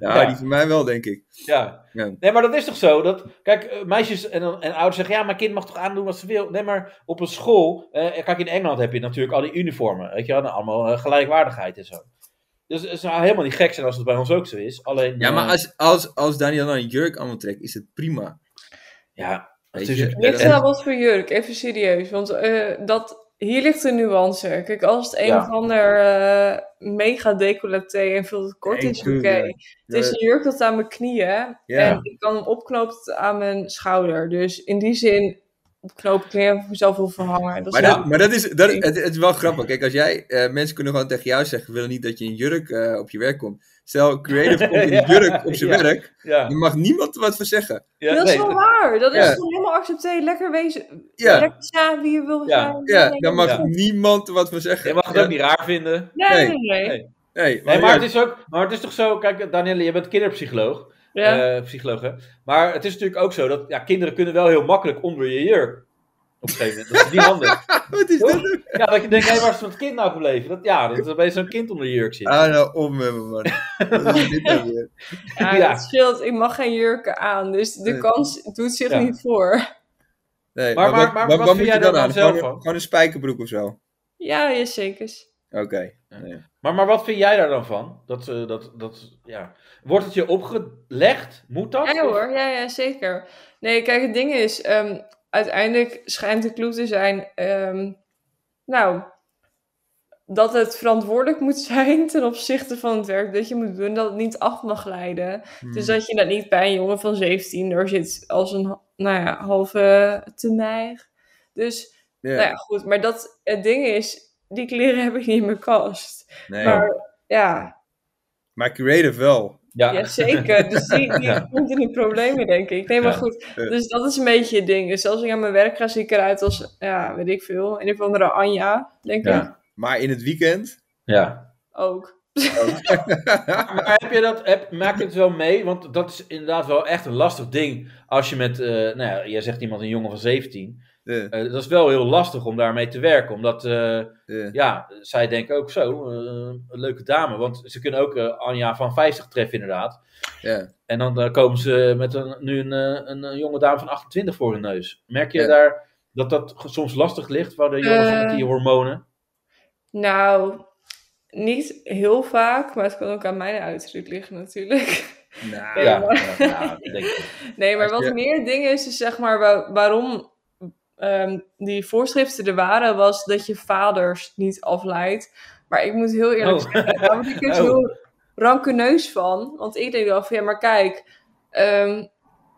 S5: Ja,
S4: Ja.
S5: die van mij wel, denk ik.
S4: Ja.
S5: Ja.
S4: Nee, maar dat is toch zo? Dat, kijk, eh, meisjes en, dan- en ouders zeggen: ja, mijn kind mag toch aandoen wat ze wil. Nee, maar op een school, eh, kijk, in Engeland heb je natuurlijk al die uniformen. Weet je wel, nou, allemaal eh, gelijkwaardigheid en zo. Dus het zou helemaal niet gek zijn als het bij ons ook zo is. Alleen,
S5: Ja, maar
S4: eh,
S5: als, als, als Daniel dan een jurk aan wil trekken, is het prima.
S4: ja,
S5: Weet
S4: het
S5: je,
S4: is een-
S5: ja,
S9: Ligt
S5: dat-
S9: er nou wat voor jurk? Even serieus. Want eh, dat, hier ligt de nuance. Kijk, als het een
S4: Ja.
S9: of ander eh, mega decolleté en veel te kort
S5: Nee,
S9: is, oké.
S5: tuurlijk,
S9: Het is
S5: Ja,
S9: een jurk tot aan mijn knieën.
S5: Ja.
S9: En ik kan hem opknopen tot aan mijn schouder. Dus in die zin knoop ik neer of ik mezelf wil verhangen. Dat is
S5: Maar,
S9: wel-
S5: dat, maar dat is, dat, het, het is wel grappig. Kijk, als jij, eh, mensen kunnen gewoon tegen jou zeggen, we willen niet dat je in jurk eh, op je werk komt.
S4: (laughs)
S5: Stel, creative komt in
S4: Ja,
S5: een jurk op zijn
S4: ja.
S5: werk,
S4: ja,
S5: dan mag niemand er wat voor zeggen.
S4: ja,
S9: dat is
S4: nee,
S9: wel waar. Dat is
S5: Ja.
S9: gewoon helemaal accepteer. Lekker wezen.
S5: Ja,
S9: Lekker zijn wie je wil
S4: Ja.
S9: zijn.
S5: ja dan mag
S4: Ja.
S5: niemand er wat voor zeggen.
S4: Je mag het
S5: Ja,
S4: ook niet raar vinden.
S9: Nee, nee,
S5: Nee.
S4: Nee.
S9: nee.
S5: Nee, maar,
S4: Nee, maar
S5: ja,
S4: het is ook, maar het is toch zo, kijk, Danielle, je bent kinderpsycholoog.
S9: Ja.
S4: eh, psycholoog. Hè? Maar het is natuurlijk ook zo dat ja, kinderen kunnen wel heel makkelijk onder je jurk. Op een gegeven moment. Dat is niet
S9: (laughs)
S4: handig.
S5: Wat is
S4: dat? Ja, dat je denkt, hé, waar is dat kind nou gebleven? Dat, ja, dat er bij zo'n kind onder je jurk zit.
S5: Ah, nou, om me,
S4: (laughs)
S5: man. Wat is dit nou weer?
S9: Ja,
S5: (laughs)
S4: Ja.
S9: dat scheelt. Ik mag geen jurken aan, dus de
S5: Nee.
S9: kans doet zich
S5: Eh, Ja.
S9: niet voor.
S5: Nee,
S4: Maar- maar-
S5: wat-
S4: maar
S5: wat-
S4: wat
S5: wat
S4: vind
S5: moet je
S4: jij
S5: dan
S4: daar
S5: aan?
S4: nou zelf
S5: Gewoon, een-
S4: van?
S5: gewoon een spijkerbroek of zo?
S9: Ja, ja, zeker.
S5: Oké. nee.
S4: Maar, maar wat vind jij daar dan van? Dat, eh, dat, dat, ja. Wordt het je opgelegd? Moet dat?
S9: Ja hoor, ja, ja, zeker. Nee, kijk, het ding is, ehm, uiteindelijk schijnt de clue te zijn, ehm, nou, dat het verantwoordelijk moet zijn ten opzichte van het werk dat je moet doen, dat het niet af mag leiden. Dus
S12: Hmm.
S9: dat je dat niet bij een jongen van 17 er zit als een, nou ja, halve te neig. Dus,
S12: Ja.
S9: nou ja, goed. Maar dat, het ding is, die kleren heb ik niet in mijn kast.
S5: Nee.
S9: Maar, ja,
S5: Maar creative wel.
S4: Ja,
S9: Jazeker, dus die, die
S5: Ja.
S9: komt in de problemen, denk ik. Nee, maar
S5: Ja.
S9: goed,
S5: Ja.
S9: dus dat is een beetje het ding. Dus als ik aan mijn werk ga, zie ik eruit als, ja, weet ik veel, een of andere Anja, denk ik,
S5: Ja. Maar in het weekend?
S4: Ja.
S9: ook.
S4: Maar heb je dat, heb, maak je het wel mee? Want dat is inderdaad wel echt een lastig ding. Als je met, eh, nou ja, jij zegt iemand een jongen van 17. Eh, dat is wel heel lastig om daarmee te werken. Omdat, eh, ja, zij denken ook zo, eh, een leuke dame. Want ze kunnen ook eh, Anja van 50 treffen inderdaad.
S5: Ja.
S4: En dan eh, komen ze met een, nu een, eh, een, eh, jonge dame van 28 voor hun neus. Merk je
S5: Ja.
S4: daar dat dat ge- soms lastig ligt? Waar de jongens
S9: Eh.
S4: met die hormonen?
S9: Nou, niet heel vaak, maar het kan ook aan mijn uiterlijk liggen natuurlijk. (laughs)
S5: Nou,
S9: Nee,
S4: ja,
S9: maar-
S4: ja, ja, dat denk ik.
S9: Nee, maar
S4: Als
S9: wat
S4: je-
S9: meer ding is, is zeg maar wa- waarom ehm, die voorschriften er waren, was dat je vaders niet afleidt. Maar ik moet heel eerlijk (laughs)
S12: Oh.
S9: zeggen, daar word ik dus
S12: Oh.
S9: heel rankeneus van. Want ik denk wel van, ja, maar kijk, ehm,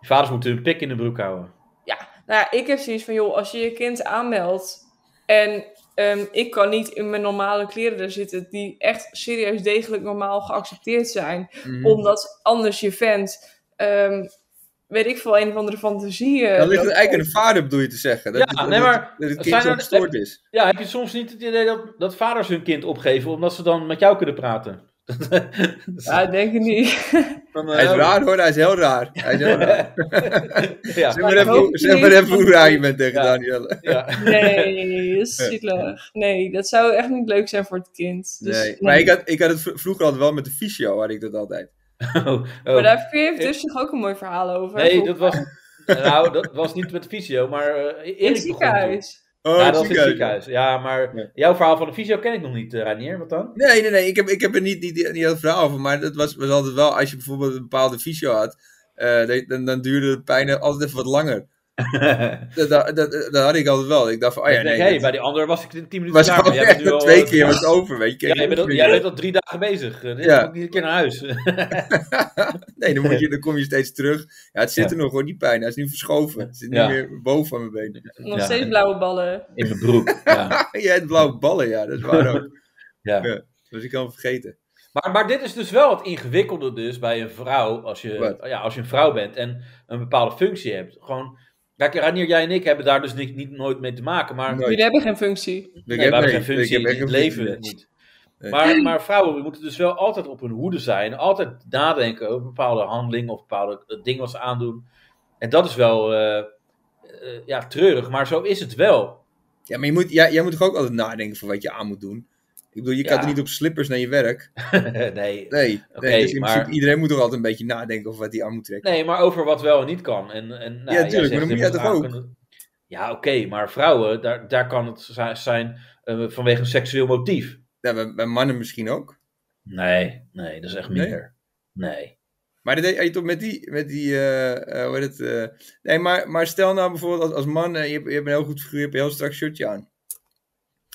S4: Je Vaders moeten hun pik in de broek houden.
S9: ja, nou ja, ik heb zoiets van, joh, als je je kind aanmeldt en ehm, ik kan niet in mijn normale kleren er zitten, die echt serieus degelijk normaal geaccepteerd zijn,
S5: Mhm.
S9: omdat anders je vent, ehm, weet ik veel, een of andere eh, fantasieën.
S5: Dan ligt het eigenlijk aan de vader, bedoel je te zeggen. Dat,
S4: Ja,
S5: dat-
S4: nee,
S5: dat-
S4: maar
S5: Dat het
S4: zijn
S5: kind zo
S4: er-
S5: gestoord is.
S4: Ja, heb je soms niet het idee dat, dat vaders hun kind opgeven omdat ze dan met jou kunnen praten?
S9: Ja, ik denk het niet.
S5: Hij is (laughs) raar hoor, hij is heel raar. Hij is heel raar.
S4: Ja.
S5: Zeg maar even, hoe- zeg maar even hoe raar je bent tegen Danielle.
S4: (laughs)
S5: (laughs)
S9: Nee, dat is zielig. Nee, dat zou echt niet leuk zijn voor het kind. Dus,
S5: nee. Maar ik had, ik had het vro- vroeger altijd wel met de fysio, had ik dat altijd.
S4: Oh.
S9: Maar daar heeft dus toch ook een mooi verhaal over.
S4: Nee, dat was, nou, dat was niet met de fysio, maar eh, Erik
S9: In het
S4: begon
S9: ziekenhuis.
S4: toen.
S5: Oh,
S4: ja,
S5: het
S4: dat was in het
S5: ziekenhuis.
S4: ziekenhuis. Ja, maar jouw verhaal van de fysio ken ik nog niet, eh, Reinier. Wat dan?
S5: Nee, nee, nee. Ik heb, ik heb er niet, niet, niet heel verhaal over. Maar dat was, was altijd wel, als je bijvoorbeeld een bepaalde fysio had, eh, dat- dan, dan duurde het pijn altijd even wat
S4: (laughs)
S5: langer. dat, dat, dat, dat had ik altijd wel. Ik dacht van, oh ja,
S4: Ik denk,
S5: nee.
S4: hey,
S5: dat-
S4: bij die ander was ik in 10 minuten
S5: (laughs) Was
S4: klaar. maar
S5: gewoon
S4: jij
S5: (laughs)
S4: bent nu
S5: echt
S4: al,
S5: twee
S4: eh,
S5: keer was het over, weet
S4: (laughs)
S5: je.
S4: Ja, jij bent al, jij bent al drie dagen bezig. Eh, Dit
S5: Ja.
S4: ja. niet een keer naar huis. (laughs)
S5: Nee, dan, moet je, dan kom je steeds terug. Ja, het zit
S4: Ja.
S5: er nog hoor, die pijn. Hij is nu verschoven. Het zit
S4: Ja.
S5: niet meer boven aan mijn benen.
S9: Nog steeds blauwe ballen.
S4: In mijn broek. Ja.
S5: (laughs) Jij hebt blauwe ballen, ja, dat is
S4: (laughs)
S5: waar ook.
S4: Ja.
S5: Dat was ik al vergeten.
S4: Maar, maar dit is dus wel het ingewikkelde dus bij een vrouw, als je, ja, als je een vrouw bent en een bepaalde functie hebt. Gewoon, kijk, Ranier, jij en ik hebben daar dus niet, niet nooit mee te maken, maar...
S9: Jullie hebben geen functie.
S4: Nee,
S5: Ik
S4: we
S5: heb-
S4: hebben
S5: nee,
S4: geen
S5: ik
S4: functie
S5: heb
S4: in
S5: echt
S4: het
S5: geen functie,
S4: leven
S5: nee.
S4: niet.
S5: Nee.
S4: Maar, maar vrouwen moeten dus wel altijd op hun hoede zijn. Altijd nadenken over bepaalde handeling of bepaalde eh, ding wat ze aandoen. En dat is wel eh, eh, ja, treurig, maar zo is het wel. (laughs)
S5: Ja, maar je moet, ja, jij moet toch ook altijd nadenken van wat je aan moet doen? Ik bedoel, je
S4: Ja.
S5: kan er niet op slippers naar je werk.
S4: nee, nee, (laughs)
S5: Nee,
S4: Oké,
S5: dus in
S4: maar-
S5: principe, iedereen moet toch altijd een beetje nadenken over wat hij aan moet trekken.
S4: Nee, maar over wat wel en niet kan. En, en, nou,
S5: Ja,
S4: jij
S5: tuurlijk, maar
S4: zegt,
S5: dan moet
S4: je
S5: jij
S4: moet
S5: toch ook?
S4: aankunnen- Ja, oké, maar vrouwen, daar, daar kan het zi- zijn eh, vanwege een seksueel motief.
S5: Ja, bij, bij mannen misschien ook.
S4: Nee, nee, dat is echt minder. Nee.
S5: Maar dat deed je toch met die, met die eh, eh, hoe heet het? eh, nee, maar, maar stel nou bijvoorbeeld als, als man, eh, je, hebt, je hebt een heel goed figuur, je hebt een heel strak shirtje aan.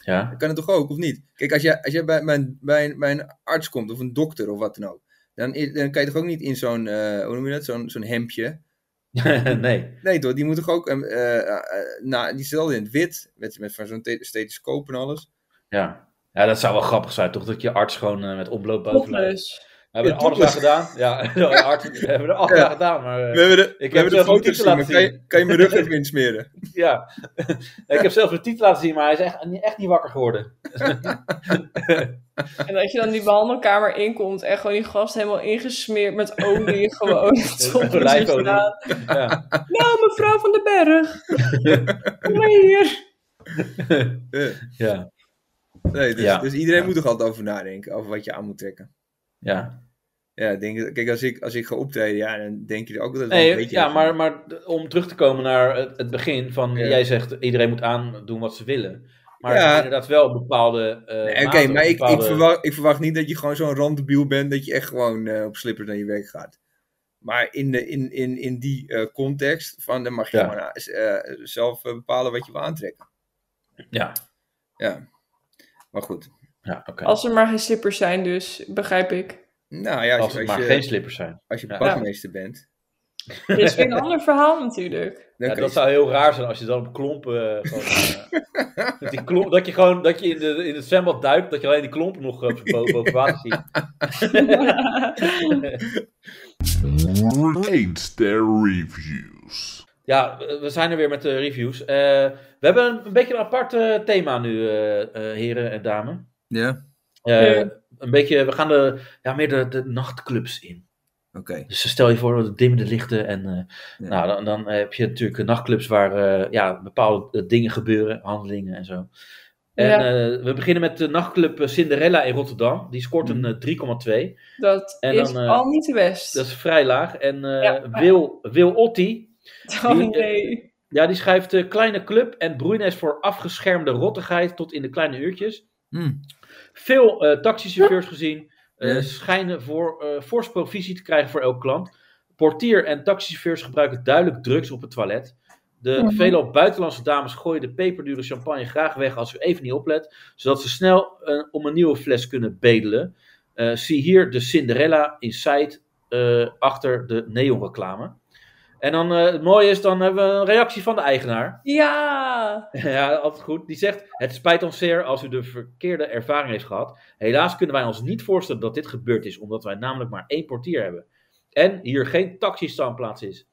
S4: Ja. (laughs)
S5: Dat kan het toch ook, of niet? Kijk, als jij, als jij bij, bij, een- bij, een- bij een arts komt, of een dokter of wat dan ook, dan, i- dan kan je toch ook niet in zo'n, eh, hoe noem je dat, zo'n, zo'n hemdje.
S4: nee.
S5: Nee toch, die moet toch ook, eh eh, eh, nou, die zit altijd in het wit, met, met van zo'n the- stethoscoop en alles.
S4: Ja. ja, dat zou wel grappig zijn, toch? Dat je arts gewoon eh, met oploop boven
S9: Topless.
S4: We hebben
S5: Ja,
S4: er alles aan
S5: topless.
S4: gedaan. Ja, (laughs) we hebben er alles
S5: Ja.
S4: aan gedaan. Maar, eh,
S5: We hebben de,
S4: ik heb
S5: we hebben de
S4: zelf een
S5: foto's
S4: titel laten
S5: gezien, maar kan je,
S4: zien.
S5: kan je mijn
S4: (laughs)
S5: rug even insmeren?
S4: Ja. (laughs) ik heb zelfs een titel laten zien, maar hij is echt, echt niet wakker geworden.
S9: En dat je dan die behandelkamer inkomt en gewoon die gast helemaal ingesmeerd met (laughs) olie gewoon.
S4: Met
S9: (laughs) Zonder zich
S4: olijfolie.
S9: gedaan.
S4: (laughs) Ja.
S9: Nou, mevrouw van den Berg. Kom maar hier.
S4: Ja.
S5: Nee, dus,
S4: Ja.
S5: dus iedereen moet er altijd over nadenken, over wat je aan moet trekken.
S4: Ja.
S5: Ja, ik denk, dat- kijk, als ik, als ik ga optreden, ja, dan denk je er ook altijd wel een
S4: Nee,
S5: beetje
S4: ja,
S5: over.
S4: maar, maar d- om terug te komen naar het, het begin van
S5: Ja.
S4: jij zegt iedereen moet aandoen wat ze willen. Maar
S5: Ja.
S4: er zijn inderdaad wel bepaalde. eh,
S5: Nee,
S4: maten,
S5: Oké, maar ik, ik,
S4: bepaalde-
S5: verwacht, ik verwacht niet dat je gewoon zo'n randdebiel bent dat je echt gewoon eh, op slippers naar je werk gaat. Maar in, de, in, in, in die eh, context, van, dan mag je
S4: Ja.
S5: gewoon eh, zelf eh, bepalen wat je wil aantrekken.
S4: Ja,
S5: Ja, maar goed.
S4: ja oké.
S9: Als er maar geen slippers zijn, dus begrijp ik.
S5: Nou ja, als,
S4: Als
S5: je-
S4: het
S5: als
S4: maar
S5: je,
S4: geen slippers zijn.
S5: Als je
S4: Ja.
S5: badmeester bent,
S9: Er is (laughs) weer een ander verhaal natuurlijk.
S5: dan
S4: Ja,
S5: kan je-
S4: dat zou heel raar zijn als je dan op klompen. eh, gewoon, eh, (laughs) dat, die klomp, dat je gewoon dat je in, de, in het zwembad duikt, dat je alleen die klompen nog eh, bo- boven water ziet.
S1: Rate their reviews.
S4: Ja, we- we zijn er weer met de reviews. Eh, we hebben een, een beetje een apart eh, thema nu, eh, eh, heren en dames.
S5: Ja,
S4: Eh,
S9: Ja.
S4: Een beetje, we gaan de, ja, meer de, de nachtclubs in.
S5: oké.
S4: Dus stel je voor de dimmende lichten en eh,
S5: Ja.
S4: nou, dan, dan heb je natuurlijk eh, nachtclubs waar eh, ja, bepaalde eh, dingen gebeuren, handelingen en zo. En
S9: Ja.
S4: eh, we beginnen met de nachtclub eh, Cinderella in Rotterdam. Die scoort
S9: Mhm.
S4: een eh, 3,2.
S9: Dat
S4: En
S9: is
S4: dan, eh,
S9: al niet de best.
S4: Dat is vrij laag. En eh,
S9: Ja.
S4: Wil, Wil Otti,
S9: (laughs) oh
S4: die, eh,
S9: nee.
S4: ja, die schrijft eh, kleine club en broeinest voor afgeschermde rottigheid tot in de kleine uurtjes. Veel eh taxichauffeurs gezien eh,
S5: Ja.
S4: schijnen voor, eh fors provisie te krijgen voor elk klant. Portier en taxichauffeurs gebruiken duidelijk drugs op het toilet. De
S9: Mhm.
S4: veelal buitenlandse dames gooien de peperdure champagne graag weg als u even niet oplet, zodat ze snel eh, om een nieuwe fles kunnen bedelen. Eh, zie hier de Cinderella Inside eh achter de neonreclame. En dan eh, het mooie is, dan hebben we een reactie van de eigenaar. (laughs)
S9: Ja.
S4: Ja, altijd goed. Die zegt: Het spijt ons zeer als u de verkeerde ervaring heeft gehad. Helaas kunnen wij ons niet voorstellen dat dit gebeurd is, omdat wij namelijk maar één portier hebben. En hier geen taxistaanplaats is.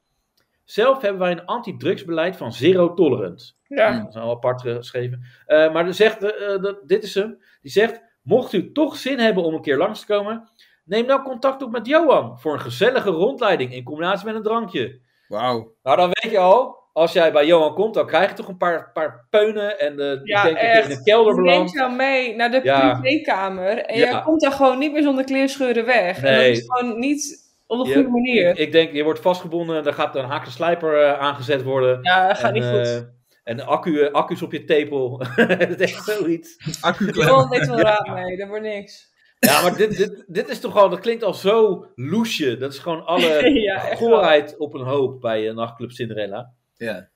S4: Zelf hebben wij een antidrugsbeleid van zero tolerance.
S9: Ja.
S4: Dat is al apart eh, geschreven. Eh, maar die zegt, eh, eh, dat, dit is hem. Die zegt: Mocht u toch zin hebben om een keer langs te komen, neem dan contact op met Johan voor een gezellige rondleiding in combinatie met een drankje.
S5: Wauw.
S4: Nou, dan weet je al, als jij bij Johan komt, dan krijg je toch een paar, paar peunen en eh
S9: Ja,
S4: ik denk dat
S9: echt.
S4: je in de kelder
S9: Die neemt
S4: belandt.
S9: jou mee naar de
S4: Ja.
S9: privékamer. En
S4: Ja.
S9: jij komt daar gewoon niet meer zonder kleerscheuren weg. En
S4: Nee.
S9: dat is gewoon niet op de
S4: Je-
S9: goede manier.
S4: Ik, ik denk, je wordt vastgebonden, dan gaat een haak en slijper eh, aangezet worden.
S9: ja, dat gaat
S4: en,
S9: niet goed.
S4: eh, en accu, eh, accu's op je tepel. (laughs) Het is echt zoiets. (laughs)
S5: Accu
S9: Ik wil dit wel raad mee, dat wordt niks.
S4: Ja, maar dit, dit, dit is toch al, dat klinkt al zo loesje. Dat is gewoon alle
S9: (laughs) Ja, echt wel.
S4: goorheid op een hoop bij eh, Nachtclub Cinderella.
S5: Ja.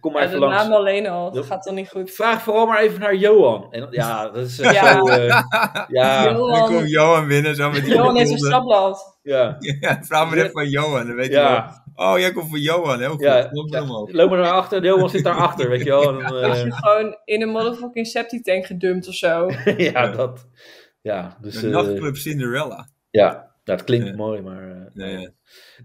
S4: Kom maar
S9: Ja, de
S4: even langs.
S9: naam alleen al, dat
S4: Ja.
S9: gaat dan niet goed.
S4: Vraag vooral maar even naar Johan. En, ja, dat is echt
S9: Ja.
S4: zo...
S9: (laughs)
S4: eh, ja,
S5: Dan komt
S9: Johan,
S5: Johan binnen, zo met die
S9: Johan
S5: (laughs)
S9: is een
S5: ronde.
S9: stapblad.
S4: ja.
S5: Ja, vraag maar even van Johan, dan weet je
S4: Ja.
S5: wel. Oh, jij komt van Johan, heel goed.
S4: Ja,
S5: Klopt
S4: ja.
S5: helemaal.
S4: Loop maar naar achter, Johan zit daarachter, weet je wel. En, (laughs) dan,
S9: Als
S4: eh,
S9: je gewoon in een motherfucking septic tank gedumpt of zo.
S4: (laughs) ja, dat. Ja, dus.
S5: De
S4: eh,
S5: nachtclub Cinderella.
S4: ja, dat klinkt
S5: Ja.
S4: mooi, maar. eh,
S5: Ja, ja.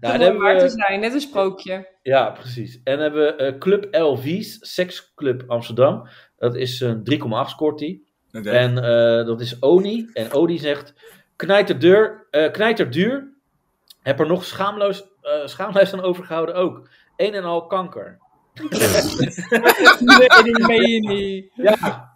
S4: Nou,
S9: dat
S4: dan
S9: moet
S4: hebben
S9: waar te
S4: we,
S9: zijn, net een
S4: (laughs)
S9: sprookje.
S4: ja, precies. En dan hebben we eh, Club LV's, Seksclub Amsterdam. Dat is een 3,8 scoort die.
S5: Oké.
S4: En eh, dat is Oni. En Oni zegt: knijter, deur, eh, knijter duur. Heb er nog schaamloos, eh, schaamloos aan overgehouden ook. Een en al kanker.
S9: (laughs) Nee, dat meen je niet.
S4: Ja.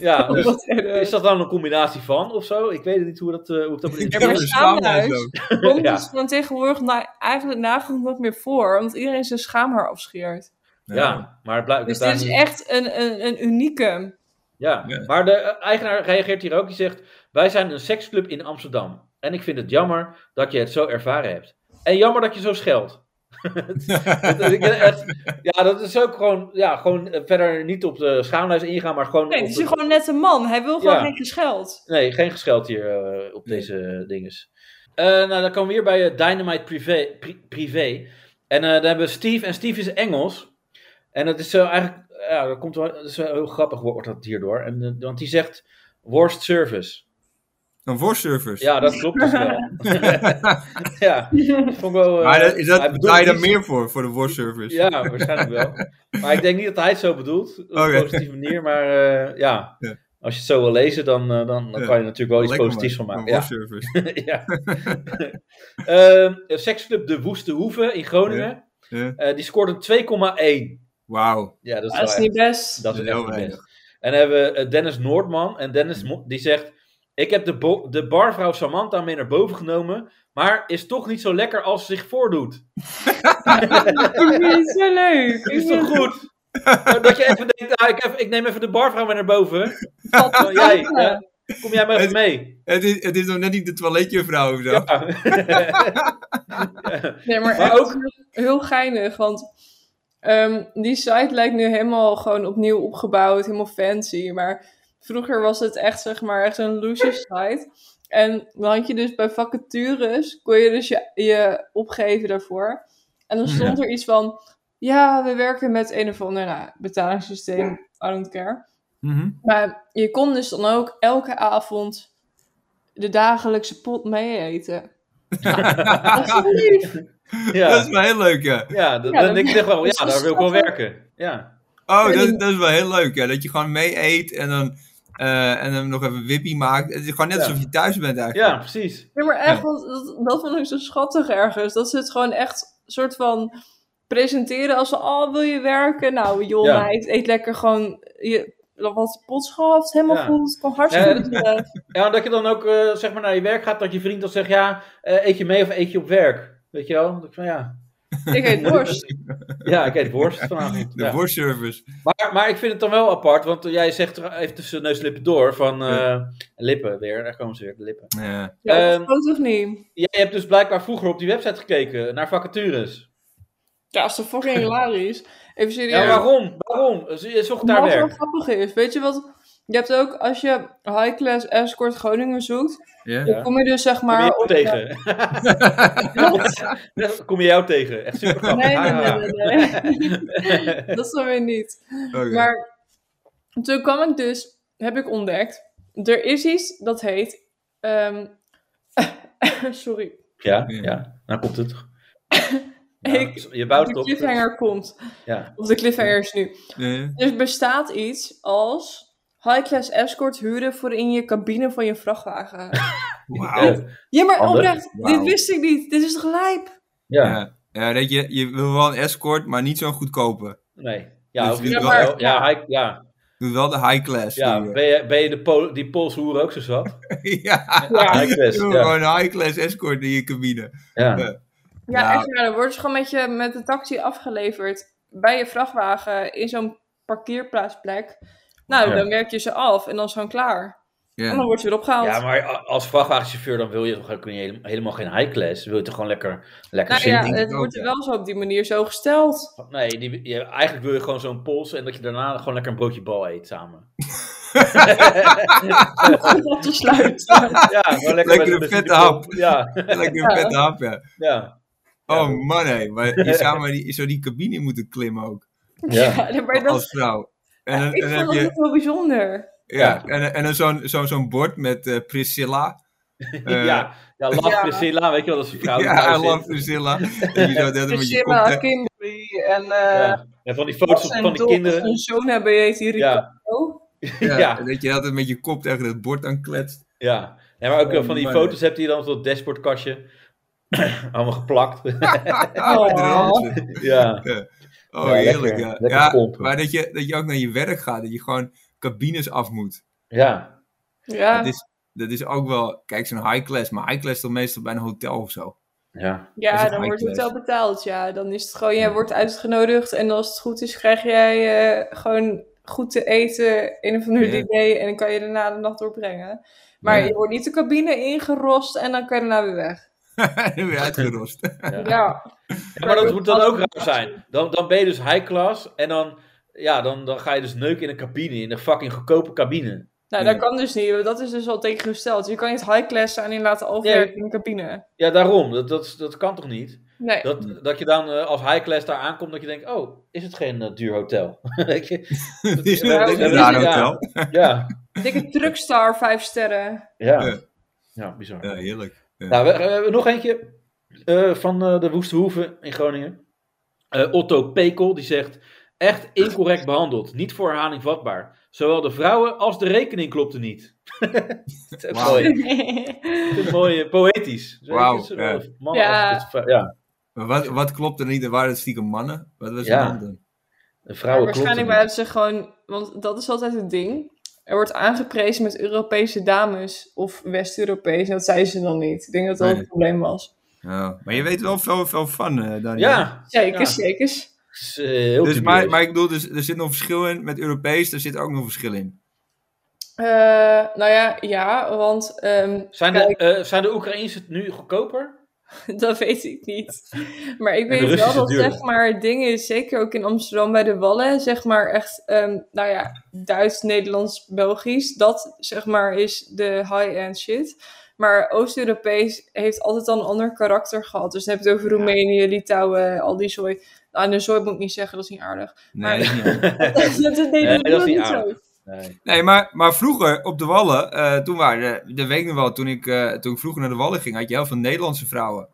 S4: Ja,
S9: (laughs)
S4: dus
S9: Wat erg.
S4: Is dat dan een combinatie van of zo? Ik weet niet hoe dat, eh hoe ik dat moet
S5: Ik
S9: Ja,
S5: heb
S9: maar
S5: er een schaamhuis
S9: schaamhuis.
S5: ook.
S9: Komt
S4: Ja.
S9: dus gewoon tegenwoordig na, eigenlijk nagenoeg nooit meer voor, omdat iedereen zijn schaamhaar afscheert.
S4: Ja, maar het blijkt
S9: Dus
S4: dat daar
S9: dit is
S4: niet-
S9: echt een, een, een unicum.
S4: Ja,
S5: Ja.
S4: maar de eh, eigenaar reageert hier ook. Die zegt: Wij zijn een seksclub in Amsterdam. En ik vind het jammer dat je het zo ervaren hebt. En jammer dat je zo scheldt. (laughs) Dat- dat- ik- het- ja, dat is ook gewoon, ja, gewoon eh, verder niet op de schaamlijst ingaan, maar gewoon.
S9: Nee,
S4: op
S9: het is
S4: de-
S9: hier gewoon net een man. Hij wil gewoon
S4: Ja.
S9: geen gescheld.
S4: Nee, geen gescheld hier eh, op deze dinges. Eh, nou, dan komen we hier bij eh, Dynamite Privé. Pri- privé. En eh daar hebben we Steve. En Steve is Engels. En dat is zo eigenlijk... Ja, dat komt wel, dat is wel heel grappig wordt dat hierdoor. En, eh, want die zegt worst service.
S5: Dan voorsurfers.
S4: Ja,
S5: (laughs)
S4: dat klopt dus wel. (laughs) ja, dat vond ik wel, eh,
S5: maar dat, is
S4: hij
S5: dat,
S4: bedoelt
S5: betaal je daar
S4: niet-
S5: meer voor, voor de worstservice?
S4: Ja, waarschijnlijk wel. Maar ik denk niet dat hij het zo bedoelt, op
S5: Oké.
S4: een positieve manier. Maar eh, ja,
S5: Ja.
S4: als je het zo wil lezen, dan, eh, dan, dan
S5: Ja.
S4: kan je er natuurlijk wel iets
S5: Lekker
S4: positiefs oh, van
S5: man,
S4: maken.
S5: een
S4: Ja.
S5: worstservice.
S4: (laughs) ja.
S5: (laughs)
S4: Ehm, seksclub De Woeste Hoeve in Groningen.
S5: Ja.
S4: Eh, die scoort een 2,1.
S5: Wauw.
S4: Ja, dat is,
S9: Ah, Dat
S4: wel
S9: is
S4: echt-
S9: niet best.
S4: Dat is
S5: Heel
S4: echt niet
S5: weinig.
S4: best. En dan hebben we eh, Dennis Noordman. En Dennis Mo- die zegt... Ik heb de, bo- de barvrouw Samantha mee naar boven genomen... maar is toch niet zo lekker als ze zich voordoet.
S9: Ik (laughs) vind het zo leuk.
S4: Is toch goed? Nou, Dat je even denkt, ah, ik, heb- ik neem even de barvrouw mee naar boven. Nou, jij, eh, kom jij maar even mee.
S5: Het is, het is nog net niet de toiletjevrouw of zo.
S4: Ja.
S9: Nee, maar,
S4: Maar
S9: echt
S4: ook-
S9: heel- heel geinig, want ehm, die site lijkt nu helemaal gewoon opnieuw opgebouwd, helemaal fancy. Maar vroeger was het echt, zeg maar, echt een loose site. En dan had je dus bij vacatures, kon je dus je, je opgeven daarvoor. En dan stond er iets van, ja, we werken met een of ander nou, betalingssysteem, I don't care.
S5: Mhm.
S9: Maar je kon dus dan ook elke avond de dagelijkse pot mee
S4: (laughs)
S9: eten. dat is toch lief?
S5: Dat
S4: ja,
S5: is wel heel leuk, ja.
S4: ja, dat,
S9: Ja,
S4: dan denk ik echt wel,
S9: dat is
S4: ja, daar wil ik wel
S9: schattig.
S4: werken. Ja,
S5: Oh,
S9: Ja,
S5: dat,
S9: die-
S5: dat is wel heel leuk, ja. Dat je gewoon mee eet en dan, eh, en dan nog even wippie maakt. Het is gewoon net
S4: Ja.
S5: alsof je thuis bent eigenlijk.
S4: ja precies.
S9: Ja, maar echt,
S5: Ja.
S9: want dat, dat vond ik zo schattig ergens. Dat ze het gewoon echt soort van presenteren als van, oh, wil je werken? Nou, joh,
S4: Ja.
S9: meid, eet lekker gewoon je, wat potschaft, helemaal
S4: Ja.
S9: goed, kan hartstikke
S4: Ja.
S9: goed terecht.
S4: Ja, dat je dan ook eh, zeg maar naar je werk gaat, dat je vriend dan zegt, ja, eh, eet je mee of eet je op werk? Weet je wel? Dat ik van, ja.
S9: Ik
S4: (laughs)
S9: eet worst.
S4: ja, ik eet worst vanavond.
S5: De
S4: ja.
S5: worstservice.
S4: Maar, maar ik vind het dan wel apart, want jij zegt er even tussen neus en lippen door van eh, lippen weer, daar komen ze weer, de lippen.
S5: Ja.
S9: Ja,
S4: Ehm,
S9: dat klopt toch niet?
S4: Jij hebt dus blijkbaar vroeger op die website gekeken naar vacatures.
S9: Ja, dat is toch
S4: (laughs)
S9: fucking hilarisch. Even serieus.
S4: Ja, waarom? Waarom? Zo- Je zocht daar
S9: Wat wel
S4: werk.
S9: grappig is, weet je wat? Je hebt ook, als je high class escort Groningen zoekt,
S5: Ja.
S4: Ja.
S9: dan kom je dus zeg
S4: Kom je
S9: maar...
S4: jou
S9: op-
S4: tegen?
S9: (laughs)
S4: Kom je jou tegen? Echt super grappig. (laughs)
S9: Nee, nee,
S4: Ah.
S9: nee, nee, nee. (laughs) dat is dan weer niet.
S5: Oké.
S9: Maar toen kwam ik dus, heb ik ontdekt, er is iets dat heet. ehm, (laughs) sorry,
S4: Ja, ja. Nou komt
S9: (laughs)
S4: het. Ja,
S9: Ik-
S4: je bouwt het
S9: de
S4: op. dus-
S9: cliffhanger komt.
S4: Ja.
S9: Of de cliffhanger is nu.
S5: Ja, ja.
S9: Er bestaat iets als high-class escort huren voor in je cabine van je
S4: (laughs)
S9: vrachtwagen.
S5: Wauw.
S9: Ja, maar
S4: Handig.
S9: oprecht, dit
S5: Wauw.
S9: wist ik niet. Dit is toch lijp?
S4: Ja,
S5: Ja. Ja, dat je, je wil wel een escort, maar niet zo'n goedkope.
S4: nee. Ja,
S5: Dus
S4: of
S5: dit
S4: ja,
S5: wel-
S4: maar, ja, hij, ja,
S5: Doe wel de high class.
S4: ja.
S5: doen we.
S4: Ben je, ben je de Pool- die Poolse hoer ook zo zat?
S5: (laughs) ja.
S4: Ja, ik best.
S5: Doe
S4: Ja.
S5: Gewoon een high class escort in je cabine.
S4: Ja.
S9: Ja,
S5: Nou.
S9: echt waar. Dan wordt ze gewoon met, je, met de taxi afgeleverd bij je vrachtwagen in zo'n parkeerplaatsplek. Nou,
S4: Ja.
S9: dan werk je ze af en dan is het gewoon klaar. En dan
S5: Ja.
S9: wordt je Nou weer opgehaald.
S4: ja, maar a- als vrachtwagenchauffeur dan wil je toch ook niet- helemaal geen high class. Dan wil je toch gewoon lekker, lekker
S9: Nou
S4: zitten.
S9: ja,
S5: denk ik
S9: het
S5: ook,
S9: wordt
S5: ja.
S9: wel zo op die manier zo gesteld.
S4: Nee, die, je, eigenlijk wil je gewoon zo'n pols en dat je daarna gewoon lekker een broodje bal eet samen.
S9: (laughs) Om op te sluiten.
S4: Ja, gewoon lekker
S5: Lekker een
S4: met- met
S5: vette
S4: die
S5: hap.
S4: pol- Ja,
S5: Lekker een vette hap, ja.
S4: ja.
S5: Oh man, hé. Maar
S4: (laughs)
S5: je zou maar die, je zou die cabine moeten klimmen ook.
S4: ja.
S9: Ja, maar dat,
S5: Als vrouw. En dan,
S9: ik
S5: en
S9: vond
S5: dan heb
S9: dat
S5: je,
S9: niet wel bijzonder.
S5: ja, en, en dan zo'n zo'n zo'n bord met eh, Priscilla. Eh,
S4: ja. Ja, laf
S11: Ja.
S4: Priscilla, weet je wel, dat is een vrouw die
S5: Ja, I
S4: thuis
S5: love
S4: zit.
S5: Priscilla.
S4: (laughs)
S5: En je zou dat
S9: Dus
S5: met je
S9: Priscilla,
S5: kop...
S11: Kimberly en eh,
S4: Ja. En van die foto's
S11: Bas en
S4: van die
S11: Dolf.
S4: kinderen.
S9: Een zoon hebben heet die Rico.
S4: Ja,
S5: Ja,
S4: ja.
S5: en Dat je altijd met je kop tegen het bord aan kletst.
S4: ja. Nee, maar ook eh, van die
S5: Oh, man.
S4: foto's hebt hij dan op dat dashboardkastje. (coughs) Allemaal geplakt. (laughs)
S5: Ah,
S9: Oh.
S5: met ranzen.
S4: ja.
S5: Oh,
S4: Ja, lekker.
S5: heerlijk. Ja,
S4: Lekker
S5: ja
S4: pompen.
S5: maar dat je, dat je ook naar je werk gaat. Dat je gewoon cabines af moet.
S4: Ja.
S9: Ja,
S5: Dat, is, dat is ook wel... Kijk, zo'n high class. Maar high class is dan meestal bij een hotel of zo. (laughs)
S4: Ja.
S5: dat is
S9: ja
S5: een
S9: dan wordt het
S5: high-class.
S9: wel betaald. Ja, dan is het gewoon, jij wordt uitgenodigd. En als het goed is, krijg jij eh, gewoon goed te eten, een of ander
S5: Ja.
S9: diner. En dan kan je daarna de nacht doorbrengen. Maar
S5: Ja.
S9: je wordt niet de cabine ingerost en dan kan je daarna weer weg.
S5: dan ben je uitgerost. (laughs)
S4: Ja.
S9: Ja,
S4: Ja, maar dat moet dan ook raar zijn. Dan, dan ben je dus high class en dan, ja, dan, dan ga je dus neuken in een cabine, in een fucking goedkope cabine.
S9: nou
S5: Ja.
S9: dat kan dus niet. want Dat is dus al tegengesteld. Je kan niet high class zijn en laten overwerken in de cabine.
S4: Ja, daarom. Dat, dat, dat kan toch niet?
S9: Nee.
S4: Dat, dat je dan eh, als high class daar aankomt, dat je denkt, oh, is het geen eh, duur hotel? (laughs) Weet je?
S5: Het is
S4: Ja,
S5: een
S4: dat
S5: een
S4: is-
S5: raar
S4: ja.
S5: hotel.
S4: ja, (laughs)
S9: Dikke truckstar, vijf sterren.
S4: ja.
S5: Ja.
S4: Ja, bizar.
S5: Ja, heerlijk. Ja.
S4: Nou, we, we hebben nog eentje eh, van eh, de Woeste Hoeven in Groningen. Eh, Otto Pekel, die zegt... Echt incorrect behandeld, niet voor herhaling vatbaar. Zowel de vrouwen als de rekening klopte niet. (laughs) dat is ook
S5: Wauw.
S4: mooi. Ik vind het mooi, eh, poëtisch. Zo,
S5: Wauw,
S4: het is, eh,
S5: ja.
S4: mannen
S9: Ja.
S4: als- het is- ja.
S5: Maar wat, wat klopt er niet? En waren het stiekem mannen? Wat was
S4: Ja.
S5: er dan? dan?
S4: De
S9: Maar
S4: vrouwen
S9: waarschijnlijk waren ze gewoon, want dat is altijd het ding. Er wordt aangeprezen met Europese dames of West-Europees en dat zeiden ze dan niet. Ik denk dat dat
S5: Nee.
S9: het probleem was.
S5: Ja, Oh. maar je weet wel veel, veel van, eh Daniel.
S4: Ja,
S9: Zeker,
S4: Ja. eh,
S9: zeker.
S4: heel
S5: dus,
S4: dubieus.
S5: maar, maar ik bedoel, dus, er zit nog een verschil in met Europees. Er zit ook nog een verschil in.
S9: Eh, nou ja, ja, want ehm,
S4: Zijn de, eh, zijn de Oekraïners het nu goedkoper? (laughs)
S9: (laughs) dat weet ik niet. Maar ik
S4: de
S9: weet wel
S4: Russische
S9: dat
S4: duurder.
S9: zeg maar, dingen, zeker ook in Amsterdam bij de Wallen, zeg maar echt, ehm, nou ja, Duits, Nederlands, Belgisch, dat zeg maar is de high-end shit. Maar Oost-Europees heeft altijd al een ander karakter gehad. Dus dan heb je het over Roemenië, Litouwen, al die zooi. Nou, de zooi moet ik niet zeggen, dat is niet aardig.
S5: Nee, dat is niet
S9: (laughs) dat, dat,
S5: Nee,
S9: nee,
S5: dat is
S9: niet
S5: niet
S9: zo.
S5: aardig. (laughs) Nee, maar, maar vroeger op de Wallen, eh, toen waren, de weet ik nog wel, toen ik, eh, toen ik vroeger naar de Wallen ging, had je heel veel Nederlandse vrouwen. En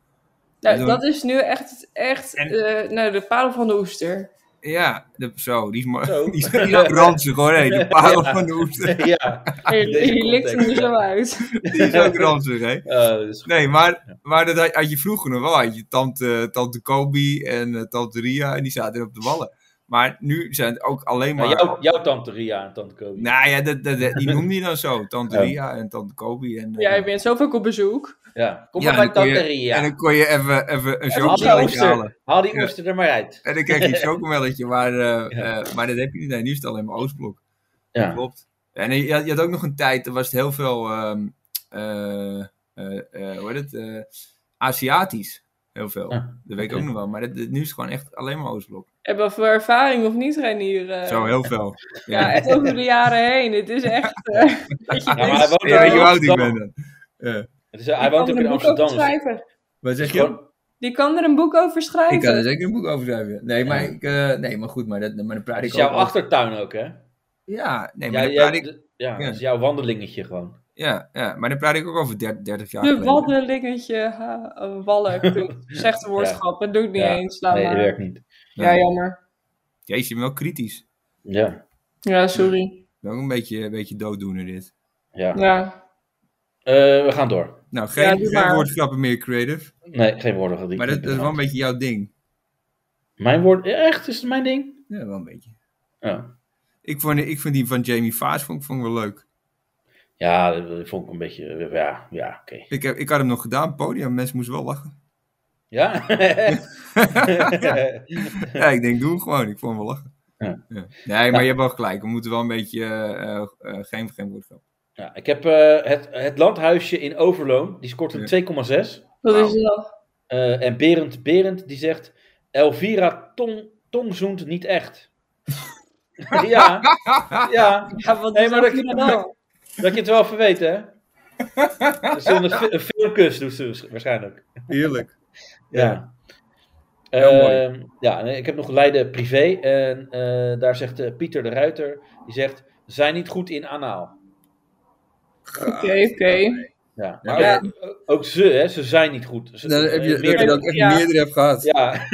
S9: Nou,
S5: toen-
S9: dat is nu echt, echt eh, nou, de parel van de oester.
S5: Ja, de, zo, die is, maar,
S9: Zo.
S5: (laughs) die is, die is ook ranzig hoor, hé, die parel van de oester.
S4: Ja,
S9: (laughs) Je,
S5: Ah, Deze
S9: je likt hem er
S5: context,
S9: zo uit.
S5: Die is ook ranzig, hè?
S4: eh,
S5: nee, maar, maar dat had, had je vroeger nog wel. Had je tante, tante Kobi en eh, tante Ria, en die zaten op de wallen. Maar nu zijn het ook alleen maar...
S4: Nou, jouw, jouw tante Ria en tante Kobi.
S5: Nou ja, dat, dat,
S4: (laughs)
S5: dat- die noemde je dan zo. Tante
S4: Ja.
S5: Ria en tante Kobi. En, eh,
S9: Jij bent zoveel op bezoek.
S4: Ja, kom
S5: ja,
S4: maar bij
S5: dan kon je-
S4: tante Ria.
S5: En dan kon je even, even een
S4: haal die
S5: chocomelletje halen.
S4: oester, haal die
S5: Ja.
S4: oester er maar uit.
S5: En dan
S4: (laughs)
S5: krijg je een chocomelletje, maar, eh, eh, maar dat heb je niet. Nee, nu is het alleen maar Oostblok.
S4: Ja.
S5: Klopt. En je had, je had ook nog een tijd, er was het heel veel, ehm, eh, eh, eh, hoe heet het, eh, Aziatisch. Heel veel.
S4: Ah,
S5: dat weet ik
S4: oké.
S5: ook nog wel, maar dat, dat- nu is het gewoon echt alleen maar Oostblok.
S9: Hebben we veel ervaring of niet, Reinier? eh?
S5: Zo, heel veel.
S9: Ja, echt over de jaren heen. Het is echt... eh, dat je
S4: Ja, maar
S9: denkt,
S4: hij woont
S5: Ja,
S4: ook
S5: weet je
S4: in
S5: hoe oud ik
S4: Amsterdam.
S5: ben dan? Ja.
S4: Het is, (laughs) hij woont ook
S9: een
S4: in
S9: boek
S4: Amsterdam.
S9: over
S4: dus-
S9: schrijven.
S5: Wat zeg je?
S9: Die kan er een boek over schrijven.
S5: Ik kan er zeker een boek over schrijven. Nee, maar, ik, eh, nee, maar goed, maar, dat, maar dan praat
S4: Het
S5: ik
S4: is Dus jouw
S5: ook over-
S4: achtertuin ook, hè?
S5: Ja,
S4: Ja,
S5: nee, maar
S4: jij-
S5: dan praat ik...
S4: d- ja, dat is jouw wandelingetje gewoon.
S5: Ja, ja, maar dan praat ik ook over 30, 30 jaar
S9: De
S5: geleden.
S9: waddelingetje, ha, eh, wallen.
S5: (laughs)
S9: Ik doe- Slechte woordschap, dat doe ik niet
S5: Ja.
S9: eens. Laat
S5: Nee,
S9: maar.
S5: dat werkt niet.
S9: Ja, jammer.
S5: Jezus, je bent wel kritisch.
S4: Ja.
S9: Ja, sorry.
S5: Ook een beetje, een beetje dooddoener dit.
S4: Ja.
S9: Ja.
S4: Eh, we gaan door.
S5: Nou, geen,
S9: Ja, doe
S5: geen
S9: maar.
S5: woordgrappen meer, creative.
S4: Nee, geen woorden. die
S5: Maar dat, dat is wel een beetje jouw ding.
S4: Mijn woord, echt? Is het mijn ding? Oh.
S5: Ja, wel een beetje.
S4: Ja.
S5: Ik vond, ik vond die van Jamie Faas vond, ik- vond ik wel leuk.
S4: Ja, dat- dat vond ik een beetje... eh, Ja, ja oké.
S5: Ik, heb, ik had hem nog gedaan, podium. Mensen moesten wel lachen. (laughs)
S4: Ja? (laughs)
S5: ja, ik denk, doe hem gewoon. Ik vond hem wel lachen.
S4: Ja.
S5: Ja. Nee, maar je hebt wel gelijk. We moeten wel een beetje... eh, eh, eh, geen, geen woordgrappen.
S4: ja, ik heb eh, het, het landhuisje in Overloon. Die scoort
S5: Ja.
S4: een 2,6.
S9: Dat is wel...
S4: Eh, en Berend, Berend die zegt: Elvira tong, tongzoent niet echt. (laughs) ja, ja.
S9: Ja, wat
S4: Nee,
S9: is
S4: maar
S9: dat
S4: dat je,
S9: nou?
S4: dat, dat je het wel even weet, hè? Dat is een, fi- een filmkus doet ze waarsch- waarschijnlijk.
S5: Heerlijk.
S4: Ja.
S5: Heel mooi.
S4: Ehm, ja, nee, ik heb nog Leiden privé. En eh, daar zegt eh, Pieter de Ruiter: die zegt, zijn niet goed in anaal.
S9: Oké, oké.
S4: Ja,
S5: Ja,
S4: maar
S5: ja.
S4: Ook, eh, ook ze, hè, ze zijn niet goed. Ze,
S5: Dan heb
S4: eh,
S5: je, dat je
S4: meerdere-
S5: dat echt
S9: Ja.
S5: meerdere hebt gehad.
S4: Ja, (laughs)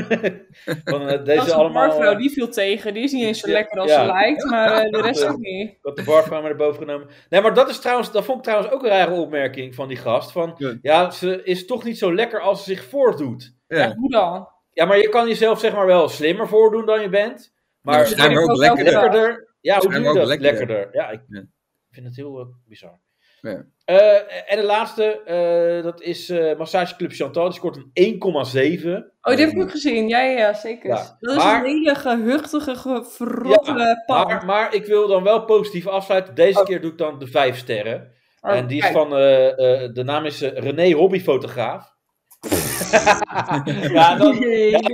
S4: want eh,
S9: Dat is
S4: deze
S9: een
S4: allemaal.
S9: barvrouw,
S4: eh,
S9: die viel tegen. Die is niet eens zo
S4: Ja,
S9: lekker als
S4: ja.
S9: ze lijkt, maar eh, de rest
S4: Ja.
S9: ook niet.
S4: Ik had de barvrouw maar erboven genomen. Nee, maar dat is trouwens, dat vond ik trouwens ook een rare opmerking van die gast. Van, ja.
S5: Ja.
S4: ze is toch niet zo lekker als ze zich voordoet.
S5: Ja.
S9: Hoe dan?
S4: Ja, maar je kan jezelf zeg maar wel slimmer voordoen dan je bent. Maar
S5: Ja, schijnbaar ook lekkerder.
S4: Ja, hoe doe
S5: Schijnbaar
S4: je
S5: ook
S4: dat? Lekkerder.
S5: lekkerder.
S4: Ja, ik
S5: Ja.
S4: vind het heel eh, bizar.
S5: Ja.
S4: Eh, en de laatste, eh, dat is eh Massageclub Chantal. Die scoort een 1,7.
S9: Oh, die heb ik ook gezien. Ja, ja, ja, zeker.
S4: Ja,
S9: Dat is
S4: maar-
S9: een hele gehuchtige, verrotte pan.
S4: maar, maar ik wil dan wel positief afsluiten. Deze keer doe ik dan de vijf sterren.
S9: Oh,
S4: en die is
S9: kijk.
S4: van, eh, eh, de naam is eh, René
S5: (laughs)
S4: Hobbyfotograaf. ja, dan, ja, dan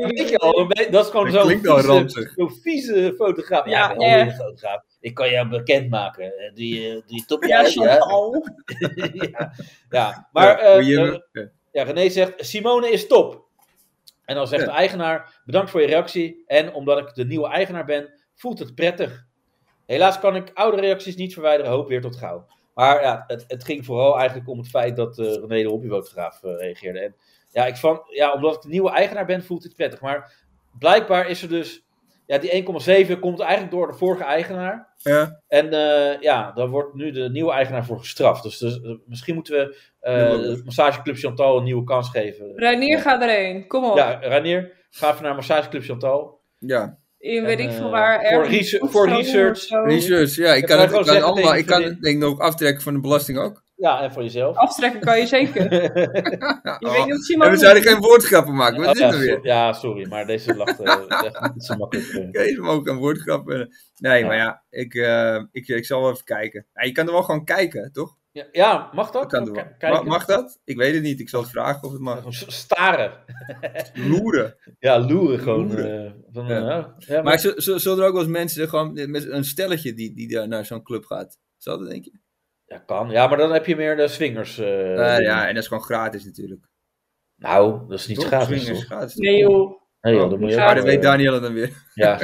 S4: weet je al, dan weet- dat is gewoon
S5: Dat
S4: zo'n
S5: klinkt al
S4: vieze,
S5: ranzig.
S4: zo'n vieze fotograaf. Ja,
S9: Ja,
S4: ik ben alweer een
S9: echt.
S4: fotograaf. Ik kan jou bekendmaken. Eh, Die, eh, die top
S9: Ja,
S4: uit,
S9: Chantal.
S4: ja. ja, maar
S5: Ja,
S4: eh,
S5: wie hebben-
S4: eh,
S5: ja.
S4: ja, René zegt, Simone is top. En dan zegt
S5: Ja.
S4: de eigenaar, bedankt voor je reactie. En omdat ik de nieuwe eigenaar ben, voelt het prettig. Helaas kan ik oude reacties niet verwijderen. Hoop weer tot gauw. Maar ja, het, het ging vooral eigenlijk om het feit dat eh René de hobbyfotograaf eh, reageerde. En ja, ik van, ja, omdat ik de nieuwe eigenaar ben, voelt dit prettig. Maar blijkbaar is er dus... Ja, die 1,7 komt eigenlijk door de vorige eigenaar.
S5: Ja.
S4: En eh, ja, daar wordt nu de nieuwe eigenaar voor gestraft. Dus, dus, eh, misschien moeten we eh, het Massageclub Chantal een nieuwe kans geven.
S9: Reinier, ga erheen. Kom op.
S4: Ja, Ranier, ga even naar Massageclub Chantal.
S5: Ja.
S9: In weet ik veel
S4: eh,
S9: waar.
S4: voor
S9: ergens
S4: rese-
S9: of
S4: voor
S9: zo,
S4: research.
S9: of zo.
S5: Research, ja, ik
S4: Ik
S5: kan
S4: wou gewoon
S5: het ik kan
S4: zeggen
S5: allemaal.
S4: tegen
S5: Ik kan
S4: vriendin-
S5: het denk ik ook aftrekken van de belasting ook.
S4: Ja, en voor jezelf.
S9: Aftrekken kan je zeker.
S4: (laughs)
S9: Je weet niet of Simon
S5: en oh. we zouden geen woordgrappen maken. Wat
S4: Oh,
S5: is dit
S4: ja,
S5: nou weer?
S4: so- ja, sorry, maar deze lacht
S5: (laughs)
S4: eh, echt niet zo makkelijk. eh.
S5: Oké, we ook een woordgrap. eh. Nee, maar ja, ik, eh, ik, ik zal wel even kijken. Ja, je kan er wel gewoon kijken, toch?
S4: Ja, ja, mag dat?
S5: Ik kan er wel.
S4: K- kijken.
S5: Ma- Mag dat? Ik weet het niet. Ik zal het vragen of het mag.
S4: Staren.
S5: Loeren.
S4: Ja, loeren gewoon.
S5: Loeren.
S4: eh, van,
S5: Ja.
S4: eh, nou, ja,
S5: maar zo- zo- zullen er ook wel eens mensen er gewoon met een stelletje die, die daar naar zo'n club gaat? Zal dat denk je?
S4: Ja, kan. Ja, maar dan heb je meer de swingers. eh,
S5: Nou
S4: dingen.
S5: ja, en dat is gewoon gratis natuurlijk.
S4: Nou, dat is niet
S5: Toch?
S4: gratis,
S5: Swingers,
S4: toch?
S5: gratis.
S9: Nee, joh.
S4: Nee, joh,
S5: Oh,
S4: dan moet je
S5: maar dat
S4: ook,
S5: weet
S4: eh,
S5: Danielle dan weer.
S4: Ja.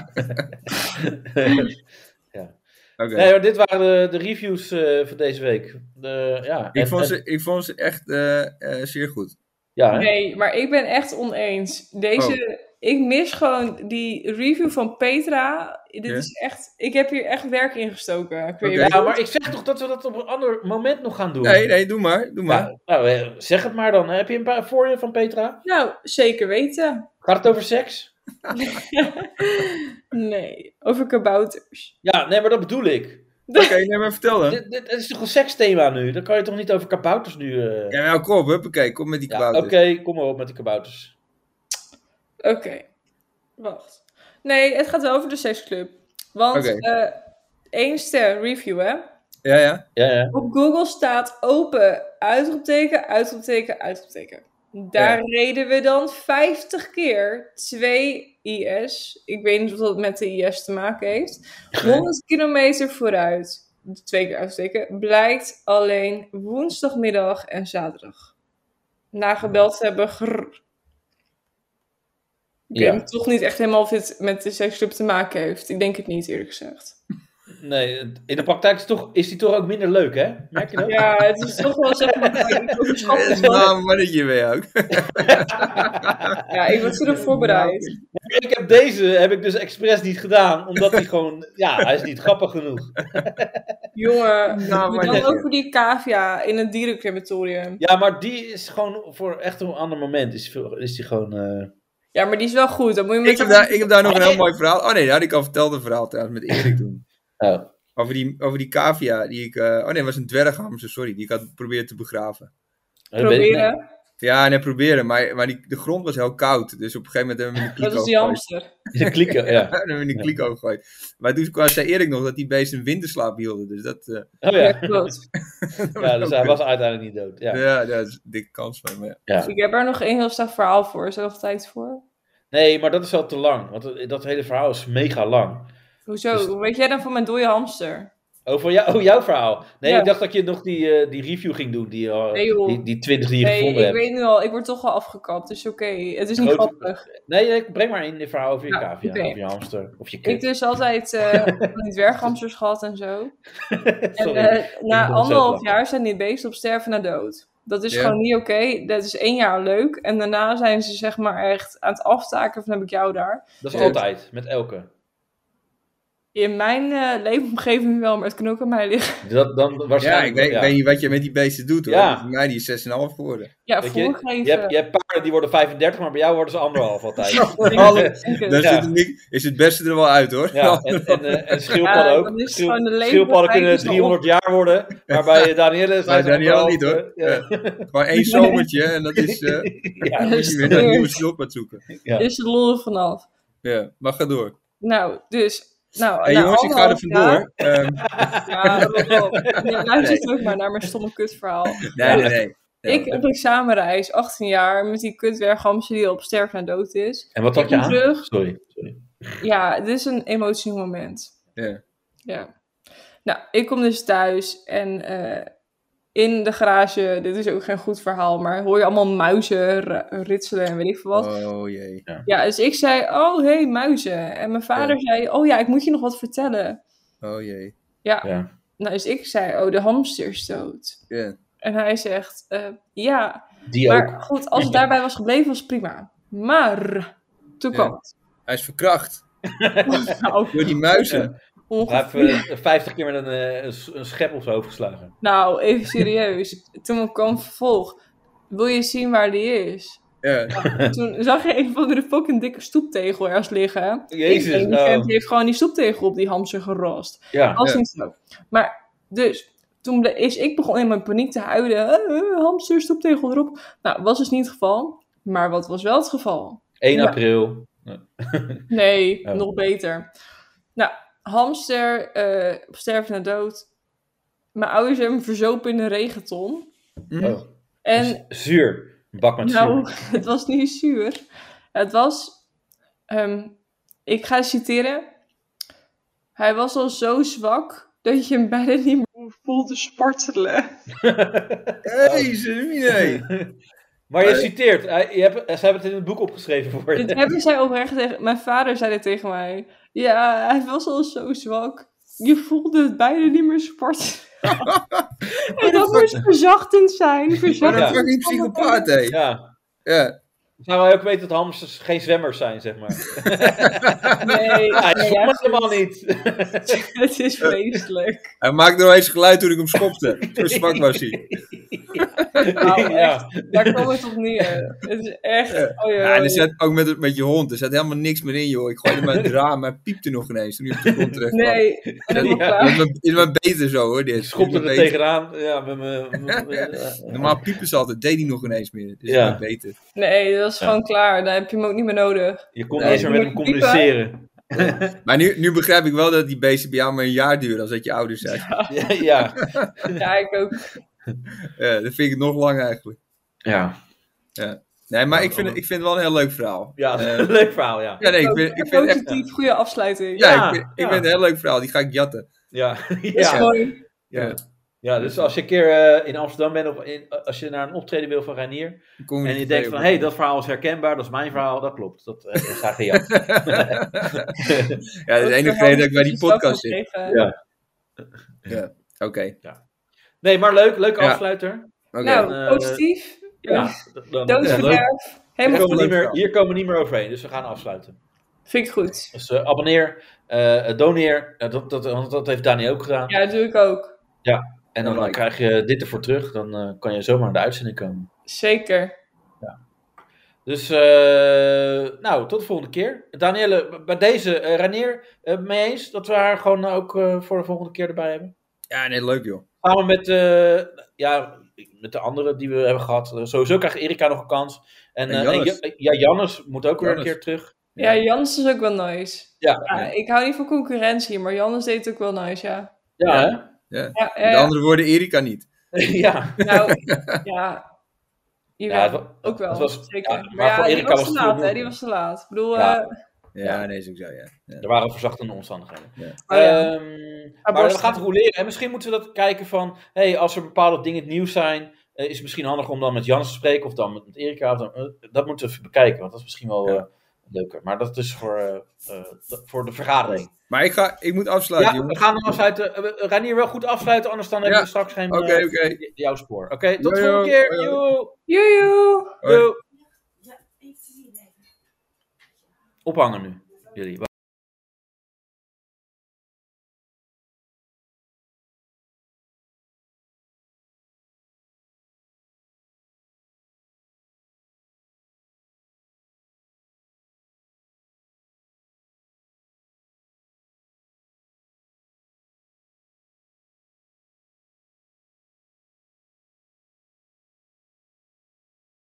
S5: (laughs)
S4: ja. (laughs)
S5: Oké.
S4: Nee, maar dit waren de, de reviews eh, van deze week. De, ja,
S5: Ik
S4: en-
S5: vond
S4: en-
S5: ze, ik vond ze echt eh, eh, zeer goed.
S4: Ja,
S9: Nee, maar ik ben echt oneens. Deze,
S4: Oh.
S9: ik mis gewoon die review van Petra. Dit
S4: Ja.
S9: is echt, ik heb hier echt werk in gestoken. Ik weet
S4: Ja,
S9: niet.
S4: maar ik zeg toch dat we dat op een ander moment nog gaan doen?
S9: Nee, nee,
S5: doe maar. Doe
S4: maar. nou, eh, zeg het maar dan. Heb je een paar voor je van Petra?
S9: Nou, zeker weten.
S4: Gaat het over seks?
S9: Nee, over kabouters.
S4: Ja, nee, maar dat bedoel ik.
S5: Oké, nee, maar vertel
S4: (laughs)
S5: dan.
S4: Dit, dit- dit is toch een seksthema nu? Dan kan je toch niet over kabouters nu... eh,
S5: Ja, nou kom op, huppakee, kom met die dus. kabouters.
S4: Oké, kom maar op met de kabouters.
S9: Oké, wacht. Nee, het gaat wel over de seksclub. Want
S5: Oké.
S9: eh, één ster review, hè?
S5: Ja, ja.
S4: Ja, ja.
S9: Op Google staat open, uitroepteken, uitroepteken, uitroepteken. Daar
S5: Ja.
S9: reden we dan 50 keer 2 IS. Ik weet niet of dat met de IS te maken heeft. 100 kilometer vooruit, twee keer uitroepteken, blijkt alleen woensdagmiddag en zaterdag. Na gebeld te hebben, grrr. Ik
S4: Ja.
S9: weet me toch niet echt helemaal of dit met de seksclub te maken heeft. Ik denk het niet, eerlijk gezegd.
S4: Nee, in de praktijk is, toch, is die toch ook minder leuk, hè? Merk je dat?
S9: Ja, het is toch wel zeg maar... Oh,
S5: Nou, mannetje ben je ook.
S9: Ja, ik was erop voorbereid.
S4: Ik heb deze heb ik dus expres niet gedaan, omdat hij gewoon... Ja, hij is niet grappig genoeg.
S9: Jongen,
S4: Nou, maar
S9: dan
S4: dit-
S9: over die cavia in het dierencrematorium.
S4: Ja, maar die is gewoon voor echt een ander moment. Is, veel- is die gewoon... eh,
S9: Ja, maar die is wel goed. Dan moet je met
S5: (laughs) Ik heb,
S9: de-
S5: daar, ik heb daar nog een
S9: Oh,
S5: heel
S9: nee.
S5: mooi verhaal. Oh nee, dat had ik al verteld een verhaal trouwens met Erik toen.
S4: Oh.
S5: Over die, over die cavia die ik... eh, oh nee, het was een dwerghamster, sorry. Die ik had proberen te begraven.
S4: dat weet ik Proberen?
S5: Ja, nee, proberen. Maar, maar die, de grond was heel koud. Dus op een gegeven moment hebben we een
S9: (laughs) Dat was die
S5: (laughs)
S9: hamster.
S4: De kliko, ja.
S5: dan hebben we een kliko gegooid. Maar toen kwam, zei Erik nog dat die beesten een winterslaap hielden. Dus dat... eh,
S4: Oh ja.
S9: (laughs) Ja, klopt.
S4: ja, dus hij was uiteindelijk niet dood. Ja.
S5: Ja, ja daar is een dikke kans van. Maar ja.
S4: Ja.
S9: Ik heb er nog één heel slecht verhaal voor. Is er nog tijd voor?
S4: Nee, maar dat is wel te lang. Want dat- dat hele verhaal is mega lang.
S9: Hoezo?
S4: Dus-
S9: Hoe weet jij dan van mijn dode hamster?
S4: Oh, voor jou, oh, jouw verhaal. Nee,
S9: Ja.
S4: ik dacht dat je nog die, eh, die review ging doen. Die, eh,
S9: Nee, joh.
S4: die, die 20 die je
S9: nee, ik
S4: gevonden hebt.
S9: weet nu al. Ik word toch al afgekapt. Dus oké, het is niet
S4: Grote-
S9: grappig.
S4: Nee, nee, breng maar in dit verhaal over je
S9: Ja,
S4: cavia.
S9: oké.
S4: Of je hamster. Of je
S9: Ik
S4: kip.
S9: dus altijd
S4: (laughs)
S9: eh van die dwerghamsters gehad en zo. En
S4: Sorry,
S9: eh,
S4: ik
S9: na
S4: moet zelf
S9: anderhalf
S4: lachen.
S9: jaar zijn die beesten op sterven na dood. Dat is
S4: Ja.
S9: gewoon niet oké. Dat is één jaar leuk. En daarna zijn ze zeg maar echt aan het aftaken van heb ik jou daar.
S4: Dat is
S9: Dus
S4: altijd, met elke.
S9: In mijn eh, leefomgeving wel, maar het kan ook aan mij liggen. (laughs)
S4: Dat, dan waarschijnlijk,
S5: Ja,
S4: ja.
S5: ik weet, ik weet niet wat je met die beesten doet hoor.
S4: Ja.
S5: Voor mij die is 6,5 geworden.
S9: Ja,
S4: Weet
S9: voorgeven.
S4: Je, je, hebt, je hebt paarden die worden 35, maar bij jou worden ze anderhalf
S9: (laughs)
S4: altijd. (laughs)
S5: Alle-
S9: Ja.
S5: Daar zit het niet- is het beste er wel uit hoor.
S4: Ja, en, en, eh, en schildpadden
S9: Ja,
S4: ook.
S9: dan is het
S4: Schil-
S9: gewoon de leven
S4: schildpadden kunnen
S9: begrijpen ze
S4: 300 jaar worden, maar bij eh, Danielle
S5: Maar
S4: zijn ze
S5: Daniel
S4: allemaal,
S5: niet hoor.
S4: eh, (laughs) ja.
S5: Ja. (laughs) Gewoon één zomertje en dat is. eh dan moet je weer een nieuwe schildpad zoeken.
S4: Ja.
S9: Is de Dus lol er vanaf.
S5: Ja, maar ga door.
S9: Nou, dus. Nou,
S5: Hey,
S9: na
S5: jongens, ik ga er
S9: anderhalf jaar-
S5: vandoor. Ehm,
S4: (laughs)
S9: Ja, rot op. Ja, luister
S5: Nee.
S9: terug maar naar mijn stomme kutverhaal.
S5: nee, nee, nee. Ja.
S9: Ik op examenreis, 18 jaar, met die kutwerghamster die al op sterven na dood is.
S4: En wat had
S9: Ik
S4: je
S9: kom
S4: aan?
S9: terug.
S4: Sorry. sorry.
S9: Ja, dit is een emotioneel moment.
S5: Ja.
S9: Ja. Nou, ik kom dus thuis en eh, in de garage, dit is ook geen goed verhaal, maar hoor je allemaal muizen ra- ritselen en weet ik veel wat.
S5: Oh jee.
S9: Ja, dus ik zei, oh hé, hey, muizen. En mijn vader zei, oh ja, ik moet je nog wat vertellen.
S5: Oh jee.
S9: Ja. Nou, dus ik zei, oh, de hamster is dood.
S5: Ja.
S9: En hij zegt, eh, ja.
S5: Die
S9: maar
S5: ook.
S9: goed, als het daarbij was gebleven, was het prima. Maar, toen
S5: Ja.
S9: kwam het.
S5: Hij is verkracht. Door die muizen.
S4: Hij heeft eh, 50 keer met een, eh, een s- een schep op zijn hoofd geslagen. (laughs)
S9: Nou, even serieus. Toen kwam vervolg. Wil je zien waar die is?
S4: Ja.
S9: Toen zag je een van de fucking dikke stoeptegel ergens liggen.
S4: Jezus,
S9: Ik denk, Oh, die
S4: oh.
S9: vent heeft gewoon die stoeptegel op die hamster gerost.
S4: Ja.
S9: Als
S4: Ja.
S9: niet zo. Maar, dus, toen ble- is ik begon in mijn paniek te huilen. Eh, eh, hamster, stoeptegel erop. Nou, was dus niet het geval. Maar wat was wel het geval?
S4: 1
S9: Nou,
S4: april.
S9: Nee,
S4: Oh.
S9: nog beter. Nou, hamster, eh op sterven na dood. Mijn ouders hebben me verzopen in een regenton.
S4: Oh.
S9: En
S4: Zuur. Een bak met
S9: nou,
S4: zuur.
S9: (laughs) het was niet zuur. Het was, ehm, ik ga citeren. Hij was al zo zwak dat je hem bijna niet meer voelde spartelen.
S5: Jezus, nee.
S4: Maar je
S9: Eh.
S4: citeert. Hij- je hebt, ze hebben het in het boek opgeschreven voor (laughs) je.
S9: Dit hebben zij oprecht tegen... Mijn vader zei dit tegen mij. Ja, hij was al zo zwak. Je voelde het bijna niet meer
S5: (laughs)
S9: sport. en dat moest verzachtend zijn.
S5: Wat een
S9: Verzachtend.
S5: fucking psychopaat, hé.
S4: Ja.
S5: ja.
S4: Zou wij ook weten dat hamsters geen zwemmers zijn, zeg maar.
S9: Nee,
S4: Hij
S9: nee,
S4: zwom
S9: ja,
S4: helemaal niet.
S9: (laughs) het is
S5: (laughs)
S9: vreselijk.
S5: Hij maakte nog eens geluid toen ik hem schopte. Zo zwak was hij.
S9: Nou,
S4: Ja.
S9: echt, Daar kwam het op neer. Het is echt... Oh,
S5: Ja, en er zat ook met, met je hond, er zat helemaal niks meer in, joh. Ik gooide (laughs) mijn raam, hij piepte nog ineens toen hij op de grond terecht kwam.
S9: Nee,
S5: dat is
S4: Ja.
S5: maar- is maar beter zo, hoor. Dit.
S4: Schopte
S5: Is maar
S4: er
S5: beter.
S4: tegenaan. Ja, met
S5: (laughs)
S4: mijn- met mijn- ja.
S5: Normaal piepen ze altijd, deed hij nog ineens meer. Dus
S4: Ja.
S5: ja. is maar beter.
S9: nee, dat is
S4: Ja.
S9: gewoon klaar. Dan heb je hem ook niet meer nodig.
S4: Je kon
S5: Nee,
S4: niet eens
S5: je
S4: meer met hem
S9: moet
S4: communiceren.
S5: Maar nu, nu begrijp ik wel dat die beesten bij jou maar een jaar duren als dat je ouders zijn. Ja.
S4: (laughs) Ja. ja.
S9: Ja, ik ook.
S5: Eh, dat vind ik nog lang eigenlijk.
S4: Ja.
S5: Ja. Nee, maar ik vind, het- ik vind het wel een heel leuk verhaal.
S4: Ja,
S5: Eh,
S4: leuk verhaal, ja.
S5: ja, nee, ik vind, ik vind het echt...
S9: Positief, goede afsluiting.
S5: Ja,
S4: Ja,
S5: ik, vind, ik
S4: ja.
S5: vind het een heel leuk verhaal. Die ga ik jatten. (laughs)
S4: Ja.
S9: Dat is gewoon...
S5: Ja.
S4: Ja, dus als je een keer eh, in Amsterdam bent of in, als je naar een optreden wil van Reinier
S5: kom je
S4: en je
S5: niet
S4: denkt
S5: mee,
S4: van,
S5: hoor.
S4: hé, hey, dat verhaal is herkenbaar, dat is mijn verhaal, dat klopt. Dat
S5: (laughs)
S4: eh, is daar gejat.
S5: Ja, dat is de enige reden dat ik bij die podcast zit.
S4: Ja.
S5: Ja, oké.
S4: Nee, maar leuk, leuke
S5: Ja.
S4: afsluiter.
S5: Oké.
S9: Nou,
S4: Eh,
S9: positief.
S4: Ja, dan,
S9: Doodverderf.
S4: Hier
S9: Helemaal
S4: komen, we niet
S9: goed.
S4: meer, hier komen we niet meer overheen, dus we gaan afsluiten.
S9: Vind ik goed.
S4: Dus eh, abonneer, eh, doneer, eh, dat, dat, want dat heeft Dani ook gedaan.
S9: Ja, dat doe ik ook.
S4: Ja, en dan,
S5: Alright.
S4: eh, krijg je dit ervoor terug. Dan eh, kan je zomaar in de uitzending komen.
S9: Zeker.
S4: Dus, eh, nou, tot de volgende keer. Danielle, b- bij deze, eh Ranier, eh, mee eens dat we haar gewoon ook eh, voor de volgende keer erbij hebben?
S5: Ja, nee, leuk joh.
S4: Samen met, eh, ja, met de anderen die we hebben gehad. Eh, sowieso krijgt Erika nog een kans. En,
S5: En
S4: eh,
S5: Jannes.
S4: en Ja- ja, Jannes moet ook weer een
S5: Jannes.
S4: keer terug.
S9: Ja, Jans is ook wel nice.
S4: Ja,
S9: Ja, Ik hou niet van concurrentie, maar Jans deed het ook wel nice, ja.
S4: ja, hè?
S5: Ja.
S9: Ja,
S5: Met
S9: ja.
S5: andere woorden, Erika niet.
S4: (laughs) ja.
S9: Nou, ja. Jawel,
S4: Ja, het wa-
S9: ook wel.
S4: het was-
S9: zeker.
S4: ja,
S9: maar
S4: maar voor
S9: ja, die
S4: Erika
S9: was
S4: was
S9: te
S4: het
S9: laat,
S4: goed.
S9: hè. Die was te laat. Ik bedoel,
S4: Ja.
S9: eh,
S5: Ja, nee, is ook zo, ja. ja.
S4: Er waren verzachtende omstandigheden.
S9: oh ja.
S4: Ehm, maar we
S9: borsten.
S4: gaan het roleren. En misschien moeten we dat kijken van... Hey, als er bepaalde dingen nieuw zijn... eh, is het misschien handig om dan met Jans te spreken... of dan met, met Erika. Of dan, eh, dat moeten we even bekijken. Want dat is misschien wel eh, leuker. Maar dat is voor, eh, eh, d- voor de vergadering.
S5: Maar ik, ga, ik moet afsluiten,
S4: Ja, we
S5: jongens.
S4: gaan hem afsluiten. Eh, we- Reinier, wel goed afsluiten. Anders dan hebben we straks geen...
S5: Oké,
S4: eh,
S5: oké.
S4: j- jouw spoor. Oké, tot de
S5: Jojo,
S4: volgende keer.
S5: jojo.
S4: Joe.
S9: Joejoe!
S5: Hoi.
S4: Joe. Ophangen nu. Jullie.